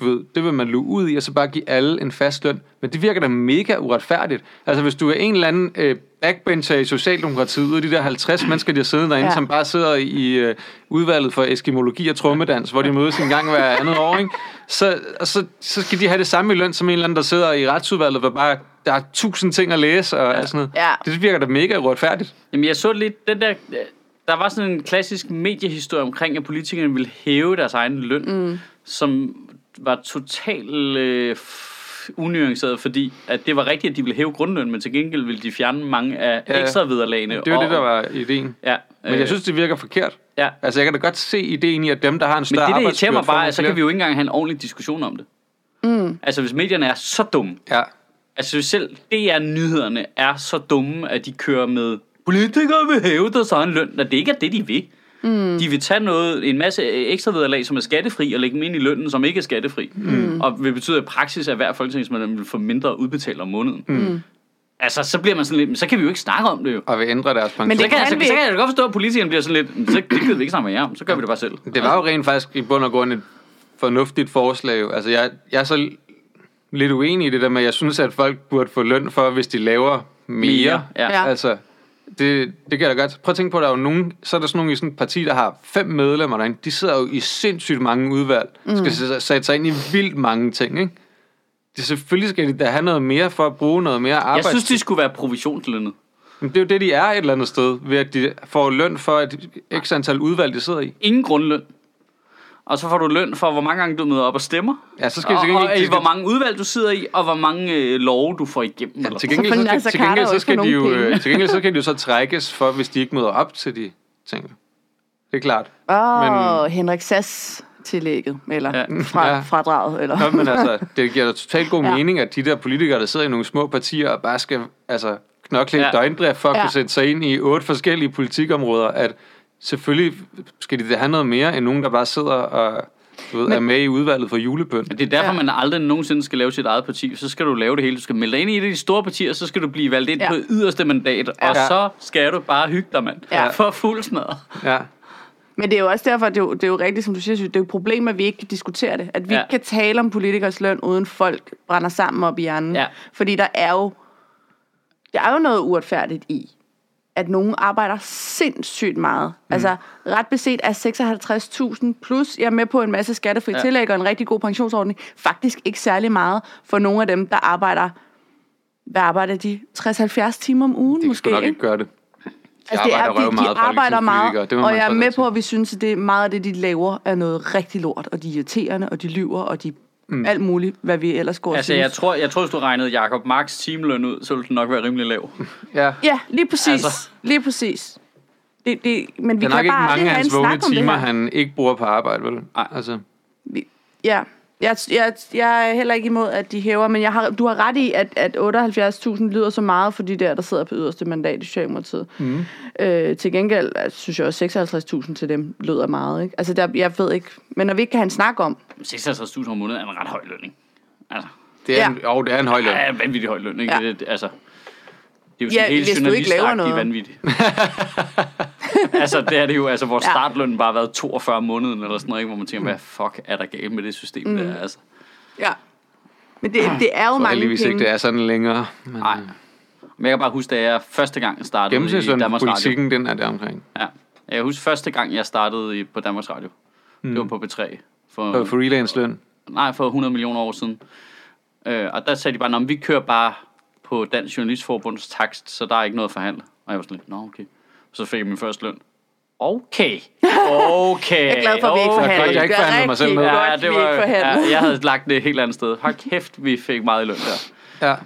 Speaker 1: du ved, det vil man luge ud i, og så bare give alle en fast løn. Men det virker da mega uretfærdigt. Altså, hvis du er en eller anden øh, backbencher i Socialdemokratiet, og de der 50 mennesker, de har siddet derinde,
Speaker 2: Ja.
Speaker 1: ja. som bare sidder i øh, udvalget for eskimologi og trommedans, hvor de mødes en gang hver andet år, ikke? Så, og så, så skal de have det samme i løn som en eller anden, der sidder i retsudvalget, hvor bare der er tusind ting at læse og ja. sådan noget.
Speaker 2: Ja.
Speaker 1: Det virker da mega uretfærdigt.
Speaker 3: Jamen, jeg så lidt den der... Der var sådan en klassisk mediehistorie omkring, at politikerne ville hæve deres egen løn, mm. som var totalt øh, f- unuanceret, fordi at det var rigtigt, at de ville hæve grundløn, men til gengæld ville de fjerne mange af
Speaker 1: Ja, ja.
Speaker 3: ekstra vederlagene.
Speaker 1: Det var det, der var ideen.
Speaker 3: Ja, øh,
Speaker 1: Men jeg synes, det virker forkert.
Speaker 3: Ja.
Speaker 1: Altså, jeg kan da godt se ideen i, at dem, der har en
Speaker 3: Men
Speaker 1: større
Speaker 3: det, der irriterer
Speaker 1: arbejdsbyrde,
Speaker 3: mig
Speaker 1: får
Speaker 3: bare,
Speaker 1: nogle
Speaker 3: er, så kan
Speaker 1: flere.
Speaker 3: vi jo ikke engang have en ordentlig diskussion om det. Mm. Altså, hvis medierne er så dumme,
Speaker 1: Ja.
Speaker 3: altså hvis selv DR-nyhederne er så dumme, at de kører med, politikere vil hæve deres egen løn, når det ikke er det, de vil. Mm. De vil tage noget, en masse ekstra vederlag, som er skattefri, og lægge dem ind i lønnen, som ikke er skattefri. Mm. Og vil betyde, at i praksis at hver folketingsmedlem vil få mindre udbetalt om måneden. Mm. Altså, så bliver man sådan lidt, "Men så kan vi jo ikke snakke om det jo.
Speaker 1: Og vil ændre deres pension.
Speaker 2: det
Speaker 3: Så kan, jeg,
Speaker 2: kan
Speaker 3: så,
Speaker 2: vi
Speaker 3: så kan
Speaker 2: ikke.
Speaker 3: jeg da godt forstå, at politikerne bliver sådan lidt, "Men så det gider vi ikke snakke med jer om, så gør vi det bare selv.
Speaker 1: Det var jo rent faktisk i bund og grund et fornuftigt forslag. jo. Altså, jeg, jeg er så lidt uenig i det der med, at jeg synes, at folk burde få løn for, hvis de laver mere.
Speaker 3: Mere, ja.
Speaker 2: Ja.
Speaker 1: Altså, det, det kan jeg da godt. Prøv at tænke på, at der er jo nogen, så er der sådan nogle i sådan et parti, der har fem medlemmer derinde. De sidder jo i sindssygt mange udvalg. Mm. Skal s- sætte sig ind i vildt mange ting, ikke? De, selvfølgelig skal de da have noget mere for at bruge noget mere
Speaker 3: Jeg
Speaker 1: arbejde.
Speaker 3: synes, de skulle være provisionslønnet.
Speaker 1: Men det er jo det, de er et eller andet sted, ved at de får løn for et x antal udvalg, de sidder i.
Speaker 3: Ingen grundløn. Og så får du løn for, hvor mange gange du møder op og stemmer.
Speaker 1: Ja, så skal de
Speaker 3: Og,
Speaker 1: til
Speaker 3: og,
Speaker 1: gengæld,
Speaker 3: og
Speaker 1: de
Speaker 3: i
Speaker 1: skal,
Speaker 3: hvor mange udvalg du sidder i, og hvor mange øh, love du får igennem.
Speaker 1: ja,
Speaker 3: eller
Speaker 1: til
Speaker 3: sådan
Speaker 1: gengæld, så,
Speaker 2: Selvfølgelig,
Speaker 1: til,
Speaker 2: altså,
Speaker 1: til
Speaker 2: Karla
Speaker 1: gengæld,
Speaker 2: også
Speaker 1: så skal
Speaker 2: få
Speaker 1: de jo,
Speaker 2: nogle penge.
Speaker 1: øh, til gengæld så kan de jo så trækkes for, hvis de ikke møder op til de ting. Det er klart.
Speaker 2: Åh, oh,
Speaker 1: Men-
Speaker 2: Henrik Sass tillægget, eller
Speaker 3: Ja.
Speaker 2: ja. Fra,
Speaker 1: Ja.
Speaker 2: fradraget, eller...
Speaker 1: Nå, men altså, det giver da totalt god
Speaker 2: Ja.
Speaker 1: mening, at de der politikere, der sidder i nogle små partier og bare skal altså, knokle ja.
Speaker 3: Ja.
Speaker 1: et døgndrift for at
Speaker 2: Ja.
Speaker 1: ja. kunne sætte sig ind i otte forskellige politikområder, at selvfølgelig skal de da have noget mere, end nogen, der bare sidder og du ved, er med i udvalget for julebøn.
Speaker 3: Det er derfor,
Speaker 2: Ja.
Speaker 3: ja. man aldrig nogensinde skal lave sit eget parti. Så skal du lave det hele. Du skal melde dig ind i et af de store partier, så skal du blive valgt ind
Speaker 2: Ja.
Speaker 3: ja. på yderste mandat. Ja. Og
Speaker 1: Ja.
Speaker 3: så skal du bare hygge dig, mand.
Speaker 2: Ja.
Speaker 3: Ja. For fuld smadret.
Speaker 1: Ja.
Speaker 2: Men det er jo også derfor, at det er jo, det er jo rigtigt, som du siger, Sofie, det er jo et problem, at vi ikke kan diskutere det. At vi
Speaker 3: Ja.
Speaker 2: ja. ikke kan tale om politikers løn, uden folk brænder sammen op i hjernen.
Speaker 3: Ja.
Speaker 2: Fordi der er jo, der er jo noget uretfærdigt i, at nogen arbejder sindssygt meget. Mm. Altså, ret beset er 56.000 plus, jeg er med på en masse skattefri ja. tillæg og en rigtig god pensionsordning, faktisk ikke særlig meget for nogle af dem, der arbejder, hvad arbejder de? 60-70 timer om ugen
Speaker 1: De kan
Speaker 2: måske,
Speaker 1: sgu nok
Speaker 2: ikke?
Speaker 1: ikke gøre det. De
Speaker 2: Altså, det er,
Speaker 1: arbejder
Speaker 2: de, de
Speaker 1: røvmeget,
Speaker 2: arbejder meget,
Speaker 1: folketingspolitikere. Det må
Speaker 2: og
Speaker 1: man
Speaker 2: jeg er
Speaker 1: trods
Speaker 2: med
Speaker 1: alt
Speaker 2: på, at vi synes, at det er meget af det, de laver, er noget rigtig lort, og de er irriterende, og de lyver, og de mm. alt muligt, hvad vi ellers går og
Speaker 3: Altså,
Speaker 2: synes.
Speaker 3: jeg tror, jeg tror, hvis du regnede Jacob Marks timeløn ud, så ville den nok være rimelig [LAUGHS] lav.
Speaker 1: sige. Ja.
Speaker 2: Ja, lige præcis. Altså.
Speaker 3: Altså.
Speaker 2: Lige præcis. Det, det, men vi
Speaker 1: Der er
Speaker 2: kan
Speaker 1: nok ikke
Speaker 2: bare
Speaker 1: mange
Speaker 2: aldrig
Speaker 1: af
Speaker 2: have en
Speaker 1: hans
Speaker 2: snak
Speaker 1: vågne
Speaker 2: om det
Speaker 1: timer,
Speaker 2: her.
Speaker 1: han ikke bruger på arbejde, vel? Nej. Altså,
Speaker 2: Vi- Ja, jeg, jeg, jeg er heller ikke imod, at de hæver, men jeg har, du har ret i, at, at 78.000 lyder så meget for de der, der sidder på yderste mandat i Socialdemokratiet. Mm. Øh, til gengæld altså, synes jeg også, 56.000 til dem lyder meget. Ikke? Altså, der, jeg ved ikke. Men når vi ikke kan have en snak om,
Speaker 3: 56.000 om måneden er en ret høj løn, ikke? Altså,
Speaker 1: det er,
Speaker 2: Ja.
Speaker 1: ja. en, jo, det er en høj løn.
Speaker 3: det er en vanvittig høj løn, ikke?
Speaker 2: Ja.
Speaker 3: Ja. Det, er- altså, det er jo
Speaker 2: Ja,
Speaker 3: sådan ja,
Speaker 2: hvis
Speaker 3: hele
Speaker 2: du ikke laver
Speaker 3: journalistagtigt
Speaker 2: noget. [LAUGHS]
Speaker 3: vanvittigt. altså, det er det jo, altså, vores
Speaker 2: Ja. Mm.
Speaker 3: startløn bare har været 42 om måneden, eller sådan noget, ikke? hvor man tænker, hvad fuck er der galt med det system mm. der, altså.
Speaker 2: Ja. Men det, det er jo
Speaker 1: Og
Speaker 2: mange
Speaker 1: heldigvis
Speaker 2: penge.
Speaker 1: ikke, det er sådan længere. Men
Speaker 3: Nej. Men jeg kan bare huske, da jeg første gang startede i
Speaker 1: gennemsnitsløn på
Speaker 3: Danmarks Radio.
Speaker 1: politikken, den er der omkring.
Speaker 3: Ja. Jeg husker første gang, jeg startede i, på Danmarks Radio. Mm. Det var på B3. For,
Speaker 1: På freelance løn.
Speaker 3: Nej, for 100 millioner år siden. Øh, og der sagde de bare, "Nå, men vi kører bare på Dansk Journalistforbunds takst, så der er ikke noget at forhandle. Og jeg var sådan lidt, nå okay. Så fik jeg min første løn. Okay. Okay.
Speaker 2: Jeg er glad for, at vi ikke
Speaker 3: okay.
Speaker 2: forhandler.
Speaker 1: jeg ikke
Speaker 2: Det er
Speaker 1: forhandlet mig
Speaker 2: rigtig
Speaker 1: selv ned.
Speaker 2: Godt, ja, vi ikke forhandler.
Speaker 3: ja, jeg havde lagt det et helt andet sted. Hold kæft, vi fik meget i løn der.
Speaker 1: Ja.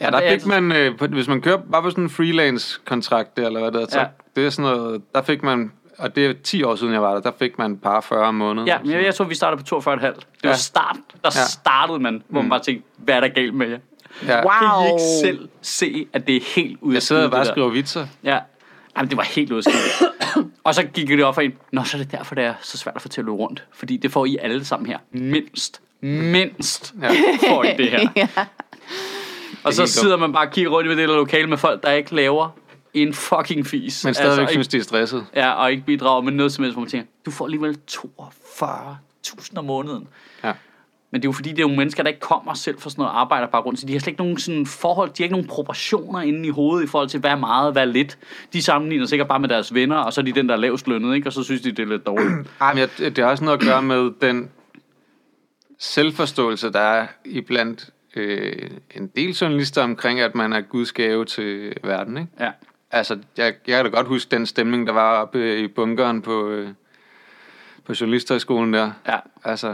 Speaker 1: Ja,
Speaker 3: det er
Speaker 1: der fik
Speaker 3: altså-
Speaker 1: man, øh, på- hvis man kører bare på sådan en freelance-kontrakt, der, eller hvad det er, så
Speaker 3: Ja.
Speaker 1: det er sådan noget, der fik man, og det er 10 år siden, jeg var der, der fik man et par 40 om måneden.
Speaker 3: Ja, men jeg, jeg tror, vi startede på 42,5. Det var
Speaker 1: Ja.
Speaker 3: start. Der ja. startede man, hvor man bare tænkte, hvad er der galt med jer?
Speaker 1: ja.
Speaker 2: Mm. Wow.
Speaker 3: Kan I
Speaker 2: Au.
Speaker 3: ikke selv se, at det er helt ud af
Speaker 1: Jeg sidder
Speaker 3: skide,
Speaker 1: og bare og
Speaker 3: det der?
Speaker 1: skriver vitser.
Speaker 3: Ja. Jamen, det var helt udskilt. [COUGHS] og så gik det op for en. Nå, så er det derfor, det er så svært at få til at løbe rundt. Fordi det får I alle sammen her. Mindst. Mindst
Speaker 1: Ja.
Speaker 3: [LAUGHS] får I det her.
Speaker 2: Ja.
Speaker 3: Og så
Speaker 1: helt
Speaker 3: sidder man bare og kigger rundt i det der lokale med folk, der ikke laver en fucking fis. Altså,
Speaker 1: Men stadigvæk
Speaker 3: ikke,
Speaker 1: synes, de er stresset.
Speaker 3: Ja, og ikke bidrager med noget som helst, hvor man tænker, du får alligevel 42.000 om måneden.
Speaker 1: Ja.
Speaker 3: Men det er jo fordi, det er jo mennesker, der ikke kommer selv fra sådan noget arbejderbaggrund, så de har slet ikke nogen sådan forhold, de har ikke nogen proportioner inde i hovedet i forhold til, hvad er meget, hvad er lidt. De sammenligner sikkert bare med deres venner, og så er de den, der er lavest lønnet, ikke? og så synes de, det er
Speaker 1: [CLEARS THROAT]
Speaker 3: lidt dårligt.
Speaker 1: Ej, men jeg, det har også noget at gøre med den selvforståelse, der er i blandt øh, en del journalister omkring, at man er Guds gave til verden. Ikke?
Speaker 3: Ja.
Speaker 1: Altså, jeg, jeg kan da godt huske den stemning, der var oppe i bunkeren på, øh, på journalisterskolen der.
Speaker 3: Ja.
Speaker 1: Altså,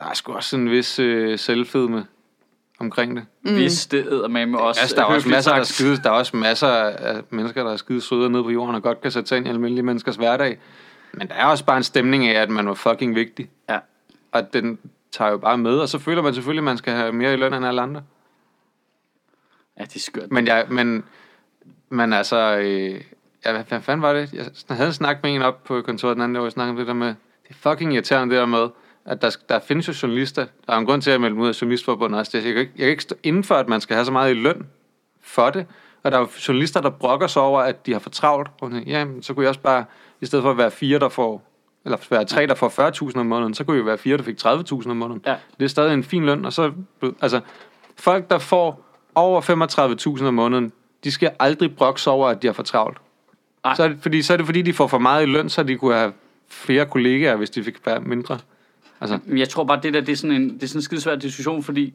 Speaker 1: der er sgu også sådan en vis øh, selvfedme omkring det.
Speaker 3: Mm. Hvis det med også.
Speaker 1: Altså, der er også
Speaker 3: høfligt
Speaker 1: masser, der er
Speaker 3: sagt.
Speaker 1: skide, der er også masser af mennesker, der er skide søde nede på jorden, og godt kan sætte sig ind i almindelige menneskers hverdag. Men der er også bare en stemning af, at man var fucking vigtig.
Speaker 3: Ja.
Speaker 1: Og den tager jo bare med, og så føler man selvfølgelig, at man skal have mere i løn end alle andre.
Speaker 3: ja, det er skørt.
Speaker 1: Men, jeg, men, men altså, øh, ja, hvad, hvad fanden var det? Jeg sn- havde en snak med en op på kontoret den anden dag, hvor jeg snakkede om øh, det der med, det er fucking irriterende det der med, at der, sk- der findes jo journalister. Der er en grund til, at jeg meldte mig ud af journalistforbundet også. Det, jeg, kan ikke, jeg kan ikke stå inden for, at man skal have så meget i løn for det. Og der er jo journalister, der brokker sig over, at de har for travlt. Og sådan, Jamen, så kunne jeg også bare, i stedet for at være fire, der får eller være tre, der får 40.000 om måneden, så kunne jo være fire, der fik 30.000 om måneden.
Speaker 3: Ja.
Speaker 1: Det er stadig en fin løn, og så, altså, folk, der får over 35.000 om måneden, de skal aldrig brokke sig over, at de har for travlt.
Speaker 3: Nej.
Speaker 1: Så er, det, fordi, så er det fordi, de får for meget i løn, så de kunne have flere kollegaer, hvis de fik færre- mindre. Altså,
Speaker 3: Men Jeg tror bare, det der, det er sådan en, det er sådan en skidesvær diskussion, fordi det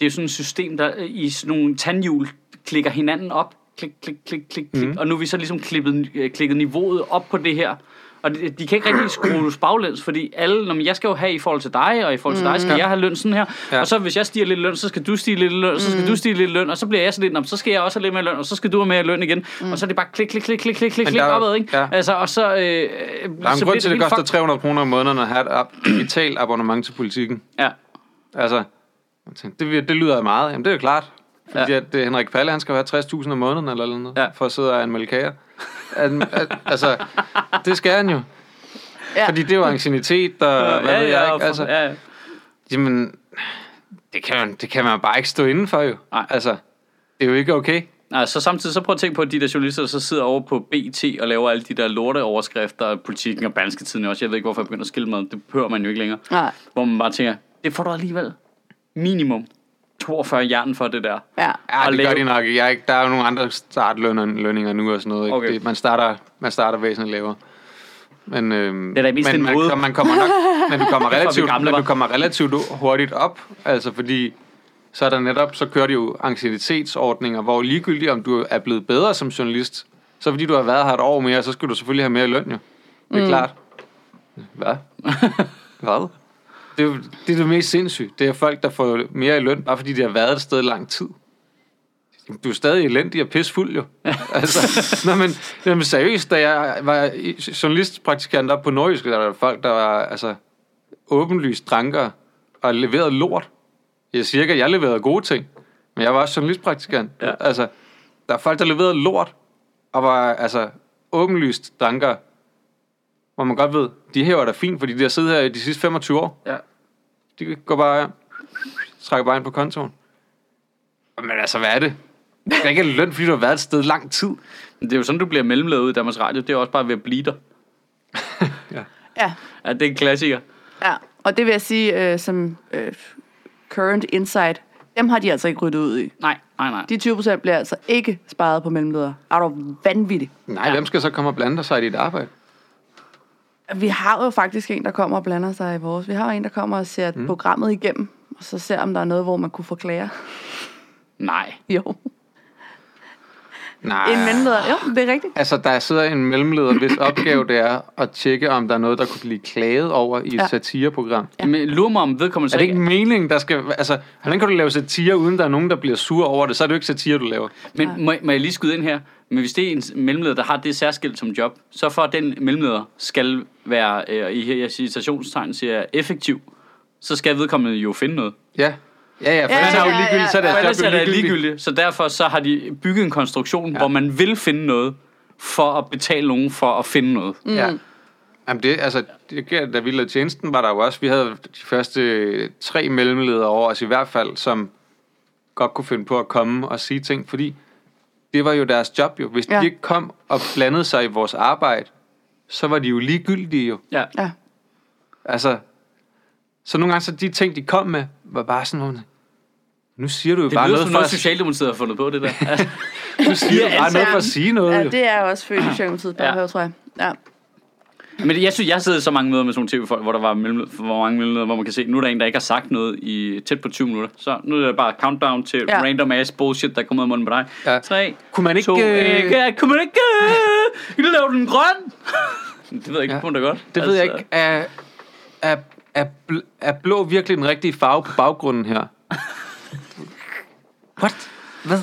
Speaker 3: er jo sådan et system, der øh, i sådan nogle tandhjul klikker hinanden op. Klik, klik, klik, klik, klik.
Speaker 1: Mhm.
Speaker 3: Mm. Og nu er vi så ligesom klippet, øh, klikket niveauet op på det her. Og de, de kan ikke rigtig skrue baglæns, fordi alle, når jeg skal jo have i forhold til dig, og i forhold til dig skal jeg have løn sådan her.
Speaker 1: Mhm. Ja. Mhm.
Speaker 3: Og så hvis jeg stiger lidt i løn, så skal du stige lidt i løn, så skal du stige lidt i løn, og så bliver jeg sådan lidt, "Nå, men så skal jeg også have lidt mere i løn, og så skal du have mere i løn igen. Og så er det bare klik, klik, klik, klik, klik,
Speaker 1: Mhm. Men
Speaker 3: klik, klik
Speaker 1: der er-
Speaker 3: opad, ikke?
Speaker 1: ja.
Speaker 3: Altså, og så... Øh, der
Speaker 1: der er en grund til, at det koster 300 kroner om måneden at have et ab- [CLEARS THROAT] digitalt abonnement til politikken.
Speaker 3: Ja,
Speaker 1: Altså, jeg tænkte, det, vir- det lyder af meget. Jamen, det er jo klart. Fordi
Speaker 3: Ja.
Speaker 1: ja. at øh, Henrik Palle, han skal have 60.000 om måneden eller eller noget,
Speaker 3: Ja.
Speaker 1: ja. for at sidde og anmelde kager. An, at, altså, det skal han jo.
Speaker 2: Ja.
Speaker 1: Fordi det er jo angstinitet, og hvad ved jeg ikke.
Speaker 3: og-
Speaker 1: Altså,
Speaker 3: ja, ja.
Speaker 1: jamen, det kan, man, det kan man bare ikke stå inden for jo.
Speaker 3: Nej.
Speaker 1: Altså, det er jo ikke okay.
Speaker 3: Nej, så samtidig så prøv at tænke på, at de der journalister, der så sidder over på BT og laver alle de der lorteoverskrifter, politikken og danske tiden også. Jeg ved ikke, hvorfor jeg begynder at skille med, det hører man jo ikke længere.
Speaker 2: Nej.
Speaker 3: Hvor man bare tænker, det får du alligevel minimum 42 jern for det der.
Speaker 2: Ja.
Speaker 1: Ja,
Speaker 3: Og
Speaker 1: det gør
Speaker 3: lave-
Speaker 1: de nok. ikke. Jeg er ikke, der er jo nogle andre startlønninger nu og sådan noget. Ikke?
Speaker 3: Okay.
Speaker 1: Det, man, starter, man starter væsentligt lavere. Men, øhm, det
Speaker 3: er da mest
Speaker 1: men,
Speaker 3: en
Speaker 1: man,
Speaker 3: måde.
Speaker 1: så man kommer
Speaker 3: [LAUGHS]
Speaker 1: nok, men du kommer
Speaker 3: vi
Speaker 1: relativt,
Speaker 3: gamle
Speaker 1: men
Speaker 3: var.
Speaker 1: du kommer relativt hurtigt op, altså fordi så er der netop, så kører de jo anxietetsordninger, hvor ligegyldigt om du er blevet bedre som journalist, så fordi du har været her et år mere, så skal du selvfølgelig have mere i løn jo. Det er mm. klart.
Speaker 3: [LAUGHS]
Speaker 1: Hvad? Hvad? Det er, jo- det er det mest sindssygt. Det er folk, der får mere i løn, bare fordi de har været et sted i lang tid. Du er stadig elendig og pisfuld jo. altså, nå, men, jamen, seriøst, da jeg var i- journalistpraktikant op på Nordjysk, der var folk, der var altså, åbenlyst drankere og leverede lort. Jeg siger ikke, at jeg leverede gode ting, men jeg var også journalistpraktikant.
Speaker 3: Ja.
Speaker 1: Altså, der er folk, der leverede lort og var altså, åbenlyst drankere, hvor man godt ved, de her var da fint, fordi de har siddet her i de sidste 25 år.
Speaker 3: Ja.
Speaker 1: De går bare, trækker bare ind på kontoen. Men altså, hvad er det? Det er ikke en løn, fordi du har været et sted lang tid.
Speaker 3: Men det er jo sådan, du bliver mellemlevet i Danmarks Radio. Det er også bare ved at blive der.
Speaker 2: Ja.
Speaker 3: Ja, det er en klassiker.
Speaker 2: Ja, og det vil jeg sige øh, som øh, current insight, dem har de altså ikke ryddet ud i.
Speaker 3: Nej, nej, nej.
Speaker 2: De 20 procent bliver altså ikke sparet på mellemleder. Er du vanvittig?
Speaker 1: Nej, ja. hvem skal så komme og blande sig i dit arbejde?
Speaker 2: Vi har jo faktisk en, der kommer og blander sig i vores. Vi har jo en, der kommer og ser mm. programmet igennem, og så ser, om der er noget, hvor man kunne forklare.
Speaker 3: Nej.
Speaker 2: Jo,
Speaker 1: Nej.
Speaker 2: en mellemleder. Jo, det er rigtigt.
Speaker 1: Altså, der sidder en mellemleder, hvis opgave det er at tjekke, om der er noget, der kunne blive klaget over i et
Speaker 2: Ja.
Speaker 1: ja. satireprogram. Ja.
Speaker 3: Men lurer mig om vedkommende
Speaker 1: Er
Speaker 3: så
Speaker 1: det ikke meningen, der skal... Altså, hvordan kan du lave satire, uden der er nogen, der bliver sur over det? Så er det jo ikke satire, du laver.
Speaker 3: Men må, må jeg lige skyde ind her? Men hvis det er en mellemleder, der har det særskilt som job, så for at den mellemleder skal være, øh, i her jeg siger citationstegn siger jeg, effektiv, så skal vedkommende jo finde noget.
Speaker 1: Ja. Ja, ja, for
Speaker 2: Ja,
Speaker 1: ellers er det
Speaker 2: ja,
Speaker 1: jo
Speaker 2: ja,
Speaker 1: ligegyldigt, så er
Speaker 2: ja.
Speaker 1: det
Speaker 3: For ellers er det
Speaker 1: ligegyldigt.
Speaker 3: ligegyldigt. Så derfor så har de bygget en konstruktion, ja. hvor man vil finde noget, for at betale nogen for at finde noget. Mm.
Speaker 1: Ja. Jamen det, altså, det, gælder- da vi lavede tjenesten, var der jo også, vi havde de første øh, tre mellemledere over os i hvert fald, som godt kunne finde på at komme og sige ting, fordi det var jo deres job jo. Hvis
Speaker 2: Ja.
Speaker 1: ja. de ikke kom og blandede sig i vores arbejde, så var de jo ligegyldige jo.
Speaker 3: Ja.
Speaker 2: Ja.
Speaker 1: Altså, Så nogle gange, så de ting, de kom med, var bare sådan, hvor man- nu siger du jo
Speaker 3: Det
Speaker 1: bare
Speaker 3: lyder
Speaker 1: noget
Speaker 3: som
Speaker 1: for
Speaker 3: noget,
Speaker 1: at,
Speaker 3: Socialdemokratiet har fundet på, det der.
Speaker 1: [LAUGHS]
Speaker 3: Altså,
Speaker 1: nu siger du bare noget for at sige noget.
Speaker 2: Ja,
Speaker 1: jo.
Speaker 2: det er
Speaker 1: [CLEARS THROAT]
Speaker 2: også født i Socialdemokratiet,
Speaker 3: Ja.
Speaker 2: ja. tror jeg. Ja.
Speaker 3: Men jeg synes, jeg sidder i så mange møder med sådan nogle tv-folk, hvor der var mellem, hvor mange mellemleder, hvor man kan se, nu er der en, der ikke har sagt noget i tæt på 20 minutter. Så nu er det bare countdown til
Speaker 2: Ja.
Speaker 3: ja. random ass bullshit, der kommer ud af munden på dig.
Speaker 1: Ja.
Speaker 3: 3,
Speaker 1: Kunne man ikke,
Speaker 3: 2,
Speaker 1: øh,
Speaker 3: øh... kunne man ikke, øh, kan du lave den grøn? [LAUGHS] det ved jeg ikke,
Speaker 1: Ja.
Speaker 3: ja. kunne det godt. Altså,
Speaker 1: Det ved jeg ikke. Er, er, er, bl- er blå virkelig den rigtige farve på baggrunden her? What? Hvad?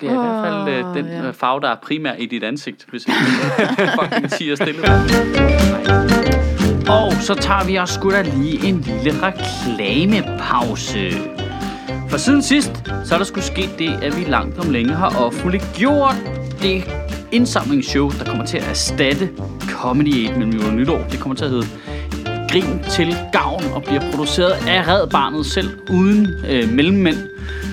Speaker 3: Det er i hvert fald øh,
Speaker 2: Åh,
Speaker 3: den
Speaker 2: ja.
Speaker 3: ja. farve, der er primær i dit ansigt, hvis jeg [LAUGHS] fucking siger stille. Og så tager vi også sgu da lige en lille reklamepause. For siden sidst, så er der skulle ske det, at vi langt om længe har offentliggjort det indsamlingsshow, der kommer til at erstatte Comedy 8 millioner nytår. Det kommer til at hedde Grin til Gavn og bliver produceret af Red Barnet selv uden øh, mellemmænd.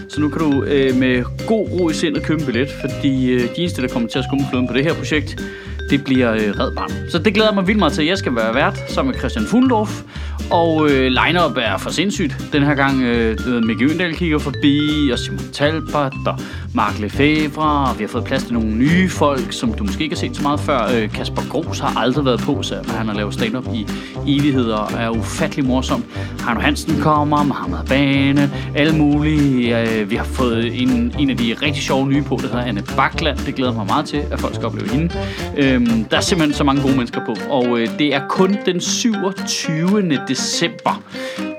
Speaker 3: Så nu kan du øh, med god ro i sindet købe en billet, fordi øh, de eneste, der kommer til at skumme fløden på det her projekt, det bliver øh, Red Barnet. Så det glæder jeg mig vildt meget til. Jeg skal være vært sammen med Christian Fuglendorf, og øh, line-up er for sindssygt. Den her gang, øh, du ved, Mikke Øndal kigger forbi, og Simon Talbot, og Mark Lefebvre, og vi har fået plads til nogle nye folk, som du måske ikke har set så meget før. Øh, Kasper Gros har aldrig været på, så han har lavet stand-up i evigheder og er ufattelig morsom. Harno Hansen kommer, Mohammed Bane, alle mulige. Øh, vi har fået en, en af de rigtig sjove nye på, der hedder Anne Bakland. Det glæder jeg mig meget til, at folk skal opleve hende. Øhm, der er simpelthen så mange gode mennesker på, og øh, det er kun den 27. december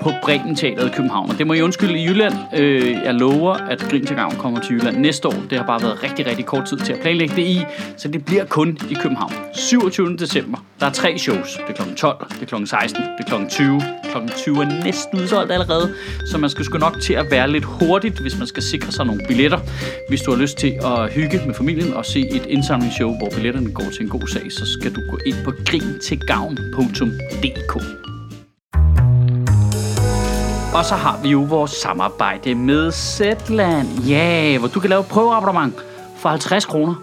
Speaker 3: på Bremen Teateret i København. Og det må I undskylde i Jylland. Øh, jeg lover, at Grin til Gavn kommer til Jylland næste år. Det har bare været rigtig, rigtig kort tid til at planlægge det i, så det bliver kun i København. 27. december. Der er tre shows. Det er kl. 12, det er kl. 16, det er kl. 20. Kl. 20 er næsten udsolgt allerede, så man skal sgu nok til at være lidt hurtigt, hvis man skal sikre sig nogle billetter. Hvis du har lyst til at hygge med familien og se et indsamlingsshow, hvor billetterne går til en god sag, så skal du gå ind på grintilgavn.dk. Og så har vi jo vores samarbejde med Zetland. Ja, yeah, hvor du kan lave prøveabonnement for 50 kroner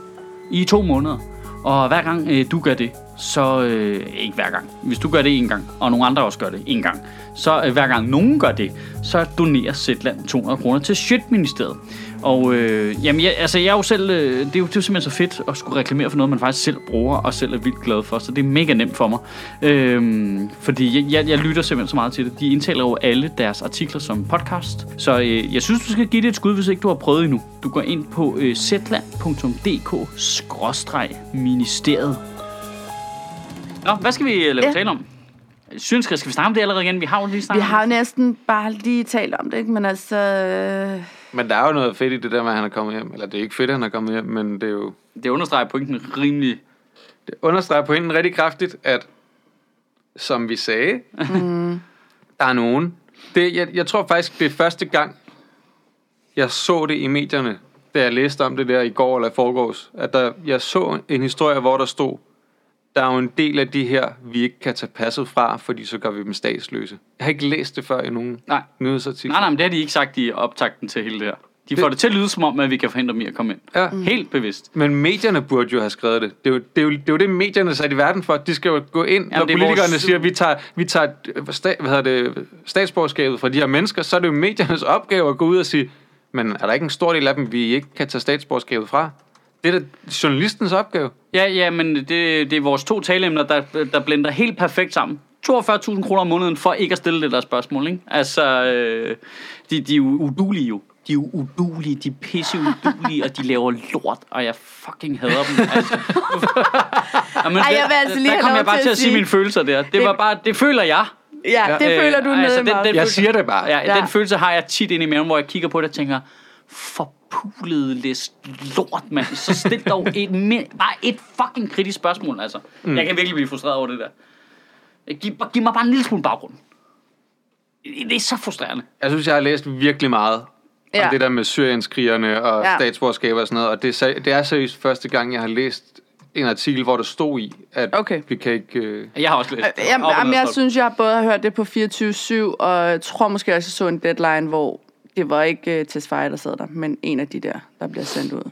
Speaker 3: i to måneder. Og hver gang øh, du gør det, så øh, ikke hver gang. Hvis du gør det en gang, og nogle andre også gør det en gang, så øh, hver gang nogen gør det, så donerer Zetland 200 kroner til Sjøtministeriet. Og øh, jamen, jeg, altså, jeg er jo selv, øh, det, er jo, det er jo simpelthen så fedt at skulle reklamere for noget, man faktisk selv bruger og selv er vildt glad for, så det er mega nemt for mig. Øhm, fordi jeg, jeg, jeg lytter simpelthen så meget til det. De indtaler jo alle deres artikler som podcast, så øh, jeg synes, du skal give det et skud, hvis ikke du har prøvet endnu. Du går ind på øh, zland.dk-ministeriet. Nå, hvad skal vi øh, lave
Speaker 2: Ja.
Speaker 3: ja. tale om? Synes, skal vi snakke om det allerede igen? Vi har jo lige
Speaker 2: Vi
Speaker 3: snakket om
Speaker 2: har jo næsten bare lige talt om det, ikke? men altså... øh,
Speaker 1: Men der er jo noget fedt i det der med, at han er kommet hjem. Eller det er ikke fedt, at han er kommet hjem, men det er jo...
Speaker 3: det. Det understreger pointen rimelig
Speaker 1: Det understreger pointen rigtig kraftigt, at som vi sagde, mm. der er nogen. Det, jeg, jeg tror faktisk, det er første gang, jeg så det i medierne, da jeg læste om det der i går eller i forgårs, at der, jeg så en historie, hvor der stod, der er jo en del af de her, vi ikke kan tage passet fra, fordi så gør vi dem statsløse. Jeg har ikke læst det før i nogen
Speaker 3: Nej.
Speaker 1: nyhedsartikler.
Speaker 3: Nej, nej, men det har de ikke sagt i optakten til hele det her. De får det, til at lyde som om, at vi kan forhindre dem i at komme ind. Mm.
Speaker 1: Ja.
Speaker 3: Helt bevidst.
Speaker 1: Men medierne burde jo have skrevet det. Det er jo det, er jo, det, er jo det medierne er sat i verden for. De skal jo gå ind, Jamen, når
Speaker 3: det er
Speaker 1: politikerne vores...
Speaker 3: vores-
Speaker 1: siger, at vi tager, vi tager øh, sta, hvad hedder det, statsborgerskabet fra de her mennesker, så er det jo mediernes opgave at gå ud og sige, men er der ikke en stor del af dem, vi ikke kan tage statsborgerskabet fra? Det er da journalistens opgave.
Speaker 3: Ja, ja, men det, det er vores to taleemner, der, der blender helt perfekt sammen. 42.000 kroner om måneden for ikke at stille det der spørgsmål, ikke? Altså, øh, de, de er jo udulige jo. De er jo udulige, de er pisse udulige, og de laver lort, og jeg fucking hader dem. Altså. Jamen,
Speaker 2: Ej, jeg vil altså lige
Speaker 3: der
Speaker 2: have
Speaker 3: kom
Speaker 2: lov
Speaker 3: jeg bare til at sige mine følelser der. Det, det var bare, det føler jeg.
Speaker 2: Ja, ja, det
Speaker 3: Øh,
Speaker 2: føler du
Speaker 3: altså,
Speaker 2: altså,
Speaker 3: den-
Speaker 2: nede
Speaker 3: den-
Speaker 2: den,
Speaker 1: Jeg siger det bare.
Speaker 3: Ja, ja,
Speaker 2: Ja.
Speaker 3: den følelse har jeg tit inde i maven, hvor jeg kigger på det og tænker, forpulede list lort, mand. Så stil dog et, mi- bare et fucking kritisk spørgsmål, altså. Mm. Jeg kan virkelig blive frustreret over det der. Øh, Giv, bare- giv mig bare en lille smule baggrund. Det er så frustrerende.
Speaker 1: Jeg synes, jeg har læst virkelig meget ja.
Speaker 2: Ja.
Speaker 1: om det der med syrienskrigerne og
Speaker 2: Ja.
Speaker 1: ja. statsborgerskaber og sådan noget, og det er, seri- det er seriøst første gang, jeg har læst en artikel, hvor der stod i, at
Speaker 2: Okay.
Speaker 1: vi kan ikke... Øh,
Speaker 3: Jeg har også læst det.
Speaker 2: Jamen,
Speaker 3: Op og
Speaker 2: jamen,
Speaker 3: ned,
Speaker 2: jeg
Speaker 3: stop.
Speaker 2: synes, jeg både har hørt det på 24-7, og jeg tror måske også, jeg så en deadline, hvor det var ikke uh, Tesfaye, der sad der, men en af de der, der bliver sendt ud.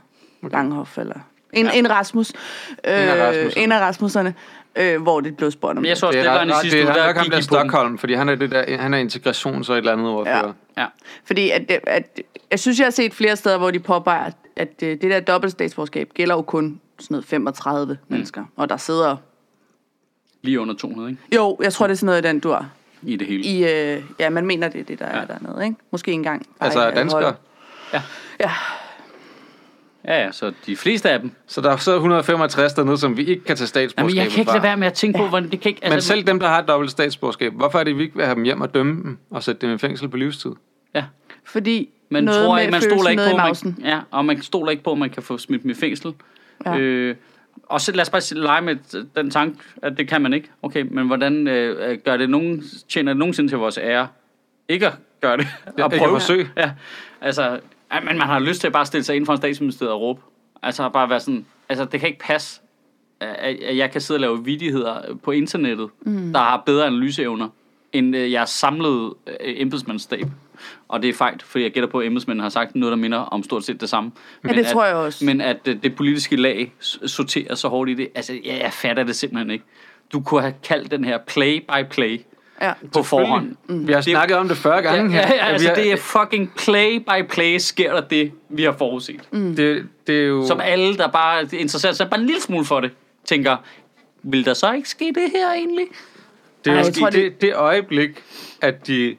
Speaker 2: Langhoff eller... En, ja. en Rasmus. Øh,
Speaker 1: af Rasmusserne.
Speaker 2: en af Rasmusserne. øh, hvor det blev spurgt om.
Speaker 3: Men jeg så også,
Speaker 1: Det
Speaker 3: det,
Speaker 1: er,
Speaker 3: var
Speaker 1: ret-
Speaker 3: en i
Speaker 1: nej,
Speaker 3: sidste
Speaker 1: det er
Speaker 3: uge,
Speaker 1: nok
Speaker 3: der
Speaker 1: ham
Speaker 3: gik
Speaker 1: der
Speaker 3: i Stockholm.
Speaker 1: Stockholm, fordi han er, det der, han er integrations- og et eller andet ordfører.
Speaker 2: Ja.
Speaker 3: Ja.
Speaker 2: Fordi at, det- at, jeg synes, jeg har set flere steder, hvor de påpeger, at øh, det der dobbeltstatsborgerskab gælder jo kun sådan noget 35 mm. mennesker. Og der sidder...
Speaker 3: Lige under 200, ikke?
Speaker 2: Jo, jeg tror, det er sådan noget i den dur.
Speaker 3: I det hele.
Speaker 2: I, øh, ja, man mener, det er det, der ja.
Speaker 3: Ja.
Speaker 2: er dernede, ikke? Måske engang. bare i
Speaker 1: Altså
Speaker 2: et
Speaker 1: danskere.
Speaker 2: hold. Ja,
Speaker 3: Ja, ja, så de fleste af dem.
Speaker 1: Så der er så 165 dernede, som vi ikke kan tage
Speaker 3: Jamen,
Speaker 1: statsborgerskab
Speaker 3: jeg kan ikke
Speaker 1: fra.
Speaker 3: lade være med at tænke på, hvordan det kan ikke... altså,
Speaker 1: Men selv dem, der har et dobbelt statsborgerskab, hvorfor er det, vi ikke vil have dem hjem og dømme dem og sætte dem i fængsel på livstid?
Speaker 3: Ja.
Speaker 2: fordi
Speaker 3: Man
Speaker 2: noget
Speaker 3: tror
Speaker 2: med
Speaker 3: ikke, man
Speaker 2: følelsen
Speaker 3: stoler ikke
Speaker 2: nede
Speaker 3: på,
Speaker 2: i
Speaker 3: man,
Speaker 2: mausen.
Speaker 3: ja, og man stoler ikke på, at man kan få smidt dem i fængsel.
Speaker 2: Ja.
Speaker 3: Ja. Øh, og så lad os bare sige- lege med den tanke, at det kan man ikke. Okay, men hvordan øh, gør det nogen, tjener det nogensinde til vores ære? Ikke at gøre det.
Speaker 1: Ja,
Speaker 3: at
Speaker 1: ikke at forsøge.
Speaker 3: Ja, altså, ja, men man har lyst til at bare stille sig ind for en statsministeriet og råbe. Altså bare være sådan, altså det kan ikke passe, at at jeg kan sidde og lave vidigheder på internettet, mm. der har bedre analyseevner, end øh, jeres samlede øh, embedsmandsstab. Og det er fejl, fordi jeg gætter på, at embedsmændene har sagt noget, der minder om stort set det samme. Ja,
Speaker 2: det
Speaker 3: at,
Speaker 2: tror jeg også.
Speaker 3: Men at øh, det politiske lag s- sorterer så hårdt i det, altså jeg, jeg fatter det simpelthen ikke. Du kunne have kaldt den her play-by-play
Speaker 2: Ja. Mm.
Speaker 3: på forhånd.
Speaker 1: Mm. Vi har snakket om det 40 gange her.
Speaker 3: Ja, ja,
Speaker 1: At vi
Speaker 3: altså
Speaker 1: har-
Speaker 3: det er fucking play-by-play sker der det, vi har forudset. Mm.
Speaker 1: det, det er jo...
Speaker 3: Som alle, der bare interesserer sig bare en lille smule for det, tænker, vil der så ikke ske det her egentlig?
Speaker 1: Det er
Speaker 2: Ej,
Speaker 3: Altså,
Speaker 1: jo
Speaker 2: jeg tror,
Speaker 1: det, det, det øjeblik, at de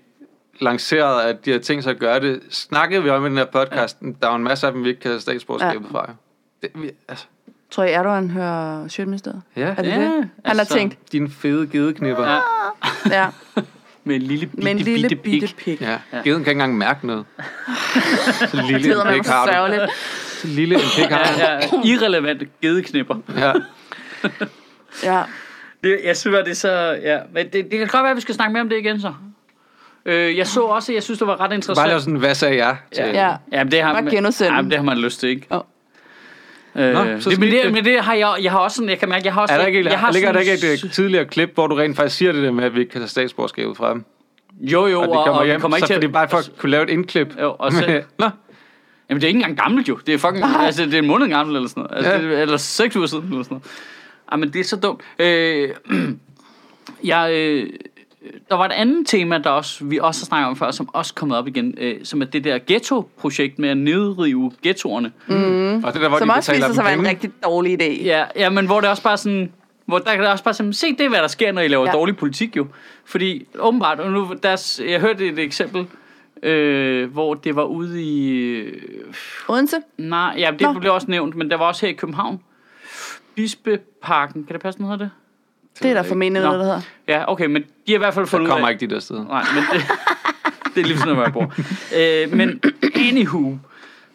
Speaker 1: lancerede, at de havde tænkt sig at gøre det, snakkede vi om i den her podcast. Ja. Der er jo en masse af dem, vi ikke kan have statsborgerskabet
Speaker 2: Ja.
Speaker 1: ja. fra. jo. Det, vi, altså,
Speaker 2: Tror I, Erdogan hører Sjøtministeriet?
Speaker 1: ja,
Speaker 2: Er det
Speaker 3: Ja,
Speaker 2: det? Han har
Speaker 3: altså-
Speaker 2: tænkt,
Speaker 1: dine fede gedeknipper. Ja.
Speaker 3: Ja. [LAUGHS]
Speaker 2: ja,
Speaker 3: Med en lille bitte,
Speaker 2: med en lille
Speaker 3: bitte,
Speaker 2: bitte
Speaker 3: pik.
Speaker 2: pik. Ja.
Speaker 1: Ja. Geden kan ikke engang mærke noget. Så
Speaker 2: Det
Speaker 1: lille
Speaker 2: hedder
Speaker 1: en
Speaker 2: man
Speaker 1: pik
Speaker 2: så
Speaker 1: har du.
Speaker 2: sørgeligt.
Speaker 1: Så lille en pik har du.
Speaker 3: Ja, [CLEARS THROAT] ja, irrelevante gedeknipper.
Speaker 1: Ja.
Speaker 2: Ja.
Speaker 3: Det, jeg synes, at det er så... Ja. Men det, det kan godt være, at vi skal snakke mere om det igen så. Øh, jeg så også, at jeg synes, det var ret
Speaker 1: Bare lave
Speaker 3: interessant.
Speaker 1: sådan, hvad sagde jeg? Til,
Speaker 3: Ja.
Speaker 2: ja.
Speaker 3: Ja, men det har,
Speaker 2: Bare genudsende.
Speaker 3: Ja, men det har man lyst til, ikke?
Speaker 2: Åh.
Speaker 3: Øh,
Speaker 1: Nå, så
Speaker 3: Nå, det,
Speaker 1: skete
Speaker 3: men, det,
Speaker 1: det.
Speaker 3: men det har jeg, jeg har også sådan, jeg kan mærke, jeg har også...
Speaker 1: Er der ikke,
Speaker 3: jeg
Speaker 1: jeg
Speaker 3: har
Speaker 1: ligger der
Speaker 3: sådan-
Speaker 1: ikke et øh, tidligere klip, hvor du rent faktisk siger det der med, at vi ikke kan tage statsborgerskabet fra dem?
Speaker 3: Jo,
Speaker 1: Og
Speaker 3: jo, og,
Speaker 1: det kommer
Speaker 3: og,
Speaker 1: hjem,
Speaker 3: og kommer ikke
Speaker 1: så
Speaker 3: til Altså-
Speaker 1: det er bare for at kunne lave et indklip.
Speaker 3: [LAUGHS] Jo,
Speaker 1: [LAUGHS]
Speaker 3: og så- Mm.
Speaker 1: Nå,
Speaker 3: Jamen, det er ikke engang gammelt jo. Det er fucking... altså, det er en måned gammelt eller sådan noget. Altså,
Speaker 1: Ja.
Speaker 3: ja. det, eller seks uger siden eller sådan noget. Jamen, det er så dumt. Øh, [CLEARS THROAT] jeg, øh, der var et andet tema, der også, vi også har snakket om før, som også er kommet op igen, øh, som er det der ghetto-projekt med at nedrive ghettoerne.
Speaker 1: og det der, hvor
Speaker 2: Som
Speaker 1: de betaler
Speaker 2: også viser sig at
Speaker 1: dem
Speaker 2: være en
Speaker 1: penge.
Speaker 2: rigtig dårlig idé.
Speaker 3: Ja, ja, men hvor det også bare sådan... Hvor der kan det også bare sådan, se det, er, hvad der sker, når I laver
Speaker 2: Ja.
Speaker 3: ja. dårlig politik jo. Fordi åbenbart, og nu, deres, jeg hørte et eksempel, øh, hvor det var ude i... øh,
Speaker 2: Odense?
Speaker 3: Nej, ja, det
Speaker 2: Nå.
Speaker 3: Nå. blev også nævnt, men der var også her i København. Bispeparken, kan det passe, den hedder det?
Speaker 2: Det er der formentlig
Speaker 3: Nå.
Speaker 2: noget, der hedder.
Speaker 3: Ja, okay, men de har i hvert fald fundet
Speaker 1: Der kommer
Speaker 3: af-
Speaker 1: ikke de der steder.
Speaker 3: Nej, men det, det er lige sådan, hvor jeg bor. Øh, men anywho,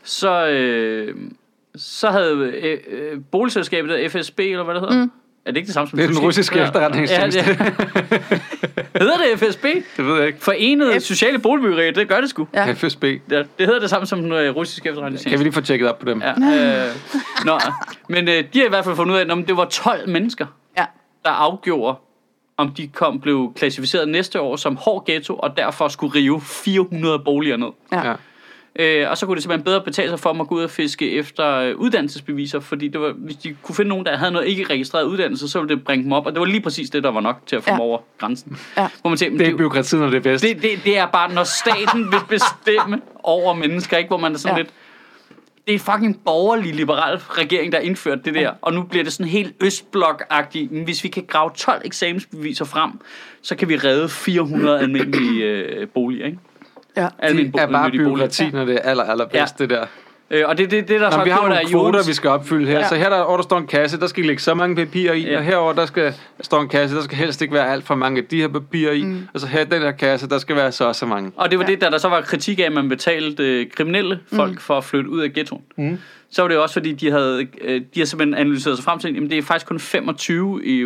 Speaker 3: så, øh, så havde øh, øh, boligselskabet, der FSB, eller hvad det hedder, mm. Er det ikke det samme som
Speaker 1: Det er den
Speaker 3: tyske?
Speaker 1: russiske efterretningstjeneste.
Speaker 3: Ja, det- hedder det FSB?
Speaker 1: [LAUGHS] Det ved jeg ikke.
Speaker 3: Forenede Sociale Boligbyggerier, det gør det sgu.
Speaker 2: Ja.
Speaker 1: FSB.
Speaker 3: Ja, det hedder det samme som den øh, russiske efterretningstjeneste.
Speaker 1: Kan vi lige få tjekket op på dem? Ja.
Speaker 3: Ja, øh, nå, men øh, de har i hvert fald fundet ud af, at det var 12 mennesker,
Speaker 2: Ja.
Speaker 3: der afgjorde, om de kom blev klassificeret næste år som hård ghetto, og derfor skulle rive 400 boliger ned.
Speaker 2: Ja.
Speaker 1: Ja.
Speaker 3: Øh, og så kunne det simpelthen bedre betale sig for dem at gå ud og fiske efter øh, uddannelsesbeviser, fordi det var, hvis de kunne finde nogen, der havde noget ikke registreret uddannelse, så ville det bringe dem op, og det var lige præcis det, der var nok til at få
Speaker 2: Ja.
Speaker 3: dem over grænsen.
Speaker 2: Ja.
Speaker 3: Hvor man tænker, men
Speaker 1: Det er
Speaker 3: det-
Speaker 1: ikke byråkratiet, når det er bedst.
Speaker 3: det, det, det er bare, når staten vil bestemme over mennesker, ikke? Hvor man er sådan
Speaker 2: Ja.
Speaker 3: ja. lidt... Det er fucking borgerlig liberal regering, der indførte det der. Og nu bliver det sådan helt østblok-agtigt. Men Hvis vi kan grave 12 eksamensbeviser frem, så kan vi redde 400 almindelige øh, boliger, ikke?
Speaker 2: Ja.
Speaker 3: Almindelige
Speaker 1: det er bare
Speaker 3: almindelige boliger.
Speaker 1: byråkrati, når det er aller, allerbedst, det der.
Speaker 3: Øh, og det er det, det, der så
Speaker 1: Nå, vi har
Speaker 3: gjort,
Speaker 1: nogle
Speaker 3: at
Speaker 1: kvoter,
Speaker 3: Jonas-
Speaker 1: vi skal opfylde her.
Speaker 2: Ja.
Speaker 1: Ja. Så her der, over, der står en kasse, der skal I lægge så mange papirer i.
Speaker 3: Ja.
Speaker 1: Og herover der skal, står en kasse, der skal helst ikke være alt for mange af de her papirer i. Mm. Og så her i den her kasse, der skal være så og så mange.
Speaker 3: Og det var ja. det, der, der så var kritik af, at man betalte øh, kriminelle folk mm. for at flytte ud af ghettoen. Mm. Så var det jo også, fordi de havde, øh, de havde simpelthen analyseret sig frem til, at det er faktisk kun 25 i...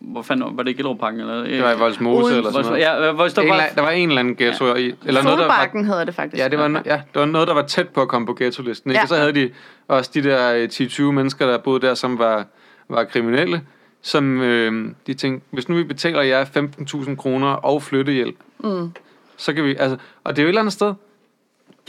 Speaker 3: Hvor fanden var- var det? Gellerupparken? Eller, øh,
Speaker 1: Det var i Voldsmose
Speaker 2: Uden-
Speaker 1: eller sådan noget.
Speaker 3: Ja, øh, hvor der
Speaker 1: En eller,
Speaker 3: var,
Speaker 1: der var en eller anden ghetto ja. i. Eller noget, der var,
Speaker 2: Solbakken hedder det faktisk.
Speaker 1: ja, det var, no- ja, det var noget, der var tæt på at komme på ghettolisten. Ikke?
Speaker 2: Ja.
Speaker 1: Ja. Og så havde de også de der øh, 10-20 mennesker, der boede der, som var, var kriminelle, som øh, de tænkte, hvis nu vi betaler jer 15.000 kroner og flyttehjælp, mm. så kan vi, altså, og det er jo et eller andet sted,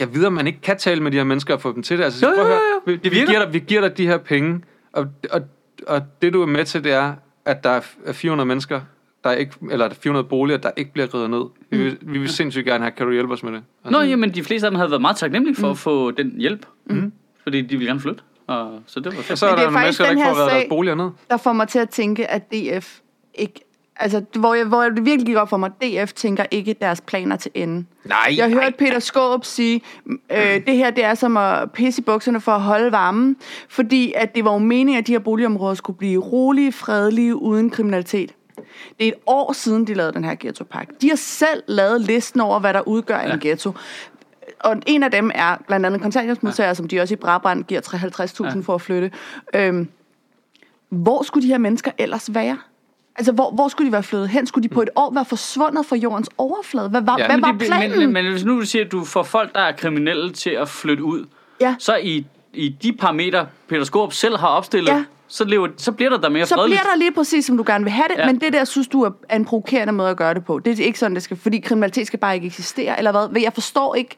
Speaker 1: jeg ved, at man ikke kan tale med de her mennesker og få dem til det. Altså, jo, jo, jo, jo. Vi, vi,
Speaker 3: virker.
Speaker 1: giver dig, vi giver dig de her penge, og, og, og det du er med til, det er at der er f- er 400 mennesker, der ikke, eller der er 400 boliger, der ikke bliver reddet ned. Vi vil, vi vil sindssygt gerne have, kan du hjælpe os med det?
Speaker 3: Nå, jamen de fleste af dem havde været meget taknemmelige
Speaker 1: Mm.
Speaker 3: for at få den hjælp. Mm. Fordi de ville gerne flytte. Og, så det var
Speaker 1: Og
Speaker 3: fedt.
Speaker 1: så er
Speaker 2: Men det
Speaker 1: der
Speaker 2: er
Speaker 1: nogle
Speaker 2: faktisk
Speaker 1: mennesker, der
Speaker 2: den
Speaker 1: ikke får
Speaker 2: her
Speaker 1: reddet deres
Speaker 2: sag-
Speaker 1: boliger ned.
Speaker 2: der får mig til at tænke, at DF ikke... Altså, hvor, jeg, hvor det virkelig gik op for mig, DF tænker ikke deres planer til ende.
Speaker 1: Nej,
Speaker 2: Jeg hørte Peter Skåb sige, øh, det her det er som at pisse i bukserne for at holde varmen, fordi at det var jo meningen, at de her boligområder skulle blive rolige, fredelige, uden kriminalitet. Det er et år siden, de lavede den her ghettopakke. De har selv lavet listen over, hvad der udgør ja. en ghetto. Og en af dem er blandt andet kontanthjælpsmodtagere, ja. som de også i Brabrand giver 53.000 ja. for at flytte. Øhm, hvor skulle de her mennesker ellers være? Altså, hvor, hvor skulle de være flyttet hen? Skulle de på et år være forsvundet fra jordens overflade? Hvad var,
Speaker 1: Ja,
Speaker 2: ja, hvad
Speaker 1: men
Speaker 2: var
Speaker 3: Men det-
Speaker 2: planen?
Speaker 3: Men, men, men hvis nu du siger, at du får folk, der er kriminelle til at flytte ud,
Speaker 2: Ja.
Speaker 3: så i, i de parametre, Peter Skorup selv har opstillet,
Speaker 2: Ja.
Speaker 3: så, lever, så bliver der da mere
Speaker 2: så
Speaker 3: fredeligt.
Speaker 2: bliver der lige præcis, som du gerne vil have det,
Speaker 3: Ja.
Speaker 2: ja. men det der synes du er- er en provokerende måde at gøre det på. Det er ikke sådan, det skal, fordi kriminalitet skal bare ikke eksistere, eller hvad? Jeg forstår ikke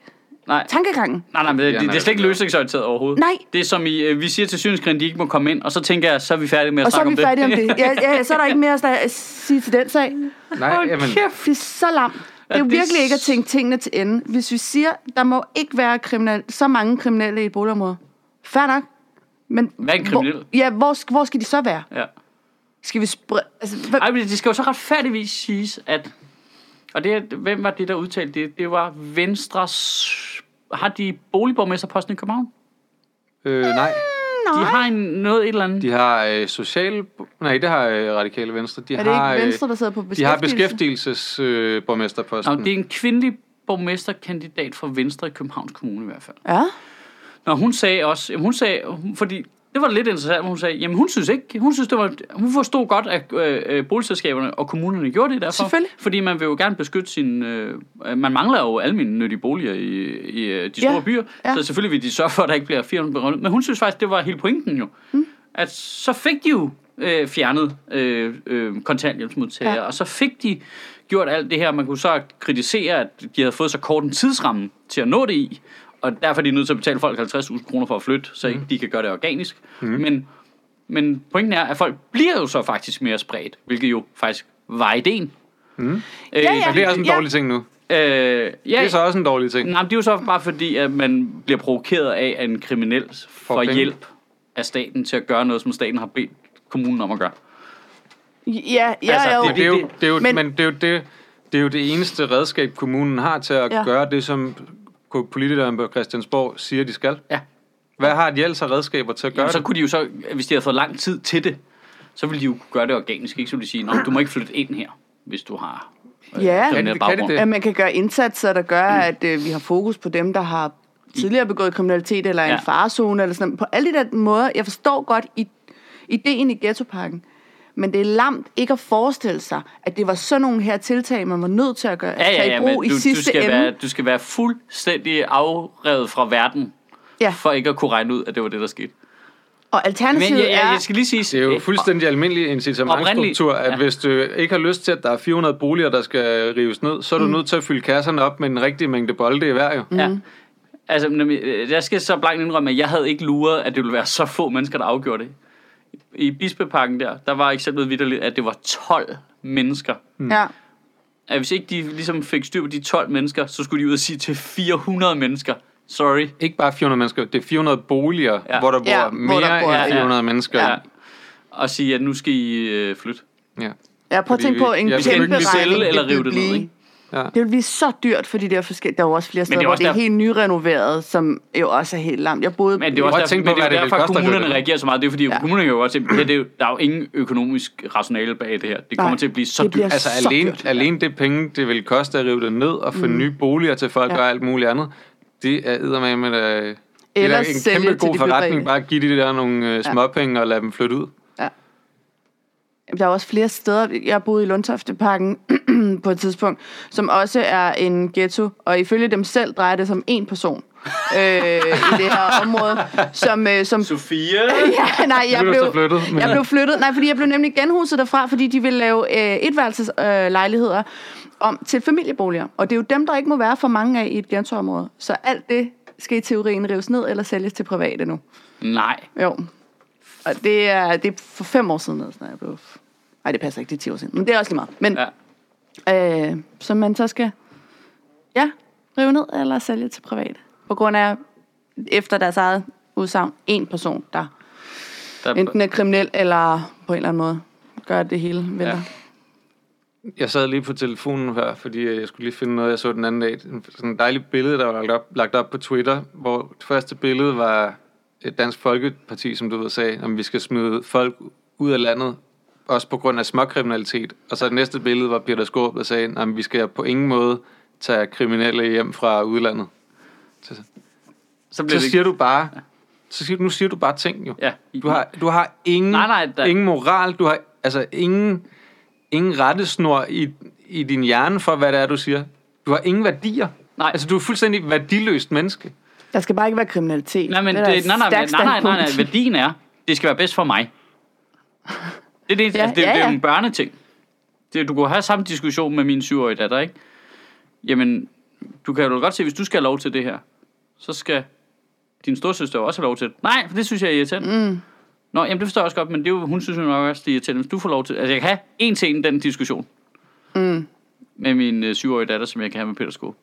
Speaker 3: Nej.
Speaker 2: tankegangen.
Speaker 3: Nej, nej, men det,
Speaker 1: Ja,
Speaker 3: det,
Speaker 1: nej.
Speaker 3: det er slet ikke løsningsorienteret overhovedet.
Speaker 2: Nej.
Speaker 3: Det er som i, øh, vi siger til synskrigen, de ikke må komme ind, og så tænker jeg, så er vi færdige med at
Speaker 2: Og så er
Speaker 3: snakke om
Speaker 2: vi
Speaker 3: det.
Speaker 2: færdige om det. Ja, ja, så er der ikke mere at sige til den sag.
Speaker 1: Nej, jamen,
Speaker 2: Det er så lam. Det er jo
Speaker 3: det er
Speaker 2: virkelig ikke at
Speaker 3: s-
Speaker 2: tænke tingene til ende. Hvis vi siger, der må ikke være kriminal, så mange kriminelle i et boligområde. Fair nok. Men
Speaker 3: Hvad er en kriminel?
Speaker 2: Hvor, ja, hvor, sk- hvor skal de så være?
Speaker 3: [LAUGHS] Ja.
Speaker 2: Skal vi spre... Altså, hvad,
Speaker 3: Ej, men det skal jo så retfærdigvis siges, at... Og det, er- hvem var det, der udtalte det? Det var Venstres... Har de boligborgmesterposten i København?
Speaker 1: øh, nej.
Speaker 3: De
Speaker 2: nej.
Speaker 3: har en, noget et eller andet.
Speaker 1: De har øh, social... Nej, det har øh, Radikale Venstre. De
Speaker 2: er det
Speaker 1: har,
Speaker 2: ikke
Speaker 1: øh,
Speaker 2: Venstre, der sidder på
Speaker 1: De
Speaker 2: beskæftigelse?
Speaker 1: har beskæftigelsesborgmesterposten. Øh, borgmesterposten.
Speaker 3: Nå, det er en kvindelig borgmesterkandidat for Venstre i Københavns Kommune i hvert fald.
Speaker 2: Ja.
Speaker 3: Nå, hun sagde også, jamen, hun sagde, hun- fordi det var lidt interessant, hvor hun sagde, jamen hun synes ikke, hun synes det var, hun forstod godt, at øh, øh, boligselskaberne og kommunerne gjorde det derfor.
Speaker 2: Selvfølgelig.
Speaker 3: Fordi man vil jo gerne beskytte sin, øh, øh, man mangler jo almindelige boliger i, i øh, de
Speaker 2: Ja,
Speaker 3: store byer,
Speaker 2: ja.
Speaker 3: så selvfølgelig vil de sørge for, at der ikke bliver 400 berømmet. Men hun synes faktisk, det var hele pointen jo, mm. at så fik de jo øh, fjernet øh, øh, kontanthjælpsmodtagere, ja.
Speaker 2: Ja.
Speaker 3: og så fik de gjort alt det her. Man kunne så kritisere, at de havde fået så kort en tidsramme til at nå det i, og derfor er de nødt til at betale folk 50.000 kroner for at flytte, så ikke de kan gøre det organisk. Mm. Men, men pointen er, at folk bliver jo så faktisk mere spredt, hvilket jo faktisk var ideen. Mm. Øh,
Speaker 2: Ja, ja.
Speaker 1: Men det er også en
Speaker 2: Ja.
Speaker 1: dårlig ting nu.
Speaker 3: Øh, ja,
Speaker 1: Det er så også en dårlig ting.
Speaker 3: Nej, men det er jo så bare fordi, at man bliver provokeret af, at en kriminel får
Speaker 1: penge.
Speaker 3: hjælp af staten til at gøre noget, som staten har bedt kommunen om at gøre.
Speaker 2: Ja, ja,
Speaker 3: Altså,
Speaker 2: altså, jo.
Speaker 1: Det, det, er jo, det, er jo, men,
Speaker 2: Men-
Speaker 1: men det, er jo det, det er jo det eneste redskab, kommunen har til at ja.
Speaker 2: Ja.
Speaker 1: gøre det, som politikerne på Christiansborg siger, de skal.
Speaker 3: Ja.
Speaker 1: Hvad har de ellers af redskaber til at gøre
Speaker 3: Jamen, så
Speaker 1: det?
Speaker 3: kunne de jo så, hvis de havde fået lang tid til det, så ville de jo kunne gøre det organisk. Ikke? Så ville de sige, "Nå, du må ikke flytte ind her, hvis du har
Speaker 2: Ja.
Speaker 3: den
Speaker 1: de-
Speaker 3: her
Speaker 1: kan de
Speaker 3: baggrund.
Speaker 1: det?
Speaker 2: At man kan gøre indsatser, der gør,
Speaker 3: Mm.
Speaker 2: at øh, vi har fokus på dem, der har tidligere begået kriminalitet eller ja.
Speaker 3: Ja.
Speaker 2: en farezone eller sådan noget. På alle de der måder, jeg forstår godt i, ideen i ghettopakken, men det er lamt ikke at forestille sig, at det var sådan nogle her tiltag, man var nødt til at gøre,
Speaker 3: Ja, ja,
Speaker 2: tage
Speaker 3: ja,
Speaker 2: i brug
Speaker 3: men
Speaker 2: i
Speaker 3: du, du,
Speaker 2: sidste
Speaker 3: skal
Speaker 2: ende.
Speaker 3: være, du skal være fuldstændig afrevet fra verden,
Speaker 2: Ja.
Speaker 3: for ikke at kunne regne ud, at det var det, der skete.
Speaker 2: Og alternativet
Speaker 3: Men jeg, jeg, jeg
Speaker 2: er...
Speaker 3: skal lige sige...
Speaker 1: Det er jo fuldstændig almindelig incitamentstruktur, at
Speaker 3: Oprindeligt, ja.
Speaker 1: hvis du ikke har lyst til, at der er 400 boliger, der skal rives ned, så er
Speaker 3: Mm.
Speaker 1: du nødt til at fylde kasserne op med en rigtig mængde bolde i hver jo.
Speaker 3: Ja. Altså, men, øh, jeg skal så blankt indrømme, at jeg havde ikke luret, at det ville være så få mennesker, der afgjorde det. I Bispeparken der, der var eksemplet vidderligt, at det var 12 mennesker.
Speaker 2: Ja.
Speaker 3: At hvis ikke de ligesom fik styr på de 12 mennesker, så skulle de ud og sige til 400 mennesker, sorry.
Speaker 1: Ikke bare 400 mennesker, det er 400 boliger,
Speaker 3: Ja.
Speaker 1: ja. hvor der bor
Speaker 2: Ja,
Speaker 1: ja,
Speaker 2: hvor
Speaker 1: mere
Speaker 2: der bor-
Speaker 1: end
Speaker 2: ja.
Speaker 1: 400 ja. mennesker.
Speaker 3: Ja.
Speaker 1: Ja.
Speaker 3: Og sige, at nu skal I øh, flytte.
Speaker 1: Ja.
Speaker 2: Ja, prøv at
Speaker 1: Fordi
Speaker 2: tænke
Speaker 1: vi-
Speaker 2: på en
Speaker 1: ja, vi skal
Speaker 2: kæmpe
Speaker 1: ikke
Speaker 2: regning.
Speaker 3: sælge eller
Speaker 2: ville
Speaker 3: rive det ned,
Speaker 2: blive.
Speaker 3: ikke?
Speaker 1: Ja.
Speaker 2: Det vil blive så dyrt for de der forskellige... Der er jo også flere steder,
Speaker 3: det er
Speaker 2: hvor
Speaker 3: også
Speaker 2: det er
Speaker 3: der-
Speaker 2: helt nyrenoveret, som jo også er helt lamt. Jeg boede...
Speaker 3: Men det er jo
Speaker 1: Prøv
Speaker 3: også
Speaker 1: at
Speaker 3: derfor,
Speaker 1: tænke
Speaker 3: men
Speaker 1: på,
Speaker 3: det er
Speaker 1: hvad
Speaker 3: jo
Speaker 1: det vil
Speaker 3: derfor
Speaker 1: koste at gøre
Speaker 3: kommunerne
Speaker 1: det.
Speaker 3: reagerer så meget. Det er fordi, ja.
Speaker 2: Ja.
Speaker 3: kommunerne kan jo godt se, at det er jo, der er jo ingen økonomisk rationale bag det her. Det kommer
Speaker 2: Nej,
Speaker 3: til at blive så
Speaker 2: det
Speaker 3: dyrt.
Speaker 2: bliver
Speaker 1: Altså
Speaker 2: så
Speaker 1: alene,
Speaker 2: dyrt.
Speaker 1: alene det penge, det vil koste at rive det ned og få mm. nye boliger til folk ja.
Speaker 2: Ja.
Speaker 1: og alt muligt andet, det er eddermame med øh, det
Speaker 2: Eller
Speaker 1: er en
Speaker 2: sælge
Speaker 1: kæmpe
Speaker 2: til
Speaker 1: god
Speaker 2: de
Speaker 1: forretning,
Speaker 2: private.
Speaker 1: bare at give de der nogle øh, småpenge og lade dem flytte ud.
Speaker 2: Jamen, Der er også flere steder. Jeg boede i Lundtofteparken [CLEARS THROAT] på et tidspunkt, som også er en ghetto, og ifølge dem selv drejer det som en person øh, i det her område, som, øh, som
Speaker 3: Sofia!
Speaker 2: [LAUGHS] ja, nej, jeg
Speaker 1: Nu er du så
Speaker 2: blev,
Speaker 1: flyttet, men-
Speaker 2: jeg blev flyttet. Nej, fordi jeg blev nemlig genhuset derfra, fordi de ville lave øh, etværelseslejligheder øh, lejligheder om til familieboliger. Og det er jo dem, der ikke må være for mange af i et ghettoområde. Så alt det skal i teorien rives ned eller sælges til private nu.
Speaker 3: Nej.
Speaker 2: Jo. Og det er, det er for fem år siden, altså, når jeg blev Nej, det passer ikke, det er 10 år siden. Men det er også lige meget. Men,
Speaker 3: Ja.
Speaker 2: ja. øh, som man så skal, ja, rive ned eller sælge til private. På grund af, efter deres eget udsagn, en person, der
Speaker 3: Der,
Speaker 2: enten er kriminel eller på en eller anden måde gør at det hele vælter.
Speaker 3: Ja.
Speaker 1: Jeg sad lige på telefonen her, fordi øh, jeg skulle lige finde noget, jeg så den anden dag. En- Sådan et dejligt billede, der var lagt op, lagt op på Twitter, hvor det første billede var et dansk folkeparti, som du ved sagde, om vi skal smide folk ud af landet, også på grund af småkriminalitet. Og så det næste billede var Peter Skåb, der sagde, at vi skal på ingen måde tage kriminelle hjem fra udlandet. Så,
Speaker 3: så
Speaker 1: så
Speaker 3: bliver det
Speaker 1: siger du bare, så siger, nu siger du bare ting jo.
Speaker 3: Ja.
Speaker 1: Du har, du har ingen,
Speaker 3: Nej, nej, der-
Speaker 1: ingen moral, du har altså ingen, ingen rettesnor i, i din hjerne for, hvad det er, du siger. Du har ingen værdier.
Speaker 3: Nej.
Speaker 1: Altså, du er fuldstændig værdiløst menneske.
Speaker 2: Der skal bare ikke være kriminalitet.
Speaker 3: Nej, men
Speaker 2: er da et
Speaker 3: det, nej, nej, nej,
Speaker 2: stærkt
Speaker 3: nej, nej, nej,
Speaker 2: standpunkt.
Speaker 3: værdien er, det skal være bedst for mig. Det er, det, ja, altså, det, ja,
Speaker 2: ja,
Speaker 3: det er jo
Speaker 2: ja.
Speaker 3: en børneting. Det, du kunne have samme diskussion med min syvårige datter, ikke? Jamen, du kan jo godt se, hvis du skal have lov til det her, så skal din storsøster jo også have lov til det. Nej, for det synes jeg er irriterende. Mm. Nå, jamen det forstår jeg også godt, men det er jo, hun synes jo nok også, det er irriterende, hvis du får lov til Altså, jeg kan have en ting i den diskussion. Mm. Med min øh, syvårige datter, som jeg kan have med Peter Skåb.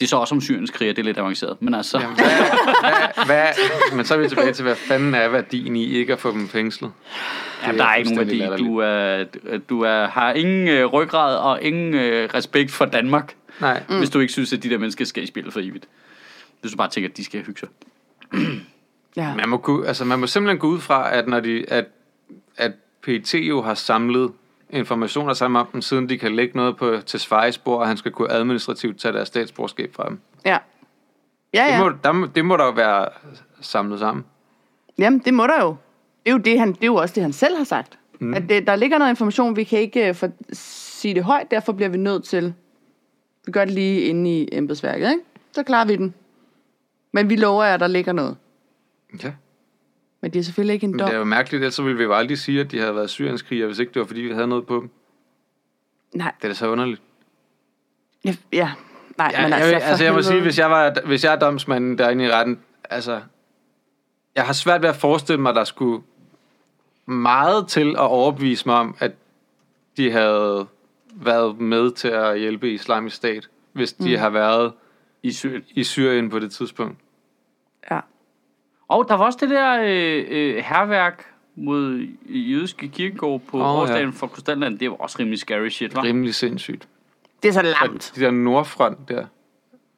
Speaker 3: Det er så også om Syriens kriger, det er lidt avanceret. Men altså,
Speaker 1: Jamen, hvad, hvad, hvad, men så er vi tilbage til, hvad fanden er værdien i ikke at få dem fængslet?
Speaker 3: Ja,
Speaker 1: Det
Speaker 3: der
Speaker 1: er
Speaker 3: er ikke nogen
Speaker 1: fuldstændig
Speaker 3: værdi. Du, er, du er, har ingen øh, ryggrad og ingen øh, respekt for Danmark,
Speaker 1: Nej.
Speaker 3: mm. hvis du ikke synes, at de der mennesker skal i spillet for evigt. Hvis du bare tænker, at de skal hygge sig.
Speaker 2: Ja.
Speaker 1: Man må, gå, altså, man må simpelthen gå ud fra, at når de, at, at PET jo har samlet informationer sammen om dem, siden de kan lægge noget på til Sveriges spor, og han skal kunne administrativt tage deres statsborgerskab fra dem.
Speaker 2: Ja. Ja,
Speaker 1: Det
Speaker 2: ja.
Speaker 1: må, der, må- det må der jo være samlet sammen.
Speaker 2: Jamen, det må der jo. Det er jo, det, han, det er jo også det, han selv har sagt. Mm. At det, der ligger noget information, vi kan ikke uh, for, sige det højt, derfor bliver vi nødt til... Vi gør det lige inde i embedsværket, ikke? Så klarer vi den. Men vi lover jer, der ligger noget.
Speaker 1: Ja.
Speaker 2: Men det er selvfølgelig ikke en
Speaker 1: Men
Speaker 2: dom.
Speaker 1: det er jo mærkeligt, ellers så ville vi jo aldrig sige, at de havde været syrienskriger, hvis ikke det var, fordi vi havde noget på dem.
Speaker 2: Nej,
Speaker 1: Det er da så underligt.
Speaker 2: ja, ja. Nej,
Speaker 1: Ja,
Speaker 2: men altså,
Speaker 1: jeg, jeg,
Speaker 2: for
Speaker 1: altså, jeg må
Speaker 2: helvede.
Speaker 1: sige, hvis jeg, var, hvis jeg er domsmanden derinde i retten, altså, jeg har svært ved at forestille mig, at der skulle meget til at overbevise mig om, at de havde været med til at hjælpe islamisk stat, hvis de mm. har været
Speaker 3: I Syrien.
Speaker 1: i Syrien på det tidspunkt.
Speaker 2: Ja.
Speaker 3: Og der var også det der øh, øh, herværk mod jødiske kirkegård på
Speaker 1: Åh,
Speaker 3: oh,
Speaker 1: ja.
Speaker 3: årsdagen ja. for Krystalland. Det var også rimelig scary shit, var?
Speaker 1: Rimelig sindssygt.
Speaker 2: Det er så
Speaker 1: Og
Speaker 2: lamt.
Speaker 1: de der nordfront der.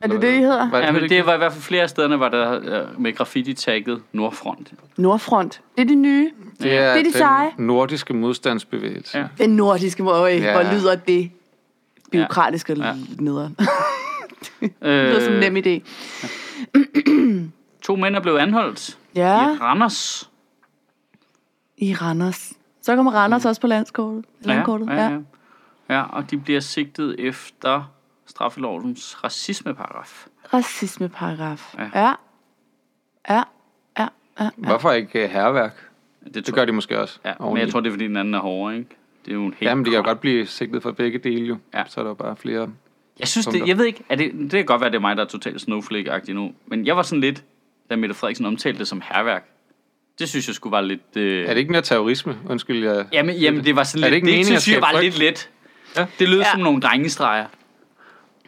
Speaker 2: Er det det, I hedder?
Speaker 1: Var,
Speaker 3: Ja, men
Speaker 1: ikke-
Speaker 3: det var i hvert fald flere af stederne, var der øh, med graffiti-tagget Nordfront.
Speaker 2: Nordfront. Det er det nye.
Speaker 1: Det er,
Speaker 2: Det er de
Speaker 1: den
Speaker 2: seje.
Speaker 1: nordiske modstandsbevægelse.
Speaker 3: Ja.
Speaker 1: Ja.
Speaker 2: Den nordiske måde,
Speaker 1: Ja.
Speaker 2: ja. hvor lyder det byråkratiske
Speaker 3: Ja.
Speaker 2: ja. nederen. [LAUGHS]
Speaker 3: Øh,
Speaker 2: det lyder
Speaker 1: Øh,
Speaker 2: som en nem idé.
Speaker 3: To mænd er blevet anholdt
Speaker 2: Ja,
Speaker 3: i Randers.
Speaker 2: i Randers. Så kommer Randers også på landskortet. landkortet.
Speaker 3: Mm. Ja, ja, ja. ja, og de bliver sigtet efter straffelovens racismeparagraf.
Speaker 2: Racismeparagraf.
Speaker 3: Ja.
Speaker 2: Ja. ja. Ja, ja,
Speaker 1: Hvorfor ikke herværk? Det
Speaker 3: tror-
Speaker 1: gør de måske også.
Speaker 3: Ja, men
Speaker 1: oveni.
Speaker 3: jeg tror, det er, fordi den anden er hårdere, ikke? Det er jo en helt...
Speaker 1: Jamen, de kan jo godt blive sigtet for begge dele jo.
Speaker 3: Ja.
Speaker 1: Ja. Så er der jo bare flere.
Speaker 3: Jeg synes det,
Speaker 1: punkter.
Speaker 3: jeg ved ikke, er det, det kan godt være, det er mig, der er totalt snowflake-agtig nu, men jeg var sådan lidt, da Mette Frederiksen omtalte det som herværk. Det synes jeg skulle være lidt... Øh,
Speaker 1: Er det ikke mere terrorisme? Undskyld, jeg...
Speaker 3: Jamen, jamen, det var sådan
Speaker 1: Er det
Speaker 3: lidt...
Speaker 1: ikke meningen
Speaker 3: det
Speaker 1: at
Speaker 3: synes jeg
Speaker 1: skabe
Speaker 3: var
Speaker 1: frygt?
Speaker 3: lidt let.
Speaker 1: Ja.
Speaker 3: Det lød ja.
Speaker 2: Ja.
Speaker 3: som nogle drengestreger.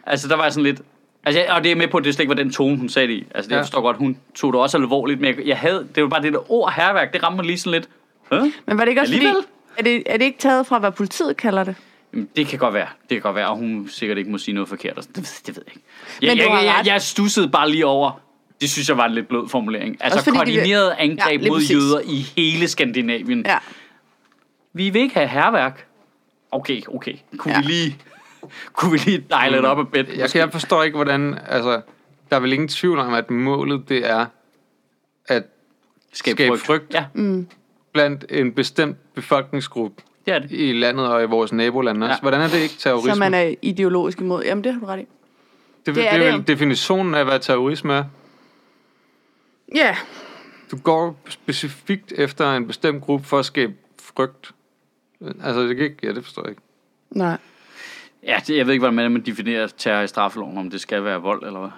Speaker 3: Altså, der var jeg sådan lidt... Altså, jeg- og det er med på, at det slet ikke var den tone, hun sagde det i. Altså, det, jeg
Speaker 1: Ja.
Speaker 3: forstår godt, hun tog det også alvorligt, men jeg, jeg havde, det var bare det der ord herværk, det ramte mig lige sådan lidt. Huh?
Speaker 2: Men var det ikke også fordi,
Speaker 3: Alligevel.
Speaker 2: er det, er det ikke taget fra, hvad politiet kalder det?
Speaker 3: Jamen, det kan godt være. Det kan godt være, og hun sikkert ikke må sige noget forkert. og sådan. Det, det ved jeg ikke. Jeg,
Speaker 2: Men du
Speaker 3: jeg,
Speaker 2: har
Speaker 3: jeg,
Speaker 2: ret.
Speaker 3: jeg stussede bare lige over. Det synes jeg var en lidt blød formulering. Altså
Speaker 2: Også fordi de vil-
Speaker 3: koordineret angreb
Speaker 2: Ja, lige
Speaker 3: mod
Speaker 2: præcis.
Speaker 3: jøder i hele Skandinavien.
Speaker 2: Ja.
Speaker 3: Vi vil ikke have herværk. Okay, okay. Kunne ja.
Speaker 2: Ja.
Speaker 3: vi lige... Kunne vi lige dejle det op af bedt?
Speaker 1: Jeg, kan, jeg forstår ikke, hvordan... Altså, der er vel ingen tvivl om, at målet det er at skabe frygt. Mm.
Speaker 3: Ja,
Speaker 1: blandt en bestemt befolkningsgruppe
Speaker 3: det er det.
Speaker 1: i landet og i vores nabolande også.
Speaker 3: Ja.
Speaker 1: Ja. Hvordan er det ikke terrorisme?
Speaker 2: Så man er ideologisk imod. Jamen, det har du ret i.
Speaker 1: det,
Speaker 2: det er
Speaker 1: det,
Speaker 2: det
Speaker 1: er
Speaker 2: jo.
Speaker 1: vel definitionen af, hvad terrorisme er.
Speaker 2: Ja,
Speaker 1: Du går specifikt efter en bestemt gruppe for at skabe frygt. Altså, det kan ikke... Ja, det forstår jeg ikke.
Speaker 2: nej.
Speaker 3: Ja, det, jeg ved ikke, hvordan man definerer terror i straffeloven, om det skal være vold eller hvad.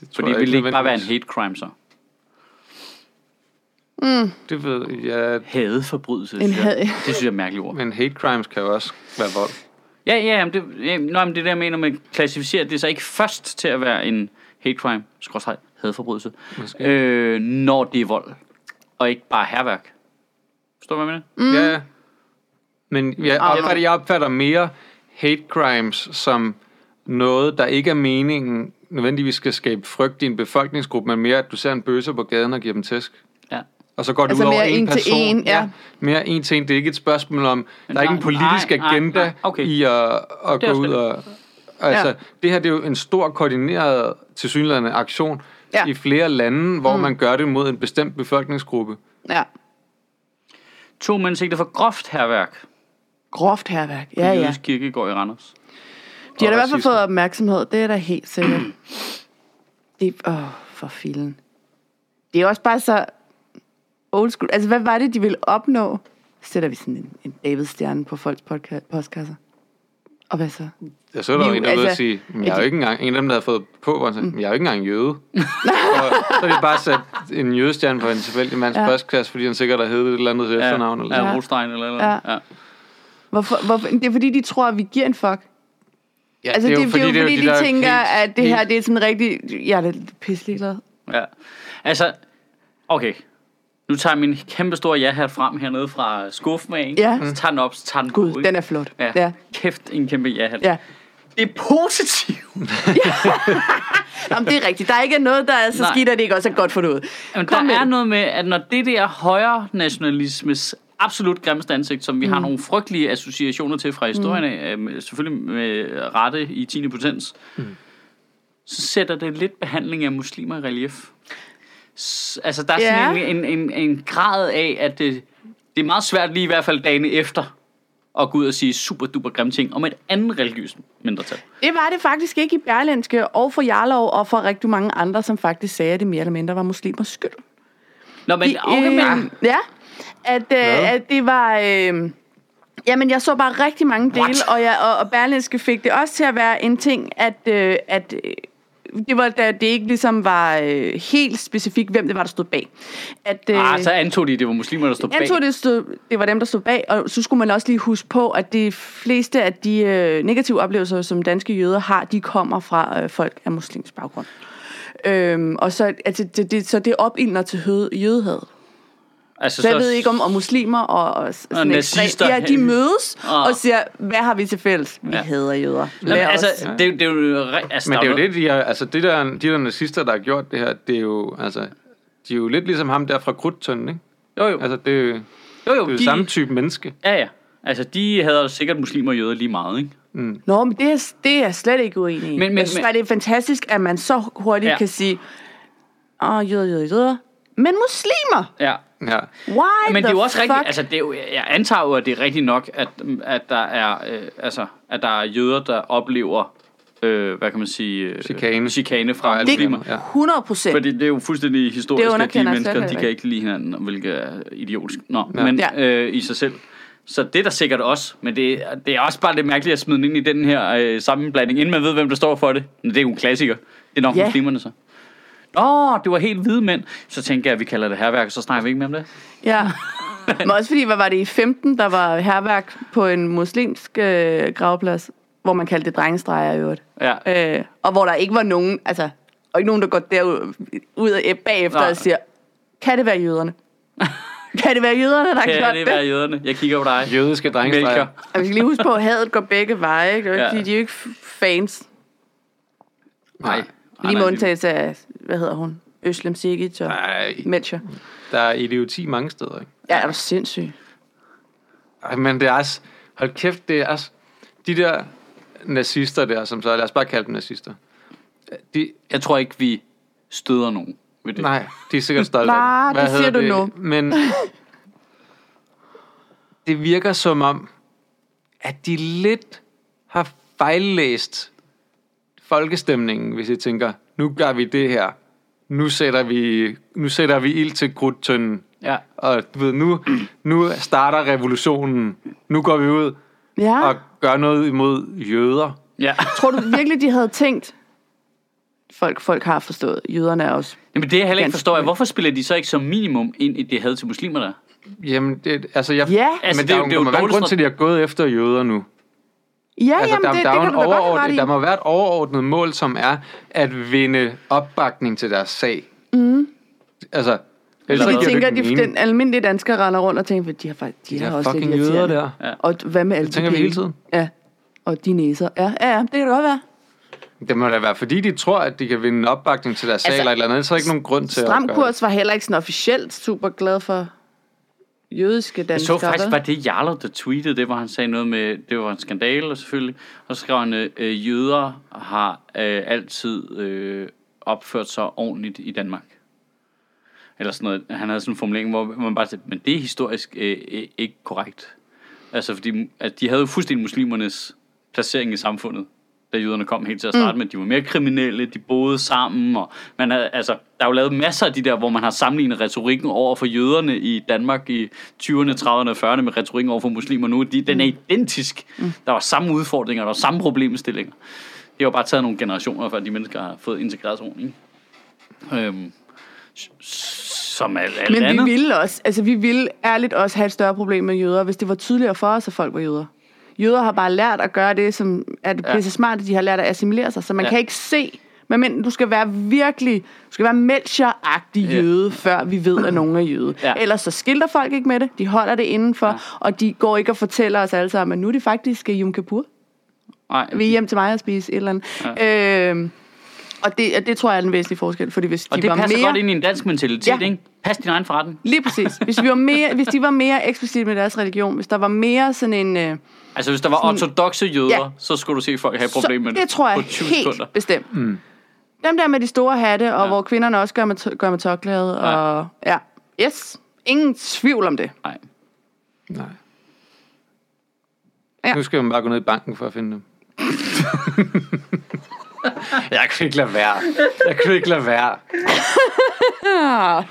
Speaker 1: Det tror
Speaker 3: Fordi
Speaker 1: jeg
Speaker 3: det ville ikke bare være en
Speaker 1: nødvendigvis.
Speaker 3: hate crime så.
Speaker 1: Det ved jeg.
Speaker 3: Hadeforbrydelse.
Speaker 2: En
Speaker 3: synes jeg.
Speaker 2: had-
Speaker 3: Det synes jeg er et mærkeligt ord.
Speaker 1: Men hate crimes kan jo også være vold.
Speaker 3: Ja, ja, jamen det, ja, nå, men det der jeg mener, man klassificerer det så ikke først til at være en hate crime, skråstreg, hadforbrydelse, øh, når det er vold, og ikke bare herværk. Forstår du, hvad jeg mener?
Speaker 1: Mm. Ja. Men jeg
Speaker 2: Ah,
Speaker 1: opfatter,
Speaker 2: nej.
Speaker 1: jeg opfatter mere hate crimes som noget, der ikke er meningen nødvendigvis skal skabe frygt i en befolkningsgruppe, men mere, at du ser en bøsse på gaden og giver dem tæsk.
Speaker 3: Ja.
Speaker 1: Og så går det
Speaker 2: Altså
Speaker 1: ud over
Speaker 2: mere
Speaker 1: en
Speaker 2: en til
Speaker 1: person.
Speaker 2: en, ja.
Speaker 1: Mere en til en. Det er ikke et spørgsmål om, der er ikke en
Speaker 3: nej,
Speaker 1: politisk
Speaker 3: nej, nej,
Speaker 1: agenda
Speaker 3: nej, okay.
Speaker 1: i at, at
Speaker 3: Det er
Speaker 1: gå
Speaker 3: også
Speaker 1: ud
Speaker 3: det.
Speaker 1: og... Altså, ja.
Speaker 2: Ja.
Speaker 1: det her det er jo en stor koordineret tilsyneladende aktion ja.
Speaker 2: Ja.
Speaker 1: i flere lande, hvor mm. man gør det mod en bestemt befolkningsgruppe.
Speaker 2: Ja.
Speaker 3: To mænd sigtet for groft herværk
Speaker 2: Groft herværk.
Speaker 3: i
Speaker 2: Ja, ja.
Speaker 3: Jødisk Kirkegård i Randers.
Speaker 2: De har da i hvert fald
Speaker 1: racisme.
Speaker 2: fået opmærksomhed. Det er da helt sikkert. det er... Åh, for filen. Det er også bare så old school. Altså, hvad var det, de ville opnå? Sætter vi sådan en, en David-stjerne på folks podca- postkasser? Og hvad så?
Speaker 1: Jeg så der jo
Speaker 2: Jo,
Speaker 1: en, der altså, og
Speaker 2: altså, Mm.
Speaker 1: sige, "Men jeg er
Speaker 2: at
Speaker 1: jo
Speaker 2: de-
Speaker 1: ikke engang, en af dem, der havde fået på, hvor han sagde, "Men jeg er jo ikke engang
Speaker 2: [LAUGHS]
Speaker 1: jøde. og så har de bare sat en jødestjerne på en tilfældig mands ja.
Speaker 2: Ja.
Speaker 1: postkasse, fordi han sikkert har heddet et eller andet til efternavn.
Speaker 3: ja,
Speaker 1: Eller
Speaker 3: ja.
Speaker 1: ja.
Speaker 3: Rostein eller eller andet. Ja.
Speaker 2: Hvorfor, hvorfor? Det er fordi, de tror, at vi giver en fuck.
Speaker 1: Ja,
Speaker 2: Altså, det, er jo- det, er jo fordi,
Speaker 1: der
Speaker 2: de tænker,
Speaker 1: helt-
Speaker 2: at det her,
Speaker 1: helt-
Speaker 2: det er sådan rigtig... Jeg er da lidt pisselig glad.
Speaker 3: ja. ja. Altså, okay. Nu tager jeg min kæmpe store ja-hat frem hernede fra skuffen af, ikke?
Speaker 2: Ja.
Speaker 3: Så tager den op, så tager den på,
Speaker 2: Gud,
Speaker 3: ikke?
Speaker 2: den er flot.
Speaker 3: Ja.
Speaker 2: ja.
Speaker 3: Kæft, en kæmpe ja-hat.
Speaker 2: ja.
Speaker 3: Det er positivt.
Speaker 2: Jamen, det er rigtigt. Der er ikke noget, der er så
Speaker 3: Nej.
Speaker 2: skidt, at det ikke også er godt for noget.
Speaker 3: Jamen,
Speaker 2: Kom
Speaker 3: der
Speaker 2: med
Speaker 3: er
Speaker 2: det.
Speaker 3: noget med, at når det der højre nationalismes absolut grimmeste ansigt, som vi mm. har nogle frygtelige associationer til fra historien af, mm. selvfølgelig med rette i 10. potens, mm. så sætter det lidt behandling af muslimer i relief. S- altså, der er sådan
Speaker 2: Ja.
Speaker 3: en, en, en, en grad af, at det, det er meget svært lige i hvert fald dagene efter at gå ud og sige super duper grimme ting om et andet religiøst mindretal.
Speaker 2: Det var det faktisk ikke i Berlinske, og for Jarlov, og for rigtig mange andre, som faktisk sagde, at det mere eller mindre var muslimers skyld.
Speaker 3: Nå, men, okay, men
Speaker 2: øh, ja, at, øh, at det var... Øh, jamen, jeg så bare rigtig mange dele,
Speaker 3: What?
Speaker 2: og, jeg, og, og Berlinske fik det også til at være en ting, at... Øh, at øh, det var, da det ikke ligesom var øh, helt specifikt, hvem det var, der stod bag. At, øh,
Speaker 3: ah, så antog de, at det var muslimer, der stod bag.
Speaker 2: Jeg tror, det, stod, det var dem, der stod bag, og så skulle man også lige huske på, at de fleste af de øh, negative oplevelser, som danske jøder har, de kommer fra øh, folk af muslimsk baggrund. Øhm, og så, altså, det, det, så det opildner til hød, jødehed.
Speaker 3: Altså,
Speaker 2: Så jeg ved ikke om, om muslimer og, og, sådan ekstrem-
Speaker 3: nazister.
Speaker 2: Ja, de
Speaker 3: [LAUGHS]
Speaker 2: mødes
Speaker 3: Og-
Speaker 2: og, og siger, hvad har vi til fælles? Vi
Speaker 3: Ja.
Speaker 2: ja. hader jøder.
Speaker 3: Nå,
Speaker 2: Lad
Speaker 3: men,
Speaker 2: altså, os.
Speaker 3: altså, det, er jo- det er jo... re- Altså,
Speaker 1: Men det er jo
Speaker 3: der
Speaker 1: det, de har, altså det der, de der nazister, der har gjort det her, det er jo, altså, de er jo lidt ligesom ham der fra Krudtønden, ikke?
Speaker 3: Jo, jo.
Speaker 1: Altså, det er jo, det
Speaker 3: jo, jo
Speaker 1: er jo
Speaker 3: de,
Speaker 1: samme type menneske.
Speaker 3: Ja, ja. Altså, de havde sikkert muslimer og jøder lige meget, ikke?
Speaker 2: Nå, men det er, det er jeg slet ikke uenig i. Men,
Speaker 3: men-
Speaker 2: men, jeg synes
Speaker 3: men-
Speaker 2: bare, det er fantastisk, at man så hurtigt
Speaker 3: Ja.
Speaker 2: ja. kan sige, åh, jøder, jøder, jøder. Men muslimer!
Speaker 3: Ja.
Speaker 1: Ja.
Speaker 2: Why
Speaker 3: Men det
Speaker 2: the
Speaker 3: er jo også
Speaker 2: fuck?
Speaker 3: rigtigt, altså det er jo, jeg antager jo, at det er rigtigt nok, at, at der er, øh, altså, at der er jøder, der oplever, øh, hvad kan man sige, øh,
Speaker 1: Chikane.
Speaker 3: chikane fra
Speaker 1: alt
Speaker 3: muslimer.
Speaker 1: muligt andet,
Speaker 2: det, 100 procent.
Speaker 3: Fordi det er jo fuldstændig historisk, at de
Speaker 2: underkender jeg slet
Speaker 3: mennesker, de
Speaker 2: heller
Speaker 3: kan
Speaker 2: ikke.
Speaker 3: ikke lide hinanden, hvilket er idiotisk. Nå, ja. men
Speaker 2: Ja.
Speaker 3: øh, i sig selv. Så det er der sikkert også, men det, er- det er også bare lidt mærkeligt at smide den ind i den her øh, sammenblanding, inden man ved, hvem der står for det. Men det er jo en klassiker. Det er nok
Speaker 2: Ja.
Speaker 3: muslimerne så. Nå, det var helt hvide mænd. Så tænker jeg, at vi kalder det herværk, og så snakker vi ikke mere om det. [LAUGHS]
Speaker 2: Ja. Men også fordi, hvad var det i 15, der var herværk på en muslimsk øh, gravplads, hvor man kaldte det drengestreger i øvrigt.
Speaker 3: Ja.
Speaker 2: Øh, og hvor der ikke var nogen, altså, og ikke nogen, der går derud ud af, bagefter
Speaker 3: Nej.
Speaker 2: og siger, kan det være
Speaker 3: [LAUGHS]
Speaker 2: jøderne? kan det være jøderne, der har gjort
Speaker 3: Kan
Speaker 2: det?
Speaker 3: det være jøderne? Jeg kigger på dig.
Speaker 1: Jødiske drengestreger.
Speaker 3: Mælker.
Speaker 2: Og vi skal lige huske på, at hadet går begge veje, ikke? Det er jo ikke,
Speaker 3: Ja.
Speaker 2: fordi, De er jo ikke f- fans.
Speaker 1: Nej.
Speaker 2: Lige med
Speaker 3: nej,
Speaker 2: undtagelse af, hvad hedder hun? Øslem Sikic og
Speaker 1: Nej,
Speaker 2: Melcher.
Speaker 1: der er idioti mange steder, ikke?
Speaker 2: Ja, er du sindssyg?
Speaker 1: Ej, men det er også, hold kæft, det er også, de der nazister der, som så, lad os bare kalde dem nazister. De,
Speaker 3: Jeg tror ikke, vi støder nogen ved det.
Speaker 1: nej, de er sikkert stolte
Speaker 2: Nej,
Speaker 1: af det.
Speaker 2: det siger
Speaker 1: hedder
Speaker 2: du
Speaker 1: det?
Speaker 2: [LAUGHS]
Speaker 1: Men det virker som om, at de lidt har fejllæst folkestemningen, hvis I tænker, nu gør vi det her. Nu sætter vi, nu sætter vi ild til krudtønden.
Speaker 3: Ja.
Speaker 1: Og du ved, nu, nu starter revolutionen. Nu går vi ud
Speaker 2: Ja.
Speaker 1: og gør noget imod jøder.
Speaker 3: ja.
Speaker 2: Tror du virkelig, de havde tænkt, folk, folk har forstået. Jøderne er også.
Speaker 3: Jamen det, jeg heller ikke
Speaker 2: Ganske
Speaker 3: forstår, er,
Speaker 2: korrekt.
Speaker 3: hvorfor spiller de så ikke som minimum ind i det had til muslimer der?
Speaker 1: Jamen, det, altså, jeg,
Speaker 2: Ja.
Speaker 1: men
Speaker 3: Altså,
Speaker 1: det, der, det, det er jo
Speaker 3: dårligt
Speaker 1: en grund
Speaker 3: sådan-
Speaker 1: til, at de har gået efter jøder nu.
Speaker 2: Ja,
Speaker 1: Altså,
Speaker 2: jamen,
Speaker 1: der,
Speaker 2: det,
Speaker 1: der,
Speaker 2: det
Speaker 1: er jo
Speaker 2: kan
Speaker 1: en
Speaker 2: du da godt have ret
Speaker 1: overordnet,
Speaker 2: i.
Speaker 1: der må være et overordnet mål, som er at vinde opbakning til deres sag. Mm. Altså, ellers giver
Speaker 2: Så
Speaker 3: Så
Speaker 2: jeg
Speaker 1: det
Speaker 2: tænker, at
Speaker 1: ikke
Speaker 2: de,
Speaker 1: mening.
Speaker 2: den almindelige dansker render rundt og tænker, at de har, faktisk, de
Speaker 1: de
Speaker 2: har
Speaker 1: der
Speaker 2: også lidt
Speaker 1: fucking jøder
Speaker 2: irriterende.
Speaker 1: der.
Speaker 2: Og hvad med alle
Speaker 1: tænker
Speaker 2: de
Speaker 1: vi hele
Speaker 2: penge?
Speaker 1: tiden.
Speaker 2: Ja, og de næser. Ja, ja, ja, det kan det godt være.
Speaker 1: Det må da være, fordi de tror, at de kan vinde opbakning til deres altså, sag
Speaker 2: Altså,
Speaker 1: eller et eller andet. Så er der ikke nogen grund til
Speaker 2: Stram
Speaker 1: at gøre det.
Speaker 2: kurs var heller ikke sådan officielt super glad for jødiske
Speaker 3: Jeg så
Speaker 2: danskere.
Speaker 3: faktisk,
Speaker 2: vel?
Speaker 3: var det Jarlov, der tweetede det, hvor han sagde noget med, det var en skandale selvfølgelig, og så skrev han, øh, øh, jøder har øh, altid øh, opført sig ordentligt i Danmark. Eller sådan noget. Han havde sådan en formulering, hvor man bare sagde, men det er historisk øh, øh, ikke korrekt. Altså fordi, at de havde jo fuldstændig muslimernes placering i samfundet, da jøderne kom helt til at starte mm. med. De var mere kriminelle, de boede sammen, og man havde, altså, der er jo lavet masser af de der, hvor man har sammenlignet retorikken over for jøderne i Danmark i 20'erne, 30'erne og 40'erne med retorikken over for muslimer nu. De, den er identisk. Mm. Der var samme udfordringer, der var samme problemstillinger. Det har jo bare taget nogle generationer, før de mennesker har fået integreret sig ordentligt. ikke? Øhm, s- s- som alt, alt
Speaker 2: Men
Speaker 3: andet.
Speaker 2: vi ville også, altså vi ville ærligt også have et større problem med jøder, hvis det var tydeligere for os, at folk var jøder. Jøder har bare lært at gøre det, som er det
Speaker 3: Ja.
Speaker 2: pisse smart, at de har lært at assimilere sig, så man
Speaker 3: Ja.
Speaker 2: ja. kan ikke se, men, men du skal være virkelig, du skal være melcher-agtig
Speaker 3: Ja.
Speaker 2: jøde, før vi ved, at nogen er jøde.
Speaker 3: Ja.
Speaker 2: Ja. Ellers så skilter folk ikke med det, de holder det indenfor,
Speaker 3: Ja.
Speaker 2: ja. og de går ikke og fortæller os alle sammen, at nu er det faktisk øh, Yom Kippur
Speaker 3: Nej,
Speaker 2: vil I hjem til mig og spise et eller andet. Ja. Øhm, og, det, og det tror jeg er en væsentlig forskel, fordi hvis
Speaker 3: og
Speaker 2: de
Speaker 3: det
Speaker 2: var
Speaker 3: passer
Speaker 2: mere...
Speaker 3: godt ind i en dansk mentalitet,
Speaker 2: Ja.
Speaker 3: ikke? Pas din egen forretning.
Speaker 2: Lige præcis. Hvis, vi var mere, hvis de var mere eksplicit med deres religion, hvis der var mere sådan en... Øh,
Speaker 3: Altså, hvis der var ortodoxe jøder,
Speaker 2: Ja.
Speaker 3: så skulle du se folk have problemer med
Speaker 2: det tror jeg
Speaker 3: på 20
Speaker 2: helt
Speaker 3: sekunder.
Speaker 2: bestemt. Mm. Dem der med de store hatte, og
Speaker 3: Ja.
Speaker 2: ja. hvor kvinderne også gør med, to- gør med tørklæde.
Speaker 3: Ja.
Speaker 2: Og, ja. Yes. Ingen tvivl om det.
Speaker 3: Nej.
Speaker 1: Nej. Ja.
Speaker 2: Ja.
Speaker 1: Nu skal man bare gå ned i banken for at finde dem. [LAUGHS] jeg kunne ikke lade være. Jeg kunne ikke lade være.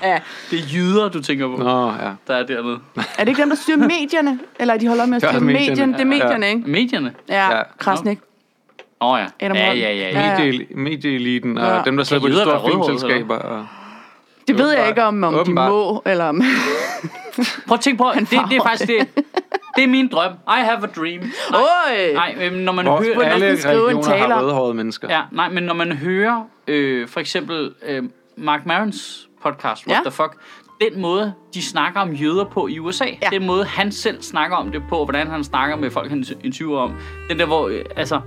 Speaker 2: Ja.
Speaker 3: Det er jyder, du tænker på,
Speaker 1: Nå, ja.
Speaker 3: der er dernede.
Speaker 2: Er det ikke dem, der
Speaker 1: [LAUGHS]
Speaker 2: styrer medierne? Eller er de holder op med at
Speaker 1: Det er
Speaker 2: styre
Speaker 1: også medierne.
Speaker 2: medierne? medierne? Det er
Speaker 1: Ja.
Speaker 2: medierne, ikke?
Speaker 3: Medierne?
Speaker 2: Ja,
Speaker 1: Ja.
Speaker 2: ja. Krasnik.
Speaker 3: Åh oh, ja.
Speaker 2: Adam
Speaker 3: ja,
Speaker 2: Holm.
Speaker 3: ja, ja, ja.
Speaker 2: Ja.
Speaker 1: Medie, medieeliten og
Speaker 2: Ja.
Speaker 1: dem, der sidder på
Speaker 3: Kan
Speaker 1: de
Speaker 3: jøder
Speaker 1: store
Speaker 3: være rødhårede,
Speaker 1: filmselskaber. Og...
Speaker 2: Det ved jeg
Speaker 1: Åbenbart.
Speaker 2: ikke, om, om de
Speaker 1: Åbenbart.
Speaker 2: må, eller om...
Speaker 3: Prøv at tænke på, det, det er
Speaker 2: farver
Speaker 3: faktisk det. Det er min drøm. I have a dream. Nej,
Speaker 2: Åh!
Speaker 3: nej men når man hører...
Speaker 1: Hvor alle
Speaker 2: man skal skrive en
Speaker 1: regioner har
Speaker 2: taler.
Speaker 1: rødhårede mennesker.
Speaker 3: Ja, nej, men når man hører øh, for eksempel øh, Mark Marons podcast, What ja.
Speaker 2: Ja.
Speaker 3: the fuck, den måde, de snakker om jøder på i USA, ja.
Speaker 2: Ja.
Speaker 3: den måde, han selv snakker om det på, og hvordan han snakker med folk, han interviewer om, den der, hvor, øh, altså,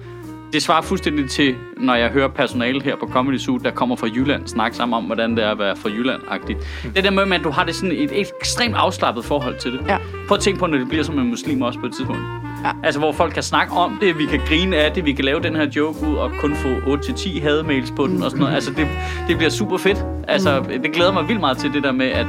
Speaker 3: det svarer fuldstændig til, når jeg hører personale her på Comedy Zoo, der kommer fra Jylland, snakke sammen om, hvordan det er at være fra Jylland-agtigt.
Speaker 2: Hmm.
Speaker 3: Det der med, at du har det sådan et ekstremt afslappet forhold til det.
Speaker 2: Ja.
Speaker 3: Prøv at tænke på, når det bliver som en muslim også på et tidspunkt. Ja. Altså, hvor folk kan snakke om det, vi kan grine af det, vi kan lave den her joke ud og kun få 8-10 hademails på den og sådan noget. Altså, det, det bliver super fedt. Altså, det glæder mig vildt meget til det der med, at...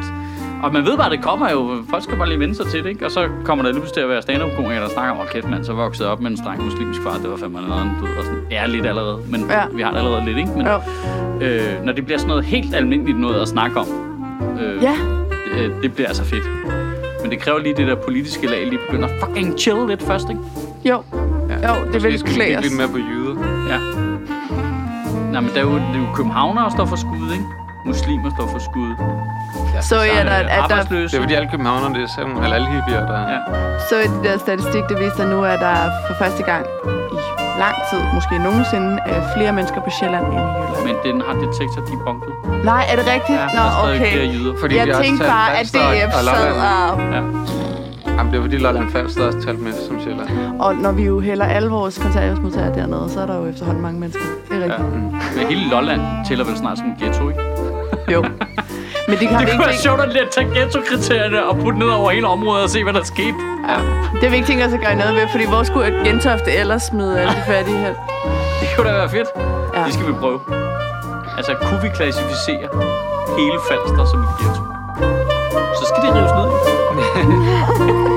Speaker 3: Og man ved bare, det kommer jo. Folk skal bare lige vende sig til det, ikke? Og så kommer der lige pludselig til at være stand up der snakker om, "Åh, kæft mand, så voksede jeg op med en streng muslimsk far, det var fandme noget andet, du ved, og sådan. Ja, lidt allerede, men ja.
Speaker 2: Ja.
Speaker 3: vi har det allerede lidt, ikke? Men,
Speaker 2: Jo.
Speaker 3: øh, når det bliver sådan noget helt almindeligt noget at snakke om, øh,
Speaker 2: Ja.
Speaker 3: det, det bliver altså fedt. Men det kræver lige det der politiske lag, lige begynder at fucking chill lidt først, ikke?
Speaker 2: Jo. Jo, det vil
Speaker 1: Måske skal vi
Speaker 2: klæde
Speaker 1: kigge
Speaker 2: os.
Speaker 1: lidt mere på jyder.
Speaker 3: Ja. Nej, men der er jo, det er jo københavnere, der står for skud, ikke? Muslimer står for skud.
Speaker 2: Så ja, der,
Speaker 3: øh,
Speaker 2: at der,
Speaker 1: Det er fordi alle københavnerne, det er sådan, eller alle hippier, der...
Speaker 3: Ja.
Speaker 1: Ja.
Speaker 2: så er det der statistik, der viser at nu, at der for første gang i lang tid, måske nogensinde, er flere mennesker på Sjælland end i Jylland.
Speaker 3: Men den har detektor, de er bunket.
Speaker 2: Nej, er det rigtigt?
Speaker 3: Ja,
Speaker 2: Nå,
Speaker 3: der er stadig
Speaker 2: okay.
Speaker 3: flere jyder.
Speaker 1: Fordi de
Speaker 2: Jeg
Speaker 1: har også
Speaker 2: tænkte
Speaker 1: talt
Speaker 2: bare, at
Speaker 1: Falster og-
Speaker 2: DF
Speaker 1: og
Speaker 2: sad
Speaker 1: Lolland.
Speaker 2: og...
Speaker 3: Ja.
Speaker 1: Jamen, det er fordi Lolland Falster også talt med som sjælland.
Speaker 2: øh, Og når vi jo hælder alle vores kontanthjælpsmodtagere dernede, så er der jo efterhånden mange mennesker. Det er
Speaker 3: ja.
Speaker 2: rigtigt.
Speaker 3: Men hele Lolland tæller vel snart som en ghetto, ikke?
Speaker 2: Ja. Jo. Men det, har
Speaker 3: [LAUGHS] Det
Speaker 2: vi
Speaker 3: kunne
Speaker 2: ikke
Speaker 3: være
Speaker 2: tænkt,
Speaker 3: sjovt at lige tage ghetto-kriterierne og putte ned over hele området og se, hvad der skete.
Speaker 2: det har vi ikke tænkt os at gøre noget ved, fordi hvor skulle Gentofte ellers smide alle de fattige hen?
Speaker 3: Det kunne da være fedt. Ja.
Speaker 2: Ja.
Speaker 3: Det skal vi prøve. Altså, kunne vi klassificere hele Falster som et ghetto? Så skal det rives ned.